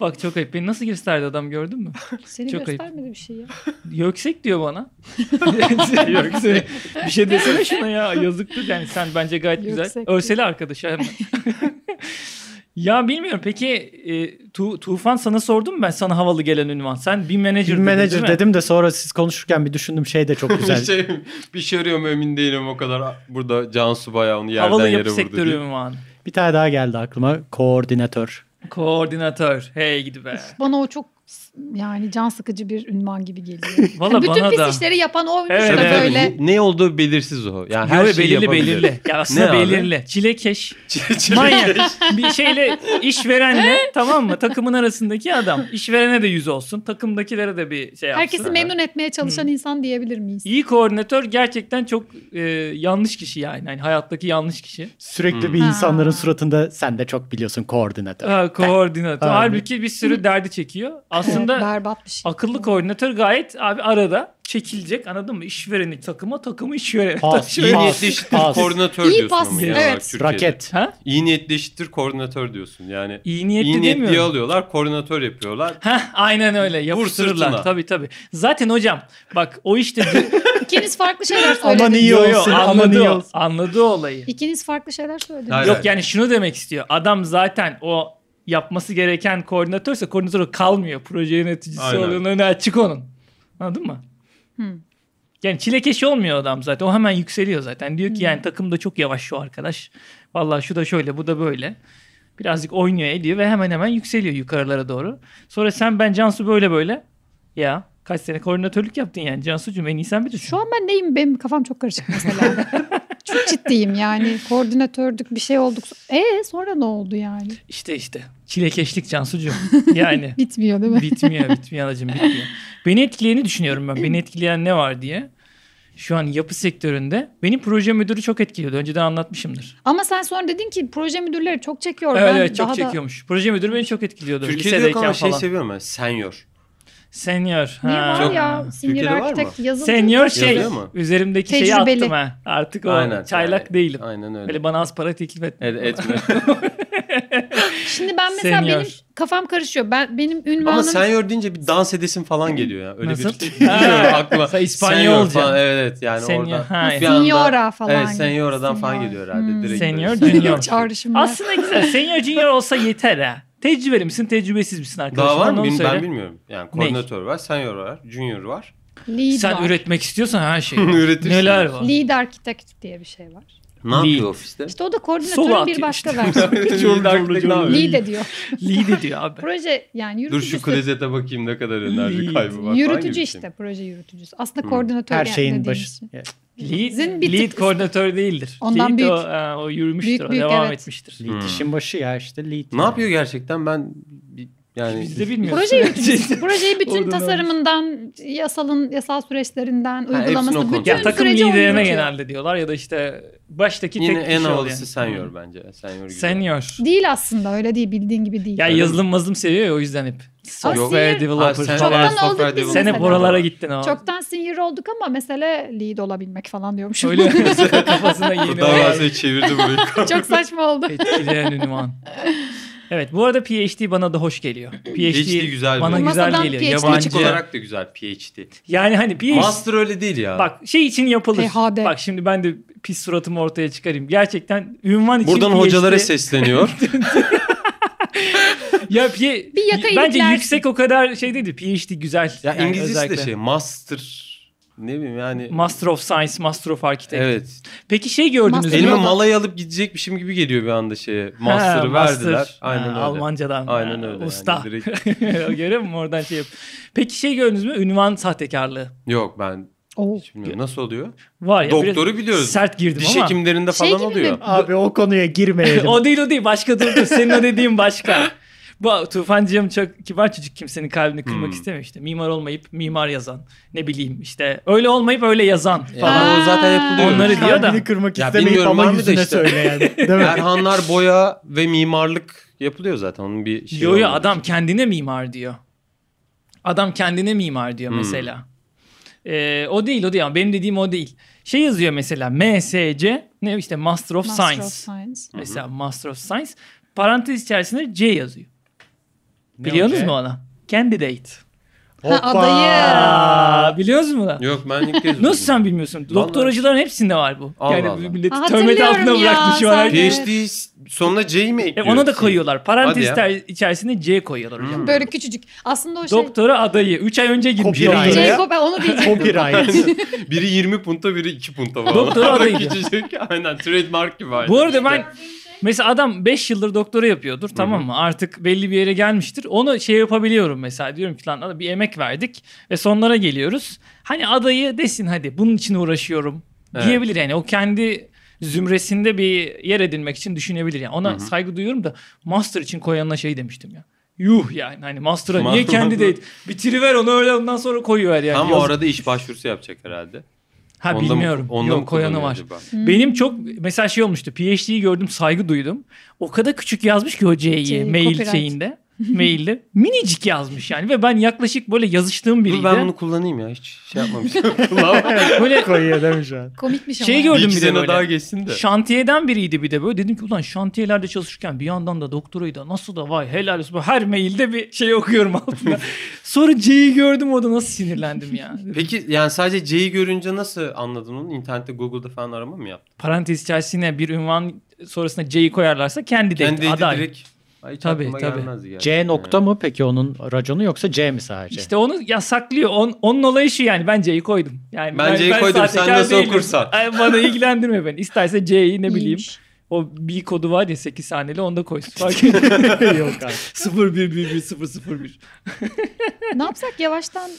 Speaker 2: Bak çok ayıp. Beni nasıl gösterdi adam gördün mü?
Speaker 1: Seni
Speaker 2: Çok ayıp.
Speaker 1: göstermedi bir şey ya.
Speaker 2: Yüksek diyor
Speaker 4: [LAUGHS]
Speaker 2: bana. Yüksek. [LAUGHS] bir şey desene şuna ya. Yazıktır yani sen bence gayet
Speaker 1: Yüksek.
Speaker 2: güzel. Örseli arkadaş hemen. [LAUGHS] ya bilmiyorum peki e, Tu- Tufan sana sordum mu ben sana havalı gelen ünvan. Sen bir manager,
Speaker 3: Bir
Speaker 2: dedin,
Speaker 3: manager
Speaker 2: değil mi?
Speaker 3: dedim de sonra siz konuşurken bir düşündüm şey de çok
Speaker 4: bir
Speaker 3: güzel.
Speaker 4: şey bir şey arıyor mu emin değilim o kadar. Burada Cansu bayağı onu yerden
Speaker 2: Havalı
Speaker 4: yere
Speaker 2: yapı
Speaker 4: vurdu.
Speaker 2: sektörü
Speaker 4: diye.
Speaker 2: ünvanı.
Speaker 3: Bir tane daha geldi aklıma. Koordinatör.
Speaker 2: Koordinatör. Hey
Speaker 1: [LAUGHS]
Speaker 2: gidi be.
Speaker 1: Bana o çok yani can sıkıcı bir ünvan gibi geliyor.
Speaker 2: Valla
Speaker 1: bütün
Speaker 2: bana
Speaker 1: pis
Speaker 2: da.
Speaker 1: işleri yapan oymuş
Speaker 2: Evet,
Speaker 1: da
Speaker 2: evet.
Speaker 1: böyle.
Speaker 4: Ne olduğu belirsiz o. Yani her
Speaker 2: Her
Speaker 4: şeyi
Speaker 2: belirli
Speaker 4: yapabilir. [LAUGHS]
Speaker 2: belirli. Ya aslında
Speaker 4: Ne abi?
Speaker 2: belirli. Çilekeş.
Speaker 4: Çile-
Speaker 2: Manyak. bir şeyle işverenle tamam mı? Takımın arasındaki adam. İşverene de yüz olsun. Takımdakilere de bir şey yapsın.
Speaker 1: Herkesi memnun etmeye çalışan insan diyebilir miyiz?
Speaker 2: İyi koordinatör gerçekten çok e, yanlış kişi yani. Hani hayattaki yanlış kişi.
Speaker 3: Sürekli
Speaker 4: Hmm.
Speaker 3: bir insanların
Speaker 1: Ha.
Speaker 3: suratında sen de çok biliyorsun koordinatör.
Speaker 2: Ha, koordinatör.
Speaker 3: Abi.
Speaker 2: Halbuki bir sürü derdi çekiyor.
Speaker 1: Evet,
Speaker 2: Aslında
Speaker 1: berbat bir şey.
Speaker 2: akıllı koordinatör gayet abi arada çekilecek anladın mı? İşvereni takıma, takımı işverene.
Speaker 3: Pas,
Speaker 4: İyi
Speaker 2: İşvereni-
Speaker 3: pas,
Speaker 4: niyetli eşittir
Speaker 3: pas.
Speaker 4: koordinatör
Speaker 1: İyi
Speaker 4: diyorsun
Speaker 1: pas,
Speaker 4: ama genel
Speaker 1: evet.
Speaker 4: olarak Türkiye'de.
Speaker 3: Raket.
Speaker 2: Ha?
Speaker 4: İyi niyetli eşittir koordinatör diyorsun yani.
Speaker 2: İyi niyetli,
Speaker 4: İyi niyetli
Speaker 2: demiyorum.
Speaker 4: alıyorlar koordinatör yapıyorlar.
Speaker 2: Heh, aynen öyle. Yapıştırırlar.
Speaker 4: sırtına.
Speaker 2: Tabii tabii. Zaten hocam bak o işte
Speaker 1: İkiniz farklı şeyler
Speaker 3: Aman
Speaker 1: söylediniz.
Speaker 3: iyi
Speaker 2: [LAUGHS] Yo, yo,
Speaker 3: olsun. Aman
Speaker 2: anladı,
Speaker 3: iyi
Speaker 2: o-
Speaker 3: olsun.
Speaker 2: anladı olayı.
Speaker 1: İkiniz farklı şeyler söylediniz.
Speaker 4: Hayır,
Speaker 2: Yok yani şunu demek istiyor. Adam zaten o yapması gereken koordinatörse koordinatör o kalmıyor. Proje yöneticisi
Speaker 4: Aynen.
Speaker 1: Hmm.
Speaker 2: oluyor. Önü açık onun. Anladın mı?
Speaker 1: Hı.
Speaker 2: Yani çilekeş olmuyor adam zaten. O hemen yükseliyor zaten. Diyor
Speaker 1: Hmm.
Speaker 2: ki yani takım da çok yavaş şu arkadaş. Vallahi şu da şöyle bu da böyle. Birazcık oynuyor ediyor ve hemen hemen yükseliyor yukarılara doğru. Sonra sen ben Cansu böyle böyle. Ya kaç sene koordinatörlük yaptın yani Cansu'cum en iyi sen bilirsin.
Speaker 1: Şu an ben neyim? Benim kafam çok karışık mesela. çok ciddiyim yani. Koordinatörlük bir şey olduk. E sonra ne oldu yani?
Speaker 2: İşte işte
Speaker 1: [LAUGHS]
Speaker 2: çilekeşlik Cansu'cum. Yani
Speaker 1: Bitmiyor değil mi?
Speaker 2: [LAUGHS] bitmiyor bitmiyor anacığım bitmiyor. Beni etkileyeni düşünüyorum ben. Beni etkileyen ne var diye. Şu an yapı sektöründe benim proje müdürü çok etkiliyordu. Önceden anlatmışımdır.
Speaker 1: Ama sen sonra dedin ki proje müdürleri çok çekiyor.
Speaker 2: Evet
Speaker 1: ben
Speaker 2: evet çok
Speaker 1: daha da-
Speaker 2: çekiyormuş. Proje müdürü beni çok etkiliyordu.
Speaker 4: Türkiye'de yok
Speaker 2: Lisedeyken
Speaker 4: ama şey
Speaker 2: falan.
Speaker 4: seviyorum ben. Senior.
Speaker 2: Senior.
Speaker 1: Niye
Speaker 2: ha.
Speaker 1: var ya?
Speaker 4: Türkiye'de
Speaker 1: Senior
Speaker 4: var mı?
Speaker 1: architect yazıldı.
Speaker 2: Senior şey.
Speaker 4: Yazıyor mu?
Speaker 2: Üzerimdeki şeyi
Speaker 1: Tecrübeli.
Speaker 2: attım ha. Artık o çaylak
Speaker 4: yani.
Speaker 2: değilim.
Speaker 4: Aynen öyle.
Speaker 2: Böyle bana az para teklif etme.
Speaker 1: [LAUGHS]
Speaker 4: Evet, etme.
Speaker 2: [LAUGHS]
Speaker 1: Şimdi ben mesela
Speaker 2: Senior.
Speaker 1: benim kafam karışıyor. Ben benim ünvanım
Speaker 4: Ama senior deyince bir dans edesin falan geliyor ya. Öyle
Speaker 2: Nasıl?
Speaker 4: [LAUGHS] bir Bilmiyorum, aklıma.
Speaker 2: Sen İspanyolca.
Speaker 4: Senior falan, evet evet yani
Speaker 2: Senior,
Speaker 4: oradan.
Speaker 2: ha,
Speaker 4: bir anda-
Speaker 1: seniora falan.
Speaker 4: evet
Speaker 1: gibi.
Speaker 4: senior'dan falan
Speaker 1: Senior.
Speaker 4: geliyor herhalde.
Speaker 1: Hmm.
Speaker 4: Direkt
Speaker 2: Senior,
Speaker 4: böyle.
Speaker 2: junior.
Speaker 1: Çağrışımlar.
Speaker 2: Aslında güzel. Senior junior olsa yeter ha. Tecrübeli misin, tecrübesiz misin arkadaşım?
Speaker 4: Daha var mı?
Speaker 2: Onu
Speaker 4: Bil-
Speaker 2: söyle.
Speaker 4: Ben bilmiyorum. Yani koordinatör var, senior var,
Speaker 2: [LAUGHS]
Speaker 4: junior var.
Speaker 1: Lead
Speaker 2: Sen
Speaker 1: var.
Speaker 2: üretmek istiyorsan her
Speaker 4: [LAUGHS]
Speaker 2: şeyi.
Speaker 4: Üretirsin.
Speaker 2: Neler var?
Speaker 1: Lead architect diye bir şey var.
Speaker 4: Ne yapıyor
Speaker 2: Lead.
Speaker 4: ofiste?
Speaker 1: İşte o da
Speaker 2: Sola
Speaker 1: koordinatörün
Speaker 2: atıyor
Speaker 1: bir başka
Speaker 2: işte.
Speaker 4: [LAUGHS]
Speaker 1: versiyonu.
Speaker 2: Lead architect ne yapıyor?
Speaker 1: Lead ediyor.
Speaker 2: Lead ediyor abi.
Speaker 1: Proje yani
Speaker 4: Dur şu
Speaker 1: yürütücüsü.
Speaker 4: klozete bakayım ne kadar enerji
Speaker 2: Lead.
Speaker 4: kaybı var. falan gibi
Speaker 1: yürütücü
Speaker 4: bir şey.
Speaker 1: işte proje yürütücüsü. Aslında
Speaker 4: Hmm.
Speaker 1: koordinatör
Speaker 3: Her
Speaker 1: yani
Speaker 3: şeyin
Speaker 1: dediğimiz
Speaker 3: başı.
Speaker 1: şey.
Speaker 2: [LAUGHS] Lead,
Speaker 1: Sizin bir
Speaker 2: lead
Speaker 1: tık-
Speaker 2: koordinatör değildir.
Speaker 1: Ondan
Speaker 2: lead
Speaker 1: büyük.
Speaker 2: O, e, o yürümüştür,
Speaker 1: Büyük,
Speaker 2: o
Speaker 1: büyük,
Speaker 2: devam
Speaker 1: evet.
Speaker 2: etmiştir.
Speaker 3: Lead
Speaker 4: Hmm.
Speaker 3: işin başı ya işte lead.
Speaker 4: Ne yapıyor gerçekten ben bir- yani
Speaker 2: Biz de bilmiyoruz. [LAUGHS]
Speaker 1: Proje yürütücüsü. Projeyi
Speaker 2: Şey, Oradan
Speaker 1: bütün
Speaker 2: almış.
Speaker 1: tasarımından, yasalın, yasal süreçlerinden,
Speaker 4: hepsini o
Speaker 1: uygulaması,
Speaker 4: kontrol
Speaker 1: bütün
Speaker 2: ya takım
Speaker 1: süreci o
Speaker 2: liderine
Speaker 1: yürütüyor.
Speaker 2: genelde diyorlar ya da işte baştaki
Speaker 4: yine
Speaker 2: tek
Speaker 4: en
Speaker 2: kişi
Speaker 4: havalısı
Speaker 2: oluyor.
Speaker 4: senior bence. Senior gibi.
Speaker 2: Senior.
Speaker 1: Değil aslında öyle değil bildiğin gibi değil.
Speaker 2: Ya
Speaker 4: Öyle mi?
Speaker 2: yazılım mazlım seviyor ya o yüzden hep. Software
Speaker 1: senior-
Speaker 4: Ha,
Speaker 2: developer
Speaker 4: sen-
Speaker 2: falan.
Speaker 1: Çoktan olduk
Speaker 4: software
Speaker 1: biz
Speaker 2: Sen hep
Speaker 1: mesela.
Speaker 2: oralara gittin ama.
Speaker 1: Çoktan senior olduk ama mesele lead olabilmek falan diyormuşum.
Speaker 2: Öyle kafasına
Speaker 4: [LAUGHS]
Speaker 2: yeni
Speaker 4: Daha
Speaker 2: olan.
Speaker 4: fazla çevirdi burayı.
Speaker 1: [LAUGHS] Çok saçma oldu.
Speaker 2: Şey, Etkileyen ünvan. Evet bu arada PhD bana da hoş geliyor. PhD,
Speaker 4: PhD güzel bir-
Speaker 2: bana güzel
Speaker 1: Masadan
Speaker 2: geliyor.
Speaker 1: PhD
Speaker 4: Yabancı
Speaker 2: Yabancı.
Speaker 4: olarak da güzel PhD.
Speaker 2: Yani hani PhD
Speaker 4: Master öyle değil ya.
Speaker 2: bak şey için yapılır.
Speaker 1: PHD.
Speaker 2: Bak şimdi ben de pis suratımı ortaya çıkarayım. Gerçekten ünvan için
Speaker 4: Buradan
Speaker 2: PhD [LAUGHS]
Speaker 4: hocalara sesleniyor.
Speaker 2: Ya P-
Speaker 1: Bir yaka
Speaker 2: bence
Speaker 1: iliklersin.
Speaker 2: yüksek o kadar şey dedi. PhD güzel.
Speaker 4: ya
Speaker 2: Yani
Speaker 4: İngilizcesi de
Speaker 2: özellikle.
Speaker 4: şey master ne bileyim yani.
Speaker 2: Master of Science, Master of Architect.
Speaker 4: Evet.
Speaker 2: Peki şey gördünüz
Speaker 1: Master-
Speaker 2: mü?
Speaker 4: Elime
Speaker 1: Bilmiyorum.
Speaker 4: malayı alıp gidecekmişim gibi geliyor bir anda şeye.
Speaker 2: Ha,
Speaker 4: Master'ı
Speaker 2: master.
Speaker 4: verdiler. Aynen
Speaker 2: Ha,
Speaker 4: öyle.
Speaker 2: Almancadan.
Speaker 4: Aynen
Speaker 2: Ha,
Speaker 4: öyle. yani
Speaker 2: Usta. [LAUGHS]
Speaker 4: direkt-
Speaker 2: Görüyor musun oradan şey yap. Peki şey gördünüz mü? Ünvan sahtekarlığı.
Speaker 4: Yok ben
Speaker 1: Oo.
Speaker 4: hiç bilmiyorum. Nasıl oluyor?
Speaker 2: Var ya. biraz
Speaker 4: Doktoru biliyoruz.
Speaker 2: Sert girdim
Speaker 4: Diş
Speaker 2: ama.
Speaker 4: hekimlerinde
Speaker 1: Şey
Speaker 4: falan
Speaker 1: gibi
Speaker 4: oluyor.
Speaker 1: mi?
Speaker 3: Abi o konuya girmeyelim.
Speaker 2: o değil o değil. Başka dur dur. Senin o dediğin başka. Bu Tufancığım çok kibar çocuk kimsenin kalbini kırmak
Speaker 4: Hmm.
Speaker 2: istemiyor işte. Mimar olmayıp mimar yazan. Ne bileyim işte öyle olmayıp öyle yazan falan.
Speaker 1: Ha.
Speaker 4: Falan o zaten yapılıyor.
Speaker 2: Onları diyor
Speaker 4: [LAUGHS]
Speaker 2: da.
Speaker 3: Kalbini kırmak
Speaker 4: Ya
Speaker 3: istemeyip
Speaker 4: bilmiyorum
Speaker 3: ama
Speaker 4: abi de
Speaker 3: yüzüne
Speaker 4: işte.
Speaker 3: söyle
Speaker 4: [LAUGHS]
Speaker 3: yani. Değil mi? [LAUGHS]
Speaker 4: Erhanlar boya ve mimarlık yapılıyor zaten. Onun bir şeyi
Speaker 2: yo yo
Speaker 4: şey olmadı.
Speaker 2: adam kendine mimar diyor. Adam kendine mimar diyor
Speaker 4: Hmm.
Speaker 2: mesela. Ee, o değil o değil ama benim dediğim o değil. Şey yazıyor mesela MSC ne işte Master of
Speaker 1: Master
Speaker 2: Science.
Speaker 1: of Science.
Speaker 2: Mesela Master of Science parantez içerisinde C yazıyor.
Speaker 3: Ne
Speaker 2: Biliyorsunuz
Speaker 3: olacak?
Speaker 2: mu ona? Candidate.
Speaker 1: Ha, adayı.
Speaker 2: Aa, biliyorsunuz mu lan?
Speaker 4: Yok ben ilk kez duydum.
Speaker 2: [LAUGHS] Nasıl sen bilmiyorsun? Doktoracıların hepsinde var bu.
Speaker 4: Allah
Speaker 2: yani
Speaker 4: Allah.
Speaker 2: milleti
Speaker 1: Ha,
Speaker 2: töhmet
Speaker 1: hatırlıyorum
Speaker 2: altına
Speaker 1: ya,
Speaker 2: bıraktı şu an.
Speaker 1: sen de.
Speaker 4: PhD sonuna C'yi mi
Speaker 2: E,
Speaker 4: ekliyor?
Speaker 2: ona da koyuyorlar. Parantez
Speaker 4: Hadi ya.
Speaker 2: ter- içerisinde C koyuyorlar hocam.
Speaker 4: Hmm.
Speaker 1: Böyle küçücük. Aslında o şey.
Speaker 2: Doktora adayı. 3 ay önce girmiş.
Speaker 3: Copyright.
Speaker 4: şey.
Speaker 2: doktora.
Speaker 3: Copyright.
Speaker 1: Jacob ben onu diyeceğim.
Speaker 3: Copyright.
Speaker 4: [LAUGHS] Biri 20 punta biri 2 punta falan.
Speaker 2: Doktora adayı.
Speaker 4: Küçücük. [LAUGHS] Aynen trademark gibi. aynı.
Speaker 2: Bu arada ben mesela adam 5 yıldır doktora yapıyordur tamam mı? Artık belli bir yere gelmiştir. Onu şey yapabiliyorum mesela diyorum ki lan adam bir emek verdik ve sonlara geliyoruz. Hani adayı desin hadi bunun için uğraşıyorum
Speaker 4: Evet.
Speaker 2: diyebilir yani. O kendi zümresinde bir yer edinmek için düşünebilir yani. Ona saygı duyuyorum da master için koyanla şey demiştim ya. Yuh yani hani master'a niye
Speaker 4: Ma-
Speaker 2: kendi değil? Bitiriver onu öyle ondan sonra koyuver yani.
Speaker 4: Tam o
Speaker 2: Yazık.
Speaker 4: arada iş başvurusu yapacak herhalde.
Speaker 2: ha
Speaker 4: Onda mı-
Speaker 2: bilmiyorum.
Speaker 4: onda
Speaker 2: Yok
Speaker 4: mı
Speaker 2: koyanı
Speaker 4: kullanıyor
Speaker 2: var.
Speaker 4: acaba?
Speaker 2: Benim çok mesela şey olmuştu. PhD'yi gördüm saygı duydum. O kadar küçük yazmış ki o C'yi
Speaker 1: C'yi,
Speaker 2: mail
Speaker 1: copyright.
Speaker 2: şeyinde. mailde. Minicik yazmış yani ve ben yaklaşık böyle yazıştığım biriydi.
Speaker 4: Dur ben bunu kullanayım ya hiç
Speaker 2: [LAUGHS]
Speaker 4: şey yapmamışım. Kullanmadım.
Speaker 2: böyle
Speaker 3: Koyuyor değil mi şu an?
Speaker 1: Komikmiş ama.
Speaker 2: Şey
Speaker 1: ya.
Speaker 2: gör-
Speaker 4: bir
Speaker 2: Gördüm
Speaker 4: iki
Speaker 2: bir de
Speaker 4: sene
Speaker 2: böyle.
Speaker 4: daha geçsin de.
Speaker 2: şantiyeden biriydi bir de böyle. Dedim ki ulan şantiyelerde çalışırken bir yandan da doktorayı da nasıl da vay helal olsun. Her mailde bir şey okuyorum
Speaker 4: [LAUGHS]
Speaker 2: altında. Sonra C'yi gördüm orada nasıl sinirlendim ya.
Speaker 4: Peki yani sadece C'yi görünce nasıl anladın onu? İnternette Google'da falan arama mı yaptın?
Speaker 2: Parantez içerisine bir ünvan sonrasında C'yi koyarlarsa kendi,
Speaker 4: Kendi
Speaker 2: aday.
Speaker 4: direkt Ay, hiç
Speaker 2: Tabii,
Speaker 4: aklıma
Speaker 2: tabii.
Speaker 4: gelmezdi
Speaker 3: C
Speaker 4: gerçekten yani.
Speaker 3: nokta mı peki onun raconu yoksa C mi sadece?
Speaker 2: İşte onu yasaklıyor. On, onun olayı şu yani ben C'yi koydum. Yani
Speaker 4: Ben C'yi koydum, sen
Speaker 2: sahtekar
Speaker 4: nasıl okursan.
Speaker 2: Ay, bana ilgilendirme ben. İsterse C'yi ne bileyim.
Speaker 1: İyiymiş.
Speaker 2: O bir kodu var ya 8 haneli onu da koysun.
Speaker 4: [LAUGHS]
Speaker 2: Fark etmiyor.
Speaker 3: [LAUGHS] Yok abi.
Speaker 2: 0111
Speaker 1: ne yapsak
Speaker 2: [LAUGHS]
Speaker 1: yavaştan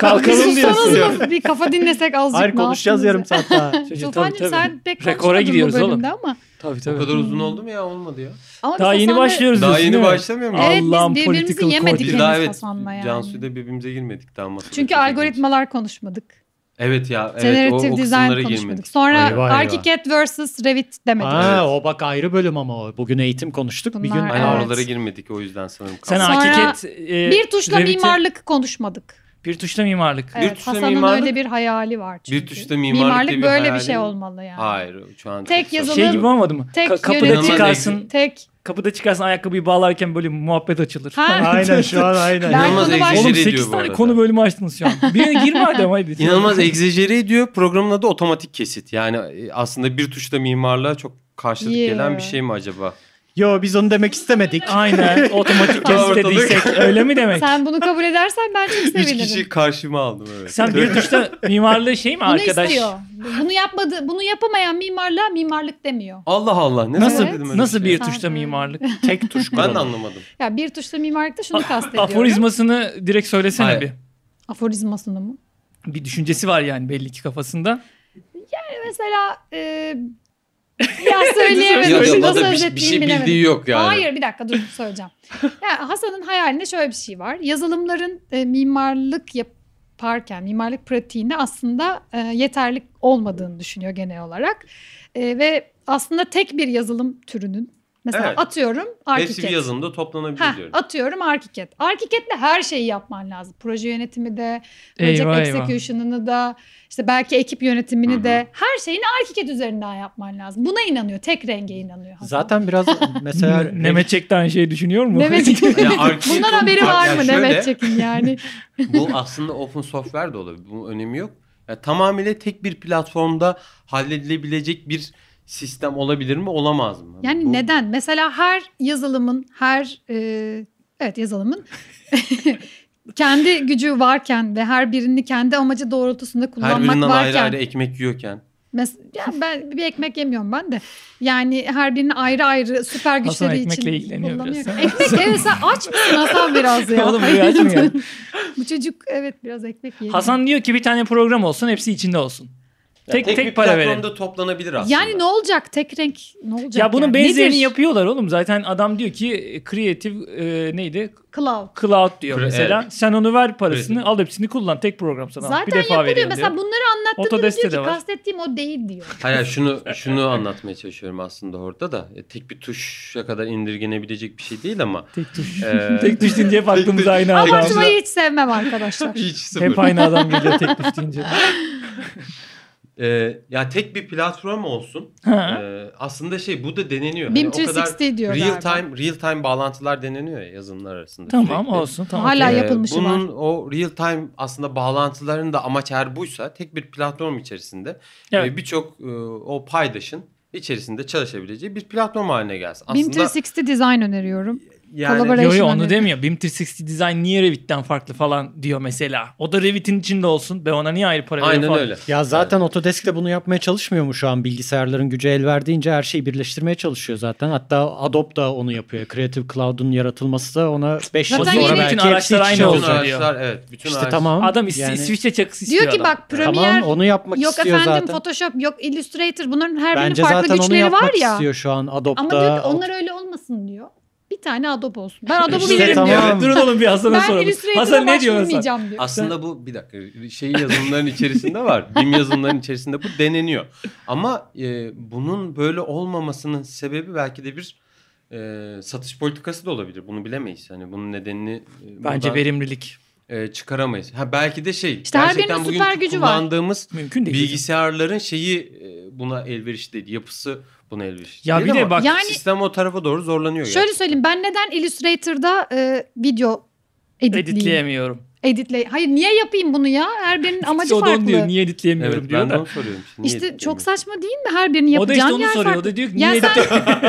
Speaker 2: Kalkalım
Speaker 1: bir
Speaker 2: diyorsun.
Speaker 1: sussanız mı? Bir kafa dinlesek azıcık.
Speaker 3: Hayır
Speaker 1: ne
Speaker 3: konuşacağız yarım
Speaker 1: yaptınız
Speaker 3: saat daha.
Speaker 1: [LAUGHS] ya?
Speaker 2: Çocuğu, tabii,
Speaker 1: Tufancığım
Speaker 2: tabii.
Speaker 1: sen pek
Speaker 2: Rekora
Speaker 1: konuşmadın
Speaker 2: gidiyoruz
Speaker 1: bu
Speaker 2: oğlum.
Speaker 1: bölümde ama.
Speaker 2: Tabii tabii.
Speaker 4: O kadar uzun oldu mu ya olmadı ya.
Speaker 1: ama
Speaker 2: Daha
Speaker 1: biz
Speaker 2: yeni
Speaker 1: Hasan'la-
Speaker 2: başlıyoruz
Speaker 4: Daha
Speaker 2: diyorsun,
Speaker 4: yeni
Speaker 2: değil mi?
Speaker 4: başlamıyor mu?
Speaker 1: Evet biz
Speaker 2: Allah'ın
Speaker 1: birbirimizi
Speaker 2: political
Speaker 1: yemedik
Speaker 4: Biz
Speaker 2: correctness.
Speaker 4: daha
Speaker 1: henüz
Speaker 4: evet
Speaker 1: Hasan'la yani.
Speaker 4: Cansu'yla birbirimize girmedik daha masada.
Speaker 1: Çünkü
Speaker 4: Çok
Speaker 1: algoritmalar konuşmadık.
Speaker 4: ilginç. Evet ya evet o,
Speaker 1: Generative
Speaker 4: o kısımlara
Speaker 1: design konuşmadık.
Speaker 4: girmedik.
Speaker 1: Sonra
Speaker 3: Eyvah, eyvah.
Speaker 1: Archicad vs Revit demedik.
Speaker 3: Aa, o bak ayrı bölüm ama o. Bugün eğitim konuştuk. bir
Speaker 1: Bunlar-
Speaker 3: gün
Speaker 4: Aynen
Speaker 1: Evet.
Speaker 4: oralara girmedik o yüzden sanırım.
Speaker 2: Sen
Speaker 1: Sonra
Speaker 2: hakikat... e,
Speaker 1: bir tuşla
Speaker 2: Revit'i-
Speaker 1: mimarlık konuşmadık.
Speaker 2: Bir tuşla mimarlık.
Speaker 1: Evet,
Speaker 4: tuşla
Speaker 1: Hasan'ın
Speaker 4: mimarlık-
Speaker 1: öyle bir hayali var çünkü.
Speaker 4: Bir tuşla mimarlık diye bir
Speaker 1: böyle bir
Speaker 4: hayali
Speaker 1: şey
Speaker 4: mi?
Speaker 1: olmalı yani.
Speaker 4: Hayır şu an.
Speaker 1: Tek
Speaker 4: çok-
Speaker 1: yazılı-
Speaker 2: Şey gibi olmadı mı?
Speaker 1: Tek
Speaker 2: Ka- kapıda
Speaker 1: yönetici-
Speaker 2: çıkarsın,
Speaker 1: Tek.
Speaker 2: kapıda çıkarsın ayakkabıyı bağlarken böyle muhabbet açılır.
Speaker 1: Ha.
Speaker 2: falan.
Speaker 3: Aynen şu an aynen.
Speaker 1: Ben-
Speaker 4: İnanılmaz
Speaker 1: konu baş-
Speaker 4: egzajere
Speaker 2: Oğlum
Speaker 4: ediyor
Speaker 2: 8
Speaker 4: bu
Speaker 2: tane
Speaker 4: arada.
Speaker 2: konu bölümü açtınız şu an. Birine girme hadi hadi.
Speaker 4: İnanılmaz egzajere ediyor. Programın adı otomatik kesit. Yani e, aslında bir tuşla mimarlığa çok karşılık
Speaker 1: Yeah.
Speaker 4: gelen bir şey mi acaba?
Speaker 3: Yo biz onu
Speaker 1: [LAUGHS]
Speaker 3: demek istemedik.
Speaker 2: Aynen otomatik test
Speaker 4: Ortalık.
Speaker 2: dediysek öyle mi demek? Sen,
Speaker 1: Sen bunu kabul edersen ben çok
Speaker 4: [LAUGHS] Üç
Speaker 1: sevinirim.
Speaker 4: kişi karşıma aldım evet.
Speaker 2: bir tuşla mimarlığı şey mi
Speaker 1: Bunu
Speaker 2: arkadaş?
Speaker 1: istiyor. Bunu yapmadı, bunu yapamayan mimarlığa mimarlık demiyor.
Speaker 4: Allah Allah ne
Speaker 1: Nasıl-
Speaker 4: zaman dedim öyle
Speaker 2: Nasıl
Speaker 4: şey?
Speaker 2: bir
Speaker 1: Sen-
Speaker 2: tuşla mimarlık?
Speaker 3: Tek tuş
Speaker 4: Ben de
Speaker 3: kuralı.
Speaker 4: anlamadım.
Speaker 1: Ya bir tuşla mimarlıkta şunu
Speaker 2: Ah,
Speaker 1: kastediyorum.
Speaker 2: Aforizmasını direkt söylesene
Speaker 4: Hayır.
Speaker 2: bir.
Speaker 1: Aforizmasını mı?
Speaker 2: Bir düşüncesi var yani belli ki kafasında.
Speaker 1: Mesela e, ya
Speaker 2: Ya
Speaker 1: söyleyemedim.
Speaker 2: da-
Speaker 1: Nasıl
Speaker 4: da
Speaker 1: özetleyeyim
Speaker 4: bir, bir şey
Speaker 1: bilemedim.
Speaker 4: bildiği yok yani.
Speaker 1: Hayır bir dakika dur söyleyeceğim. ya Hasan'ın hayalinde şöyle bir şey var. Yazılımların e, mimarlık yaparken mimarlık pratiğinde aslında e, yeterli olmadığını düşünüyor genel olarak. E, ve aslında tek bir yazılım türünün mesela
Speaker 4: Evet.
Speaker 1: atıyorum
Speaker 4: Hepsi bir
Speaker 1: Archicad.
Speaker 4: yazılımda toplanabilir
Speaker 1: Heh,
Speaker 4: diyorum.
Speaker 1: atıyorum Archicad. Archicad'le her şeyi yapman lazım. Proje yönetimi de, project
Speaker 2: Eyvah, eyvah.
Speaker 1: execution'ını da, işte belki ekip yönetimini
Speaker 4: Hı hı.
Speaker 1: de her şeyini Archicad üzerinden yapman lazım. Buna inanıyor. Tek renge inanıyor. Hasan.
Speaker 3: Zaten [LAUGHS] biraz mesela
Speaker 2: Ne- Mehmet Çek'te aynı şeyi düşünüyor
Speaker 1: [LAUGHS]
Speaker 2: mu?
Speaker 1: Mehmet
Speaker 2: [LAUGHS]
Speaker 1: Çekin.
Speaker 4: [LAUGHS] Ya Archicad'ın
Speaker 1: Bundan haberi var
Speaker 4: farkı-
Speaker 1: mı
Speaker 4: ya şöyle-
Speaker 1: Mehmet Çekin
Speaker 4: [LAUGHS]
Speaker 1: yani?
Speaker 4: Bu aslında open software de olabilir. Bunun önemi yok. Ya tamamıyla tek bir platformda halledilebilecek bir sistem olabilir mi? Olamaz mı?
Speaker 1: Yani
Speaker 4: Bu-
Speaker 1: neden? Mesela her yazılımın, her e, evet yazılımın [LAUGHS] kendi gücü varken ve her birini kendi amacı doğrultusunda
Speaker 4: Her
Speaker 1: kullanmak
Speaker 4: birinden
Speaker 1: varken
Speaker 4: ayrı ayrı ekmek yiyorken.
Speaker 1: Mes- ya ben bir ekmek yemiyorum ben de. Yani her birinin ayrı ayrı süper güçleri
Speaker 2: Hasan
Speaker 1: için
Speaker 2: ekmekle ilgileniyor
Speaker 1: kullanıyor.
Speaker 2: biraz. [LAUGHS]
Speaker 1: Ekmek evet sen aç mısın Hasan biraz ya?
Speaker 2: Oğlum bu aç mı ya?
Speaker 1: [LAUGHS] Bu çocuk evet biraz ekmek yiyor.
Speaker 2: Hasan diyor ki bir tane program olsun hepsi içinde olsun. Tek tek,
Speaker 4: bir
Speaker 2: para verelim.
Speaker 4: platformda toplanabilir aslında.
Speaker 1: yani ne olacak tek renk ne olacak?
Speaker 2: Ya bunun
Speaker 1: yani?
Speaker 2: benzerini
Speaker 1: Nedir?
Speaker 2: yapıyorlar oğlum. Zaten adam diyor ki e, creative e, neydi?
Speaker 1: Cloud.
Speaker 2: Cloud diyor
Speaker 4: Cre-
Speaker 2: mesela.
Speaker 4: evet.
Speaker 2: Sen onu ver parasını,
Speaker 4: Creative.
Speaker 2: al hepsini kullan. Tek program sana. bir
Speaker 1: Zaten
Speaker 2: defa
Speaker 1: yapılıyor.
Speaker 2: veriyor
Speaker 1: Mesela
Speaker 2: diyor.
Speaker 1: bunları anlattığında
Speaker 2: Otodeste
Speaker 1: diyor
Speaker 2: de
Speaker 1: ki
Speaker 2: var.
Speaker 1: kastettiğim o değil diyor.
Speaker 4: Hayır şunu şunu anlatmaya çalışıyorum aslında orada da. E, tek bir tuşa kadar indirgenebilecek bir şey değil ama.
Speaker 2: Tek tuş.
Speaker 4: e,
Speaker 2: [LAUGHS] tek tuş deyince hep aklımıza aynı adam.
Speaker 1: Abartmayı hiç sevmem
Speaker 2: [LAUGHS]
Speaker 1: arkadaşlar.
Speaker 4: hiç sıfır.
Speaker 2: Hep aynı adam geliyor tek tuş
Speaker 4: [LAUGHS]
Speaker 2: deyince.
Speaker 4: E, ya tek bir platform olsun.
Speaker 2: Ha.
Speaker 4: E, aslında şey bu da deneniyor.
Speaker 1: BIM
Speaker 4: Hani o kadar
Speaker 1: 360 diyor
Speaker 4: real
Speaker 1: galiba.
Speaker 4: time real time bağlantılar deneniyor ya yazılımlar arasında.
Speaker 2: Tamam
Speaker 4: sürekli. Ee,
Speaker 2: olsun. Tamam.
Speaker 1: Hala
Speaker 2: okey.
Speaker 1: yap- yapılmışı
Speaker 4: bunun o real time aslında bağlantıların da amaç eğer buysa tek bir platform içerisinde
Speaker 2: Evet.
Speaker 4: e, birçok e, o paydaşın içerisinde çalışabileceği bir platform haline gelsin.
Speaker 1: BIM
Speaker 4: aslında
Speaker 1: 360 design öneriyorum.
Speaker 4: yani
Speaker 1: Collaboration
Speaker 2: Yo yo onu
Speaker 1: hani.
Speaker 2: demiyor. BIM 360 Design niye Revit'ten farklı falan diyor mesela. O da Revit'in içinde olsun. Ben ona niye ayrı para veriyorum
Speaker 4: aynen
Speaker 2: falan.
Speaker 4: öyle.
Speaker 3: Ya zaten Autodesk de bunu yapmaya çalışmıyor mu şu an bilgisayarların gücü el verdiğince her şeyi birleştirmeye çalışıyor zaten. Hatta Adobe da onu yapıyor. Creative Cloud'un yaratılması da ona 5 yıl
Speaker 1: Zaten
Speaker 3: sonra
Speaker 1: yeni-
Speaker 3: belki
Speaker 2: Bütün
Speaker 3: hepsi iç
Speaker 2: araçlar
Speaker 3: içe
Speaker 2: aynı
Speaker 4: Bütün
Speaker 3: olacak.
Speaker 2: olacak.
Speaker 4: araçlar evet. Bütün
Speaker 3: İşte
Speaker 4: araç-
Speaker 3: tamam.
Speaker 2: Adam is-
Speaker 3: Yani-
Speaker 2: İsviçre çakısı istiyor
Speaker 1: Diyor ki
Speaker 2: adam.
Speaker 1: bak Premiere
Speaker 3: Tamam onu yapmak
Speaker 1: Yok
Speaker 3: istiyor
Speaker 1: efendim
Speaker 3: zaten.
Speaker 1: Photoshop, yok Illustrator bunların her birinin
Speaker 3: Bence
Speaker 1: farklı
Speaker 3: zaten onu
Speaker 1: güçleri var
Speaker 3: yapmak
Speaker 1: ya.
Speaker 3: istiyor şu an Adobe'da.
Speaker 1: Ama diyor ki
Speaker 3: Aut-
Speaker 1: onlar öyle olmasın diyor. Bir tane Adobe olsun. Ben Adobe'u
Speaker 3: İşte
Speaker 1: bilirim
Speaker 3: tamam.
Speaker 1: diyor.
Speaker 2: Evet, durun oğlum bir Hasan'a
Speaker 1: Ben
Speaker 2: soralım.
Speaker 1: Illustrator'a
Speaker 2: Hasan ne diyor Hasan?
Speaker 1: başvurmayacağım diyor.
Speaker 4: Aslında bu bir dakika şey yazılımların içerisinde
Speaker 2: [LAUGHS]
Speaker 4: var. BIM yazılımların içerisinde bu deneniyor. Ama e, bunun böyle olmamasının sebebi belki de bir e, satış politikası da olabilir. Bunu bilemeyiz. Hani bunun nedenini e,
Speaker 2: Bence
Speaker 4: buradan-
Speaker 2: verimlilik.
Speaker 4: e, çıkaramayız. Ha belki de şey
Speaker 1: İşte her
Speaker 4: gerçekten
Speaker 1: birinin
Speaker 4: bugün
Speaker 1: süper gücü var.
Speaker 4: kullandığımız
Speaker 2: Mümkün değil.
Speaker 4: bilgisayarların şeyi e, buna elverişli değil. Yapısı buna elverişli
Speaker 2: Ya
Speaker 4: değil
Speaker 2: bir de
Speaker 4: ama
Speaker 2: bak-
Speaker 1: Yani-
Speaker 4: sistem o tarafa doğru zorlanıyor.
Speaker 1: Şöyle söyleyeyim ben neden Illustrator'da e, video editleyeyim?
Speaker 2: Editleyemiyorum.
Speaker 1: editle. Hayır niye yapayım bunu ya? Her birinin amacı
Speaker 2: şey o da onu
Speaker 1: farklı.
Speaker 2: diyor niye editleyemiyorum
Speaker 4: Evet
Speaker 2: diyor
Speaker 4: ben de
Speaker 2: da.
Speaker 4: onu soruyorum. Şimdi niye
Speaker 1: İşte çok
Speaker 4: demiyorum?
Speaker 1: saçma değil mi? Her birinin
Speaker 2: O da işte
Speaker 1: yapacağın
Speaker 2: onu
Speaker 1: yer
Speaker 2: soruyor. O
Speaker 1: farklı.
Speaker 2: da diyor ki
Speaker 1: Ya
Speaker 2: niye
Speaker 1: sen [LAUGHS]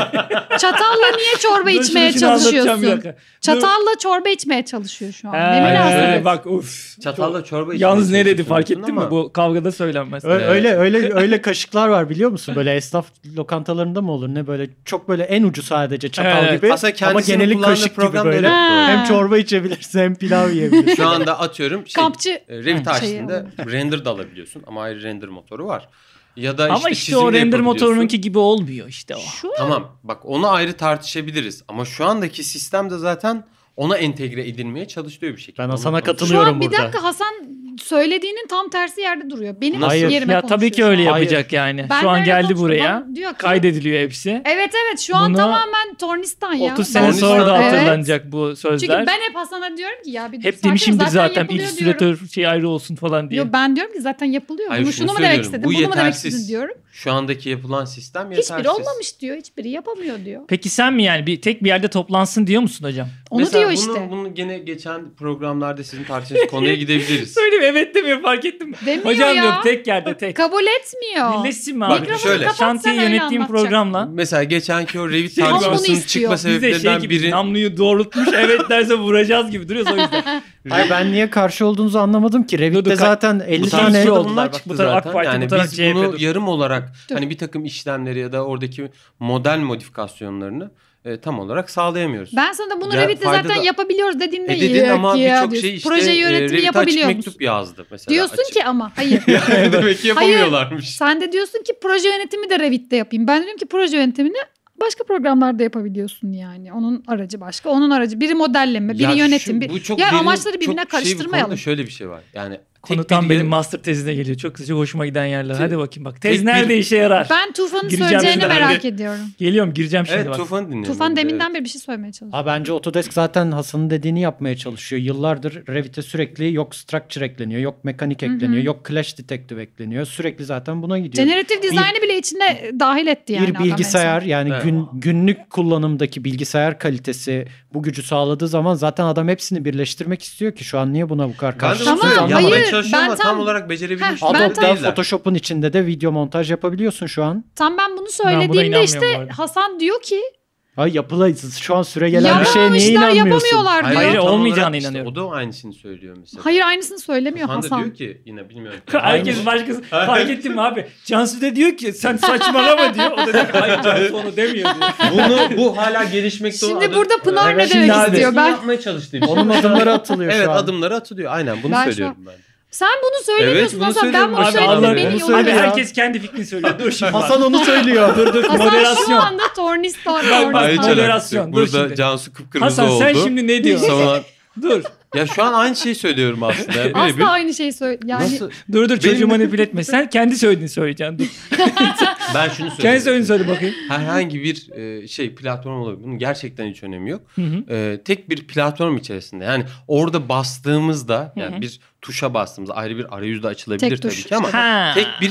Speaker 1: Çatalla niye çorba
Speaker 2: Dur,
Speaker 1: içmeye
Speaker 2: şunu- şunu şey anlatacağım bir
Speaker 1: çalışıyorsun?
Speaker 2: dakika.
Speaker 1: Çatalla çorba içmeye çalışıyor şu an.
Speaker 2: Ha,
Speaker 1: ne
Speaker 2: evet,
Speaker 1: münasebet.
Speaker 2: evet, Bak uf.
Speaker 4: Çatalla çorba içmeye
Speaker 2: Yalnız ne dedi
Speaker 4: çalışıyorsun
Speaker 2: fark ettin
Speaker 4: ama-
Speaker 2: mi? Bu kavgada söylenmez.
Speaker 3: Ö-
Speaker 4: Evet.
Speaker 1: [LAUGHS]
Speaker 3: Öyle öyle öyle kaşıklar var biliyor musun? Böyle esnaf lokantalarında mı olur ne böyle çok böyle en ucu sadece çatal
Speaker 2: Evet.
Speaker 3: gibi.
Speaker 4: Aslında
Speaker 3: ama
Speaker 4: kendisinin
Speaker 3: geneli
Speaker 4: kullandığı
Speaker 3: kaşık gibi
Speaker 4: program da
Speaker 3: böyle.
Speaker 4: öyle.
Speaker 1: Ha.
Speaker 3: Hem çorba içebilirsin hem pilav yiyebilirsin.
Speaker 4: Şu anda atıyorum şey,
Speaker 1: Kampçı
Speaker 4: e, Revit
Speaker 1: Hı. Şey,
Speaker 4: açtığında render de alabiliyorsun ama ayrı render motoru var. Ya da
Speaker 2: Ama
Speaker 4: işte,
Speaker 2: işte
Speaker 4: çizim
Speaker 2: o
Speaker 4: de
Speaker 2: render
Speaker 4: yapabiliyorsun.
Speaker 2: motorununki gibi olmuyor işte o.
Speaker 1: şu
Speaker 4: Tamam bak onu ayrı tartışabiliriz ama şu andaki sistem de zaten ona entegre edilmeye çalışılıyor bir şekilde.
Speaker 3: Ben
Speaker 4: Onu
Speaker 3: Hasan'a
Speaker 4: konuşalım.
Speaker 1: şu an
Speaker 3: katılıyorum
Speaker 1: bir
Speaker 3: burada.
Speaker 1: dakika Hasan söylediğinin tam tersi yerde duruyor. Benim
Speaker 3: Hayır.
Speaker 1: yerime
Speaker 2: Ya tabii ki öyle
Speaker 1: konuşuyor şu an.
Speaker 3: Hayır.
Speaker 2: yapacak yani.
Speaker 1: Ben
Speaker 2: Şu an
Speaker 1: böyle
Speaker 2: geldi
Speaker 1: konuştum.
Speaker 2: buraya.
Speaker 1: Ben diyor ki-
Speaker 2: Kaydediliyor hepsi.
Speaker 1: Evet evet şu an
Speaker 2: Bunu
Speaker 1: tamamen tornistan ya.
Speaker 2: 30
Speaker 1: Ben-
Speaker 2: sene
Speaker 4: Tornistan.
Speaker 2: sonra da
Speaker 1: Evet.
Speaker 2: hatırlanacak bu sözler.
Speaker 1: Çünkü ben hep Hasan'a diyorum ki ya bir
Speaker 2: Hep
Speaker 1: sakin ol,
Speaker 2: demişimdir zaten,
Speaker 1: yapılıyor diyorum.
Speaker 2: illüstratör şey ayrı olsun falan diye.
Speaker 1: Yo, ben diyorum ki zaten yapılıyor.
Speaker 4: Hayır,
Speaker 1: Bunu
Speaker 4: şunu
Speaker 1: şunu mu demek
Speaker 4: söylüyorum.
Speaker 1: istedin?
Speaker 4: Bu
Speaker 1: Bunu mu demek
Speaker 4: yetersiz.
Speaker 1: istedin diyorum.
Speaker 4: Şu andaki yapılan sistem yetersiz.
Speaker 1: Hiçbiri olmamış diyor. Hiçbiri yapamıyor diyor.
Speaker 2: Peki sen mi yani bir tek bir yerde toplansın diyor musun hocam?
Speaker 1: Onu
Speaker 4: Mesela
Speaker 1: diyor
Speaker 4: bunu-
Speaker 1: işte.
Speaker 4: Bunu gene geçen programlarda sizin tartıştığınız
Speaker 2: [LAUGHS]
Speaker 4: konuya gidebiliriz.
Speaker 2: Söyleyeyim evet demiyor fark ettim.
Speaker 1: Demiyor
Speaker 2: Hocam
Speaker 1: ya.
Speaker 2: diyorum tek yerde tek.
Speaker 1: Kabul etmiyor.
Speaker 2: Birleşsin mi
Speaker 4: Bak,
Speaker 2: abi?
Speaker 4: şöyle.
Speaker 1: kapat,
Speaker 2: Şantiyi
Speaker 1: sen öyle
Speaker 2: yönettiğim
Speaker 1: anlatacaksın.
Speaker 2: programla
Speaker 4: Mesela geçenki o Revit
Speaker 2: Şey, ama bunu
Speaker 4: tartışmasının
Speaker 1: istiyor.
Speaker 4: çıkma
Speaker 2: biz de şey
Speaker 4: sebeplerinden
Speaker 2: gibi
Speaker 4: biri
Speaker 2: namluyu doğrultmuş evet derse vuracağız gibi duruyoruz o yüzden.
Speaker 3: Hayır, ben niye karşı olduğunuzu anlamadım ki.
Speaker 2: Dur, dur,
Speaker 3: Revit'te zaten 50
Speaker 4: Bu
Speaker 3: tane
Speaker 4: tartışmada
Speaker 2: oldular.
Speaker 4: bunlar
Speaker 2: Bak,
Speaker 4: çıktı
Speaker 2: bu taraf AK
Speaker 4: zaten.
Speaker 2: Parti, bu
Speaker 4: yani
Speaker 2: taraf
Speaker 4: biz
Speaker 2: CHP,
Speaker 4: bunu
Speaker 2: dur.
Speaker 4: yarım olarak
Speaker 1: Dur.
Speaker 4: hani bir takım işlemleri ya da oradaki model modifikasyonlarını e, tam olarak sağlayamıyoruz.
Speaker 1: Ben sana da bunu
Speaker 4: Ya,
Speaker 1: Revit'te
Speaker 4: fayda
Speaker 1: zaten
Speaker 4: da-
Speaker 1: yapabiliyoruz dediğimde
Speaker 4: e
Speaker 1: iyi
Speaker 4: dedin ama
Speaker 1: ki ya
Speaker 4: birçok
Speaker 1: diyorsun.
Speaker 4: şey işte
Speaker 1: Proje
Speaker 4: e,
Speaker 1: yönetimi
Speaker 4: Revit açık
Speaker 1: yapabiliyor musun?
Speaker 4: mektup yazdı mesela.
Speaker 1: Diyorsun
Speaker 4: açık. [LAUGHS]
Speaker 1: ki ama hayır.
Speaker 4: Demek ki
Speaker 1: Hayır.
Speaker 4: yapamıyorlarmış.
Speaker 1: Sen de diyorsun ki proje yönetimi de Revit'te yapayım. Ben dedim ki proje yönetimini başka programlarda yapabiliyorsun yani. Onun aracı başka, onun aracı. Biri modelleme, biri
Speaker 4: Ya şu-
Speaker 1: yönetim. bir-
Speaker 4: bu çok
Speaker 1: ya
Speaker 4: derin,
Speaker 1: amaçları
Speaker 4: çok
Speaker 1: birbirine
Speaker 4: şey bir
Speaker 1: karıştırmayalım.
Speaker 4: konuda şöyle bir şey var. Yani
Speaker 2: Konu
Speaker 4: [LAUGHS] tek
Speaker 2: tam
Speaker 4: bir-
Speaker 2: benim master tezine geliyor. Çok sıcak hoşuma giden yerler.
Speaker 4: Te-
Speaker 2: Hadi bakayım bak. Tez
Speaker 4: tek bir-
Speaker 2: nerede işe yarar?
Speaker 1: Ben Tufan'ın
Speaker 2: Gireceğim
Speaker 1: söyleyeceğini
Speaker 2: şimdi.
Speaker 1: merak ediyorum.
Speaker 2: Geliyorum gireceğim şimdi
Speaker 4: Evet
Speaker 2: bak.
Speaker 4: Tufan'ı dinliyorum.
Speaker 1: Tufan
Speaker 4: Evet.
Speaker 1: deminden beri bir şey söylemeye çalışıyor.
Speaker 3: Ha bence Autodesk zaten Hasan'ın dediğini yapmaya çalışıyor. Yıllardır Revit'e sürekli yok structure ekleniyor, yok mekanik ekleniyor, yok clash detective ekleniyor. Sürekli zaten buna gidiyor.
Speaker 1: Generative design'ı bile içinde dahil etti yani.
Speaker 3: bir
Speaker 1: adam en son.
Speaker 3: bilgisayar yani
Speaker 4: Evet.
Speaker 3: gün, günlük kullanımdaki bilgisayar kalitesi bu gücü sağladığı zaman zaten adam hepsini birleştirmek istiyor ki şu an niye buna bu kadar
Speaker 4: Ben de
Speaker 3: karşı?
Speaker 1: Tamam,
Speaker 4: tamam, yapmaya
Speaker 1: hayır,
Speaker 4: çalışıyorum
Speaker 1: ben
Speaker 4: ama
Speaker 1: tam-
Speaker 4: tam olarak becerebilmiş
Speaker 1: Heh, ben
Speaker 4: durumda
Speaker 1: tam-
Speaker 3: Adobe'da
Speaker 4: değiller.
Speaker 3: Photoshop'un içinde de video montaj yapabiliyorsun şu an.
Speaker 1: Tam ben bunu
Speaker 2: Ben buna
Speaker 1: söylediğimde
Speaker 2: inanmıyorum
Speaker 1: işte
Speaker 2: bu arada. [LAUGHS]
Speaker 1: Hasan diyor ki
Speaker 3: Ay yapılayız şu an süre gelen bir
Speaker 4: şey
Speaker 3: şeye niye
Speaker 1: yapamamışlar
Speaker 3: inanmıyorsun?
Speaker 1: yapamıyorlar diyor.
Speaker 2: Hayır,
Speaker 1: Hayır,
Speaker 4: tam olarak
Speaker 2: olmayacağına
Speaker 4: işte
Speaker 2: inanıyorum.
Speaker 4: O da aynısını söylüyor mesela.
Speaker 1: aynısını söylemiyor
Speaker 4: Tufan da
Speaker 1: Hasan.
Speaker 4: diyor ki yine bilmiyorum.
Speaker 2: Herkes başkası. Fark ettim mi abi? Cansu da diyor ki sen saçmalama diyor. O da diyor ki hayır Cansu onu demiyor diyor.
Speaker 4: Bunu bu hala gelişmekte olan
Speaker 1: Şimdi
Speaker 4: adı-
Speaker 1: burada Pınar
Speaker 3: Evet,
Speaker 1: ne
Speaker 3: şimdi
Speaker 1: demek
Speaker 3: abi.
Speaker 1: istiyor?
Speaker 4: Bunu
Speaker 1: Ben
Speaker 4: yapmaya çalıştığı bir şey.
Speaker 3: Onun adımları atılıyor
Speaker 4: Evet
Speaker 3: şu an.
Speaker 4: adımları atılıyor. Aynen bunu
Speaker 1: Ben şu
Speaker 4: söylüyorum ben.
Speaker 1: sen bunu söylemiyorsun
Speaker 4: bunu
Speaker 1: Hasan. Ben
Speaker 4: söylüyorum.
Speaker 1: bunu
Speaker 4: Abi,
Speaker 1: söyledim.
Speaker 4: Allah-
Speaker 1: beni
Speaker 3: onu
Speaker 1: yola-
Speaker 2: Abi
Speaker 3: söylüyor.
Speaker 2: herkes kendi fikrini söylüyor. Dur şimdi.
Speaker 3: Hasan onu söylüyor.
Speaker 2: dur dur
Speaker 1: Hasan şu
Speaker 2: moderasyon.
Speaker 1: anda tornistan.
Speaker 2: Bak, bak,
Speaker 4: Hiç
Speaker 1: tornistan.
Speaker 2: moderasyon.
Speaker 4: alakası yok.
Speaker 2: Dur
Speaker 4: Burada
Speaker 2: şimdi.
Speaker 4: Cansu kıpkırmızı
Speaker 2: Hasan
Speaker 4: oldu.
Speaker 2: sen şimdi ne diyorsun?
Speaker 4: Sonra-
Speaker 2: Dur.
Speaker 4: Ya şu an aynı şeyi
Speaker 1: [LAUGHS]
Speaker 4: söylüyorum aslında. Böyle bir...
Speaker 1: Asla aynı şeyi söyle. Yani
Speaker 4: Nasıl?
Speaker 2: Dur dur çocuğu
Speaker 4: Benim-
Speaker 2: manipüle etme. Sen kendi söylediğini söyleyeceksin. Dur.
Speaker 4: Ben şunu
Speaker 2: kendi
Speaker 4: söylüyorum.
Speaker 2: söylediğini söyle bakayım.
Speaker 4: Herhangi bir e, şey platform olabilir. Bunun gerçekten hiç önemi yok.
Speaker 2: Hı hı.
Speaker 4: E, tek bir platform içerisinde yani orada bastığımızda yani
Speaker 2: Hı hı.
Speaker 4: bir tuşa bastığımızda ayrı bir arayüz de açılabilir
Speaker 1: Tek
Speaker 4: tabii
Speaker 1: tuş.
Speaker 4: ki ama
Speaker 2: Ha.
Speaker 4: tek bir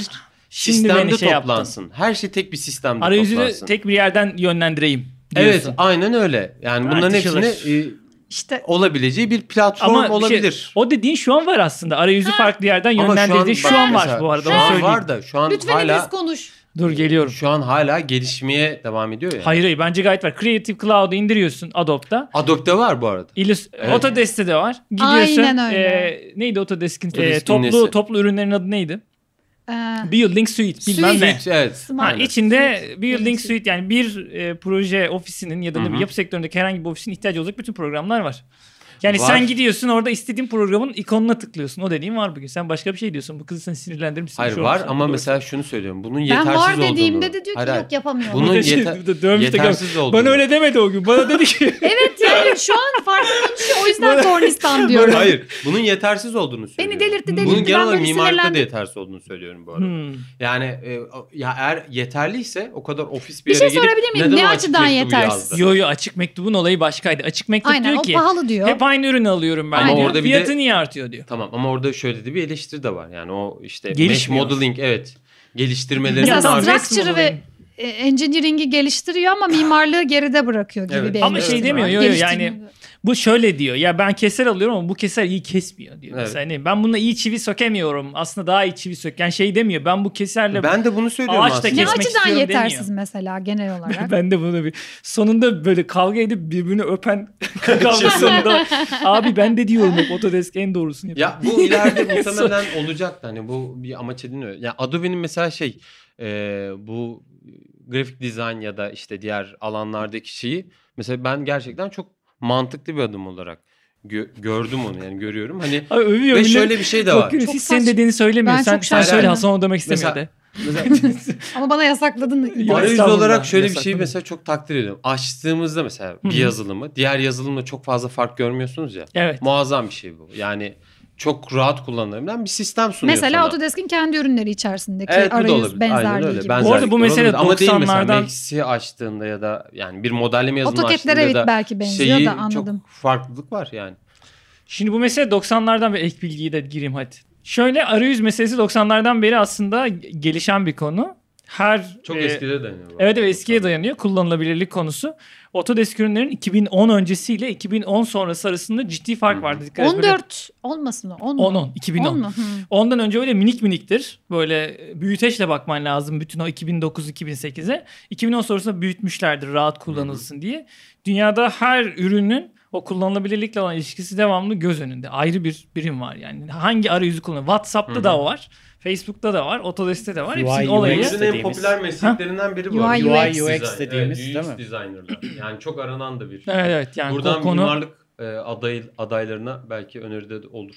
Speaker 2: Şimdi
Speaker 4: sistemde
Speaker 2: beni şey yaptın.
Speaker 4: toplansın. Her şey tek bir sistemde
Speaker 2: Arayüzü
Speaker 4: toplansın.
Speaker 2: tek bir yerden yönlendireyim.
Speaker 4: Evet
Speaker 2: Diyorsun.
Speaker 4: aynen öyle. Yani bunların
Speaker 2: Tartışılır.
Speaker 4: hepsini e,
Speaker 1: işte
Speaker 4: olabileceği bir platform
Speaker 2: Ama bir şey-
Speaker 4: olabilir.
Speaker 2: o dediğin şu an var aslında. Arayüzü farklı yerden yönlendirdiği şu,
Speaker 4: bak
Speaker 2: an var
Speaker 4: mesela,
Speaker 2: bu arada.
Speaker 4: Şu
Speaker 2: onu
Speaker 4: an
Speaker 2: söyleyeyim.
Speaker 4: var da şu an
Speaker 1: lütfen İngiliz
Speaker 4: hala
Speaker 1: konuş.
Speaker 2: Dur geliyorum.
Speaker 4: şu an hala gelişmeye devam ediyor ya.
Speaker 2: Hayır hayır bence gayet var. Creative Cloud'u indiriyorsun Adobe'da.
Speaker 4: Adobe var bu arada.
Speaker 2: İllust
Speaker 4: Evet.
Speaker 2: Autodesk'te de var. Gidiyorsun.
Speaker 1: Aynen öyle.
Speaker 2: e, neydi Autodesk'in e,
Speaker 4: Autodesk'in
Speaker 2: toplu
Speaker 4: nesi?
Speaker 2: toplu ürünlerin adı neydi?
Speaker 1: Ee,
Speaker 2: Building Suite bilmem
Speaker 1: Suite.
Speaker 2: ne.
Speaker 4: Evet. evet.
Speaker 1: Smart.
Speaker 2: Ha,
Speaker 4: Aynen.
Speaker 2: içinde Building
Speaker 1: Building
Speaker 2: Suite yani bir e, proje ofisinin ya da ne
Speaker 4: Hı hı.
Speaker 2: bileyim yapı sektöründeki herhangi bir ofisin ihtiyacı olacak bütün programlar var. Yani
Speaker 4: Var.
Speaker 2: sen gidiyorsun orada istediğin programın ikonuna tıklıyorsun. O dediğin var bugün. Sen başka bir şey diyorsun. Bu kızı sen sinirlendirmişsin.
Speaker 4: Hayır
Speaker 2: şu
Speaker 4: var
Speaker 2: olmuş.
Speaker 4: ama
Speaker 2: Doğru. [LAUGHS]
Speaker 4: mesela şunu söylüyorum. Bunun
Speaker 1: ben
Speaker 4: yetersiz olduğunu.
Speaker 1: var dediğimde de diyor ki
Speaker 4: Hayır, hayır.
Speaker 1: yok yapamıyorum.
Speaker 4: Bunun
Speaker 2: Bir de şey,
Speaker 4: yeter-
Speaker 2: bir de dövmüş de
Speaker 4: yetersiz olduğunu.
Speaker 2: Bana öyle demedi o gün. Bana dedi
Speaker 4: [LAUGHS]
Speaker 2: ki
Speaker 1: Evet yani şu an farklı konuşuyor. O yüzden tornistan [LAUGHS] diyorum.
Speaker 4: Hayır. Bunun yetersiz olduğunu söylüyorum.
Speaker 1: delirtti,
Speaker 4: Bunun
Speaker 1: delirtti. Ben
Speaker 4: genel olarak
Speaker 1: böyle
Speaker 4: mimarlıkta da
Speaker 1: sinirlendim.
Speaker 4: yetersiz olduğunu söylüyorum bu arada.
Speaker 2: Hmm.
Speaker 4: Yani e, o- ya eğer yeterliyse o kadar ofis bir,
Speaker 1: Bir şey
Speaker 4: yere gidip
Speaker 1: sorabilir miyim?
Speaker 4: neden
Speaker 1: Ne
Speaker 4: o açık
Speaker 1: açıdan
Speaker 4: mektubu
Speaker 1: yetersiz?
Speaker 4: yazdı?
Speaker 2: Yo yo açık mektubun olayı başkaydı. Açık mektup
Speaker 1: Aynen
Speaker 2: diyor
Speaker 1: o
Speaker 2: ki
Speaker 1: pahalı diyor.
Speaker 2: hep aynı ürünü alıyorum ben
Speaker 4: Ama
Speaker 2: diyor.
Speaker 4: orada bir
Speaker 2: Fiyatı
Speaker 4: de-
Speaker 2: niye artıyor diyor.
Speaker 4: Tamam ama orada şöyle de bir eleştiri de var. Yani o işte mesh
Speaker 2: Gelişmiyor.
Speaker 4: modeling evet geliştirmelerin
Speaker 1: Mesela
Speaker 2: Tamam,
Speaker 4: artık
Speaker 2: resmi
Speaker 1: structure ve
Speaker 2: olayım.
Speaker 1: e, engineering'i geliştiriyor ama mimarlığı geride bırakıyor gibi
Speaker 4: Evet.
Speaker 1: bir
Speaker 2: Ama
Speaker 1: eleştiri
Speaker 2: şey
Speaker 1: var.
Speaker 2: demiyor, yo, yo, yani-
Speaker 1: Geliştirmiyor.
Speaker 2: Bu şöyle diyor. Ya ben keser alıyorum ama bu keser iyi kesmiyor diyor.
Speaker 4: Evet.
Speaker 2: Mesela hani ben bununla iyi çivi sökemiyorum. Aslında daha iyi çivi söken şey demiyor. Ben bu keserle
Speaker 4: Ben de bunu söylüyorum
Speaker 2: Ağaç da
Speaker 4: aslında.
Speaker 1: ne
Speaker 2: kesmek
Speaker 1: açıdan
Speaker 2: istiyorum
Speaker 1: yetersiz
Speaker 2: demiyor.
Speaker 1: mesela genel olarak.
Speaker 2: [LAUGHS] ben de bunu bir sonunda böyle kavga edip birbirini öpen [LAUGHS] kavgasında abi ben de diyorum hep Autodesk en doğrusunu yapıyor.
Speaker 4: Ya bu ileride
Speaker 1: [LAUGHS]
Speaker 4: muhtemelen olacak da hani bu bir amaç ediniyor. Ya Adobe'nin mesela şey e, bu grafik dizayn ya da işte diğer alanlardaki şeyi mesela ben gerçekten çok mantıklı bir adım olarak gö- gördüm onu yani görüyorum. Hani
Speaker 2: Abi övüyor
Speaker 4: ve
Speaker 2: millet.
Speaker 4: şöyle bir şey de var.
Speaker 2: Bakıyoruz,
Speaker 1: Çok
Speaker 2: hiç senin
Speaker 1: saçma.
Speaker 2: dediğini söylemiyor.
Speaker 1: Ben
Speaker 2: sen,
Speaker 1: çok
Speaker 2: sen söyle
Speaker 4: şaşırdım.
Speaker 2: Hasan onu demek istemiyor
Speaker 4: Mesela-
Speaker 2: de.
Speaker 4: Mesela
Speaker 1: ama bana
Speaker 2: [LAUGHS]
Speaker 1: yasakladın.
Speaker 2: Ya
Speaker 4: arayüz
Speaker 2: estağfurullah,
Speaker 4: olarak şöyle bir şeyi
Speaker 2: yasakladım.
Speaker 4: mesela çok takdir ediyorum. Açtığımızda mesela
Speaker 2: Hı
Speaker 4: bir
Speaker 2: hı.
Speaker 4: yazılımı diğer yazılımla çok fazla fark görmüyorsunuz ya.
Speaker 2: Evet.
Speaker 4: Muazzam bir şey bu. Yani çok rahat kullanılabilen bir sistem sunuyor
Speaker 1: Mesela
Speaker 4: sana.
Speaker 1: Autodesk'in kendi ürünleri içerisindeki
Speaker 4: Evet bu da
Speaker 1: arayüz
Speaker 4: olabilir. Aynen
Speaker 1: benzerliği
Speaker 4: öyle.
Speaker 1: gibi.
Speaker 4: Benzerlik
Speaker 2: Bu arada bu
Speaker 4: var
Speaker 2: mesele
Speaker 4: olabilir. Ama değil mesela
Speaker 2: 90'lardan
Speaker 4: Max'i açtığında ya da yani bir modelleme yazılımı
Speaker 1: AutoCAD'lere
Speaker 4: açtığında
Speaker 1: evet
Speaker 4: ya da
Speaker 1: belki benziyor
Speaker 4: şeyi
Speaker 1: da anladım.
Speaker 4: çok farklılık var yani.
Speaker 2: Şimdi bu mesele 90'lardan beri ek bilgiyi de gireyim hadi. Şöyle arayüz meselesi 90'lardan beri aslında gelişen bir konu. Her
Speaker 4: Çok
Speaker 2: e,
Speaker 4: eskide dayanıyor. bu
Speaker 2: Evet
Speaker 4: arada.
Speaker 2: evet eskiye dayanıyor kullanılabilirlik konusu. Autodesk ürünlerin 2010 öncesiyle 2010 sonrası arasında ciddi fark
Speaker 4: Hı hı.
Speaker 2: vardı. Dikkat et böyle
Speaker 1: 14 olmasın o. 10 mu?
Speaker 2: 10 10 2010.
Speaker 1: 10 mu? Hı.
Speaker 2: Ondan önce öyle minik miniktir. Böyle e, büyüteçle bakman lazım bütün o 2009-2008'e. 2010 sonrasında büyütmüşlerdir rahat kullanılsın diye. Dünyada her ürünün o kullanılabilirlikle olan ilişkisi devamlı göz önünde. Ayrı bir birim var yani. Hangi arayüzü kullanıyor? WhatsApp'ta
Speaker 4: Hı hı.
Speaker 2: da var. Facebook'ta da var. Autodesk'te de var.
Speaker 3: UI,
Speaker 2: Hepsinin
Speaker 3: UX.
Speaker 2: olayı.
Speaker 4: Hepsinin en
Speaker 3: dediğimiz-
Speaker 4: popüler mesleklerinden biri bu.
Speaker 1: UI,
Speaker 4: arada.
Speaker 1: UX
Speaker 4: Design.
Speaker 3: UX dediğimiz,
Speaker 4: evet,
Speaker 3: değil mi?
Speaker 4: UX designerlar. Yani çok aranan da bir.
Speaker 2: Evet evet yani
Speaker 4: Buradan
Speaker 2: o konu
Speaker 4: mimarlık e, aday, adaylarına belki öneride de olur.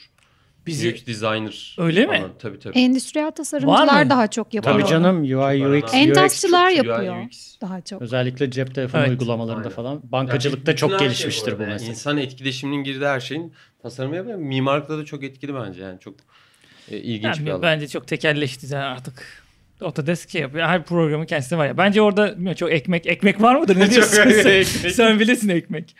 Speaker 2: bizi
Speaker 4: UX designer.
Speaker 2: Öyle mi?
Speaker 4: falan. Tabii tabii.
Speaker 1: Endüstriyel tasarımcılar daha çok yapıyor.
Speaker 3: Tabii canım UI
Speaker 4: Çok
Speaker 3: UX,
Speaker 4: aranan.
Speaker 3: UX
Speaker 1: Entasçılar
Speaker 4: UI,
Speaker 1: yapıyor
Speaker 4: UX.
Speaker 1: daha çok.
Speaker 3: özellikle cep telefonu
Speaker 2: Evet.
Speaker 3: uygulamalarında
Speaker 4: Aynen.
Speaker 3: falan bankacılıkta
Speaker 4: Yani
Speaker 3: çok
Speaker 4: bütün her şey
Speaker 3: gelişmiştir bu
Speaker 4: arada. Yani
Speaker 3: mesela.
Speaker 4: İnsan etkileşiminin girdiği her şeyin tasarımı yapıyor. Mimarlıkta da çok etkili bence. Yani çok e, ilginç
Speaker 2: Yani
Speaker 4: bir alan.
Speaker 2: Bence çok tekelleşti zaten artık. Autodesk şey yapıyor. Her programı kendisi var ya. Bence orada bilmiyorum, çok ekmek. Ekmek var mıdır? Ne
Speaker 4: Çok
Speaker 2: diyorsun? sen, [LAUGHS]
Speaker 4: ekmek.
Speaker 2: sen bilirsin ekmek.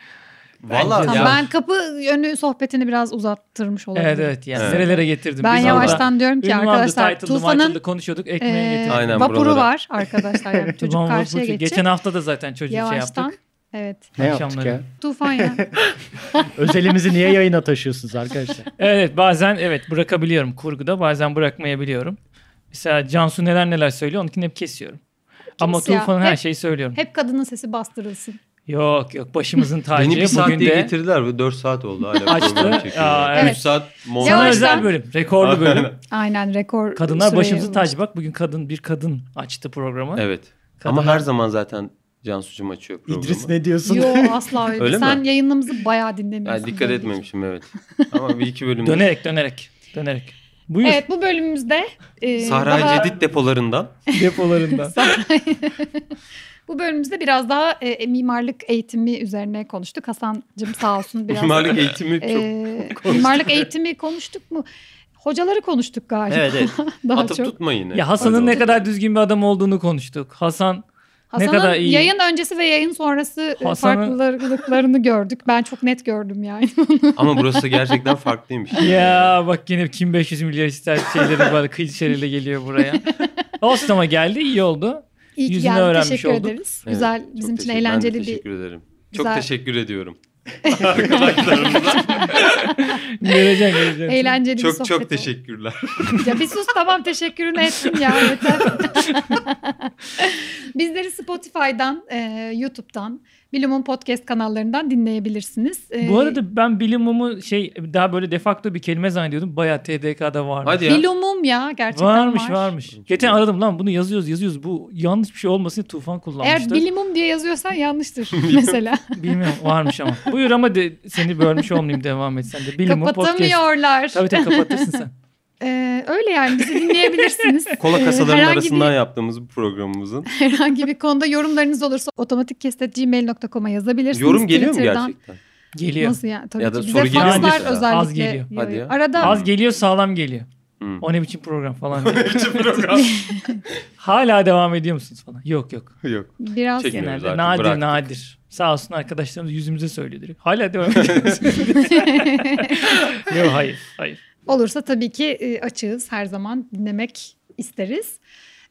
Speaker 4: Vallahi
Speaker 1: Tamam,
Speaker 4: ya,
Speaker 1: ben kapı yönü sohbetini biraz uzattırmış olabilirim.
Speaker 2: Evet evet yani
Speaker 4: Evet.
Speaker 2: nerelere getirdim.
Speaker 1: Ben
Speaker 2: Biz orada
Speaker 1: yavaştan diyorum ki
Speaker 2: ünvanlı,
Speaker 1: arkadaşlar
Speaker 2: title'lı,
Speaker 1: Tufan'ın
Speaker 2: title'lı konuşuyorduk. Ekmeğe
Speaker 1: e,
Speaker 2: getirdim.
Speaker 4: Aynen,
Speaker 1: vapuru
Speaker 4: buralara.
Speaker 1: var arkadaşlar.
Speaker 2: [LAUGHS]
Speaker 1: Yani çocuk
Speaker 2: Tufan var,
Speaker 1: karşıya
Speaker 2: Burcu.
Speaker 1: geçecek.
Speaker 2: şey, Geçen hafta da zaten çocuğu şey
Speaker 1: Yavaştan.
Speaker 2: yaptık.
Speaker 1: Evet.
Speaker 3: Ne yaptık
Speaker 2: akşamları.
Speaker 3: ya?
Speaker 1: Tufan
Speaker 2: [LAUGHS]
Speaker 1: ya.
Speaker 3: Özelimizi niye yayına taşıyorsunuz arkadaşlar?
Speaker 2: Evet bazen evet bırakabiliyorum kurguda bazen bırakmayabiliyorum. Mesela Cansu neler neler söylüyor onunkini hep kesiyorum. Ama
Speaker 1: Kes ya.
Speaker 2: Tufan'ın her
Speaker 1: Hep-
Speaker 2: şeyi söylüyorum.
Speaker 1: Hep kadının sesi bastırılsın.
Speaker 2: Yok yok başımızın tacı.
Speaker 4: Beni bir saat
Speaker 2: Bugün
Speaker 4: diye
Speaker 2: de
Speaker 4: getirdiler ve 4 saat oldu hala.
Speaker 2: Açtı.
Speaker 4: program çekiyor.
Speaker 2: Aa,
Speaker 4: Üç
Speaker 1: evet.
Speaker 4: saat montaj.
Speaker 2: sana
Speaker 1: Yavaştan.
Speaker 2: özel bölüm. Rekorlu
Speaker 4: [LAUGHS]
Speaker 2: bölüm.
Speaker 1: Aynen rekor
Speaker 2: Kadınlar
Speaker 1: süreyi
Speaker 2: başımızı
Speaker 1: bulmuş.
Speaker 2: tac bak bugün kadın bir kadın açtı programı.
Speaker 4: Evet.
Speaker 2: Kadınlar-
Speaker 4: Ama her zaman zaten Cansu'cum açıyor [LAUGHS] programı.
Speaker 3: İdris ne diyorsun? [LAUGHS]
Speaker 1: Yo asla öyle.
Speaker 4: Öyle mi?
Speaker 1: Sen yayınımızı bayağı dinlemiyorsun.
Speaker 4: Yani dikkat
Speaker 1: belli ki.
Speaker 4: etmemişim evet. Ama bir iki
Speaker 2: [LAUGHS]
Speaker 4: bölüm.
Speaker 2: dönerek dönerek dönerek. Buyur
Speaker 1: Evet bu bölümümüzde e,
Speaker 4: Sahra
Speaker 1: daha-
Speaker 4: Cedid depolarından.
Speaker 2: depolarından.
Speaker 1: [LAUGHS] bu bölümümüzde biraz daha e, mimarlık eğitimi üzerine konuştuk. Hasan'cığım sağ
Speaker 4: [LAUGHS]
Speaker 1: olsun biraz.
Speaker 4: Mimarlık eğitimi çok.
Speaker 1: [LAUGHS] e, mimarlık eğitimi konuştuk mu? Hocaları konuştuk galiba.
Speaker 4: Evet evet.
Speaker 1: daha
Speaker 4: Atıp
Speaker 1: çok.
Speaker 4: tutma yine.
Speaker 2: ya Hasan'ın
Speaker 4: Öyle
Speaker 2: ne
Speaker 4: oldu.
Speaker 2: kadar düzgün bir adam olduğunu konuştuk. Hasan
Speaker 1: Hasan'ın
Speaker 2: kadar iyi.
Speaker 1: yayın öncesi ve yayın sonrası e,
Speaker 2: Hasan'ın- [LAUGHS]
Speaker 1: farklılıklarını gördük. Ben çok net gördüm yani.
Speaker 4: Ama burası gerçekten farklıymış.
Speaker 2: [LAUGHS] ya bak yine kim 500 milyar ister şeyleri var [LAUGHS] klişeleriyle geliyor buraya. Olsun ama geldi iyi oldu.
Speaker 1: İyi ki
Speaker 2: Yüzünü
Speaker 1: geldin.
Speaker 2: öğrenmiş
Speaker 1: Teşekkür
Speaker 2: olduk.
Speaker 1: ederiz.
Speaker 4: Evet,
Speaker 1: Güzel
Speaker 4: çok
Speaker 1: bizim için
Speaker 4: teşekkür-
Speaker 1: eğlenceli
Speaker 4: ben de
Speaker 1: bir
Speaker 4: teşekkür ederim.
Speaker 1: güzel-
Speaker 4: Çok teşekkür ediyorum.
Speaker 2: Göreceksin göreceksin.
Speaker 1: eğlenceli bir
Speaker 4: Çok
Speaker 1: sohbet
Speaker 4: çok
Speaker 1: oldu. [LAUGHS]
Speaker 4: teşekkürler.
Speaker 1: Ya bir sus tamam teşekkürünü ettin ya
Speaker 2: [LAUGHS]
Speaker 1: yeter. Bizleri Spotify'dan, e, YouTube'dan, Bilum'un podcast kanallarından dinleyebilirsiniz. E,
Speaker 2: Bu arada ben bilimimi şey daha böyle defakto bir kelime zannediyordum. Bayağı TDK'da varmış.
Speaker 4: Hadi ya.
Speaker 1: Bilum'um ya gerçekten
Speaker 2: varmış
Speaker 1: var.
Speaker 2: varmış. Geçen aradım lan bunu yazıyoruz yazıyoruz. Bu yanlış bir şey olmasın diye Tufan
Speaker 1: Eğer
Speaker 2: kullanmıştı.
Speaker 1: bilimum diye yazıyorsan
Speaker 4: [LAUGHS]
Speaker 1: yanlıştır mesela.
Speaker 2: Bilmiyorum varmış ama. Buyur ama de, seni bölmüş olmayayım devam et sen de. Bilim o podcast.
Speaker 1: Kapatamıyorlar.
Speaker 2: Tabii tabii kapatırsın sen.
Speaker 1: E, öyle yani bizi dinleyebilirsiniz.
Speaker 4: [LAUGHS] Kola
Speaker 1: E,
Speaker 4: kasaların
Speaker 1: herhangi
Speaker 4: arasından
Speaker 1: bir,
Speaker 4: yaptığımız bu programımızın.
Speaker 1: herhangi bir konuda yorumlarınız olursa otomatikkes@gmail.com'a yazabilirsiniz.
Speaker 4: Yorum geliyor mu
Speaker 1: Twitter'dan.
Speaker 4: gerçekten?
Speaker 2: Geliyor.
Speaker 1: Nasıl yani? Tabii
Speaker 4: Ya
Speaker 1: ki.
Speaker 4: da
Speaker 1: Bize
Speaker 4: soru geliyor
Speaker 2: mu
Speaker 1: fakslar
Speaker 2: mesela?
Speaker 1: özellikle.
Speaker 2: Az geliyor.
Speaker 4: Hadi ya.
Speaker 1: Arada
Speaker 2: Az geliyor sağlam geliyor.
Speaker 4: Hmm.
Speaker 2: O ne biçim program falan. diye.
Speaker 4: [LAUGHS]
Speaker 1: [LAUGHS]
Speaker 2: Hala devam ediyor musunuz falan? Yok yok.
Speaker 4: Yok.
Speaker 1: biraz
Speaker 4: Çekin. Bilmiyoruz
Speaker 2: Genelde nadir
Speaker 4: artık, bıraktık.
Speaker 2: nadir. Sağ olsun arkadaşlarımız yüzümüze söylüyor direkt. Hala devam ediyor
Speaker 1: [LAUGHS]
Speaker 2: musunuz? Yok hayır hayır.
Speaker 1: Olursa tabii ki e, açığız. Her zaman dinlemek isteriz.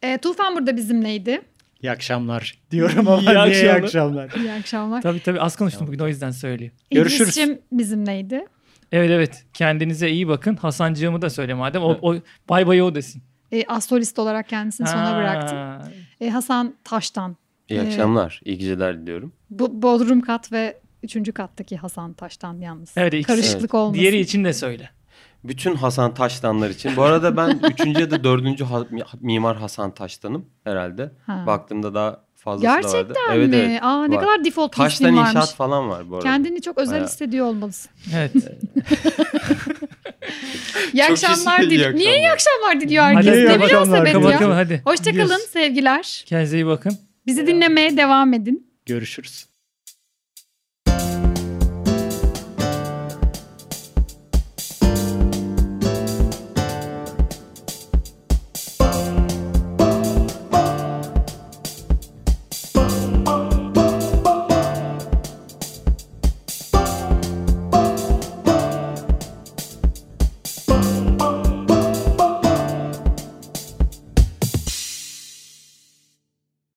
Speaker 1: E, Tufan burada bizimleydi.
Speaker 3: İyi akşamlar diyorum ama
Speaker 2: İyi
Speaker 3: niye iyi
Speaker 2: akşamlar.
Speaker 3: akşamlar.
Speaker 1: İyi akşamlar.
Speaker 2: Tabii tabii az konuştum bugün o yüzden söyleyeyim.
Speaker 3: Görüşürüz.
Speaker 1: İdris'cim bizimleydi.
Speaker 2: Evet evet kendinize iyi bakın. Hasancığımı da söyle madem. O, o bay bay o desin.
Speaker 1: E, astrolist olarak kendisini sona bıraktım.
Speaker 2: bıraktım.
Speaker 1: E, Hasan Taş'tan.
Speaker 4: İyi
Speaker 1: Evet.
Speaker 4: akşamlar. iyi geceler diliyorum.
Speaker 1: Bu Bodrum kat ve üçüncü kattaki Hasan Taş'tan yalnız.
Speaker 2: Evet, ikisi.
Speaker 1: Karışıklık olmasın.
Speaker 2: Diğeri için de söyle.
Speaker 4: Bütün Hasan Taştanlar için. Bu
Speaker 1: [LAUGHS]
Speaker 4: arada ben 3. ya da 4. mimar Hasan Taştan'ım herhalde.
Speaker 1: Ha.
Speaker 4: Baktığımda daha fazlası da vardı.
Speaker 1: Gerçekten mi? Aa ne
Speaker 4: var.
Speaker 1: kadar default
Speaker 4: Taştan
Speaker 1: Taş'tan varmış.
Speaker 4: inşaat falan var bu arada.
Speaker 1: Kendini çok özel
Speaker 4: Bayağı.
Speaker 1: hissediyor olmalısın.
Speaker 2: Evet.
Speaker 1: İyi
Speaker 4: Çok
Speaker 1: akşamlar
Speaker 4: iyi
Speaker 1: diliyor. Niye iyi akşamlar diliyor
Speaker 2: Hadi
Speaker 1: herkes?
Speaker 3: iyi
Speaker 1: Ne
Speaker 3: akşamlar,
Speaker 1: münasebet
Speaker 3: kapatıyorum.
Speaker 1: ya.
Speaker 2: Kapatalım hadi.
Speaker 1: Hoşçakalın
Speaker 2: Gidiyoruz.
Speaker 1: sevgiler.
Speaker 2: Kendinize iyi bakın.
Speaker 1: Bizi dinlemeye devam edin.
Speaker 3: Görüşürüz.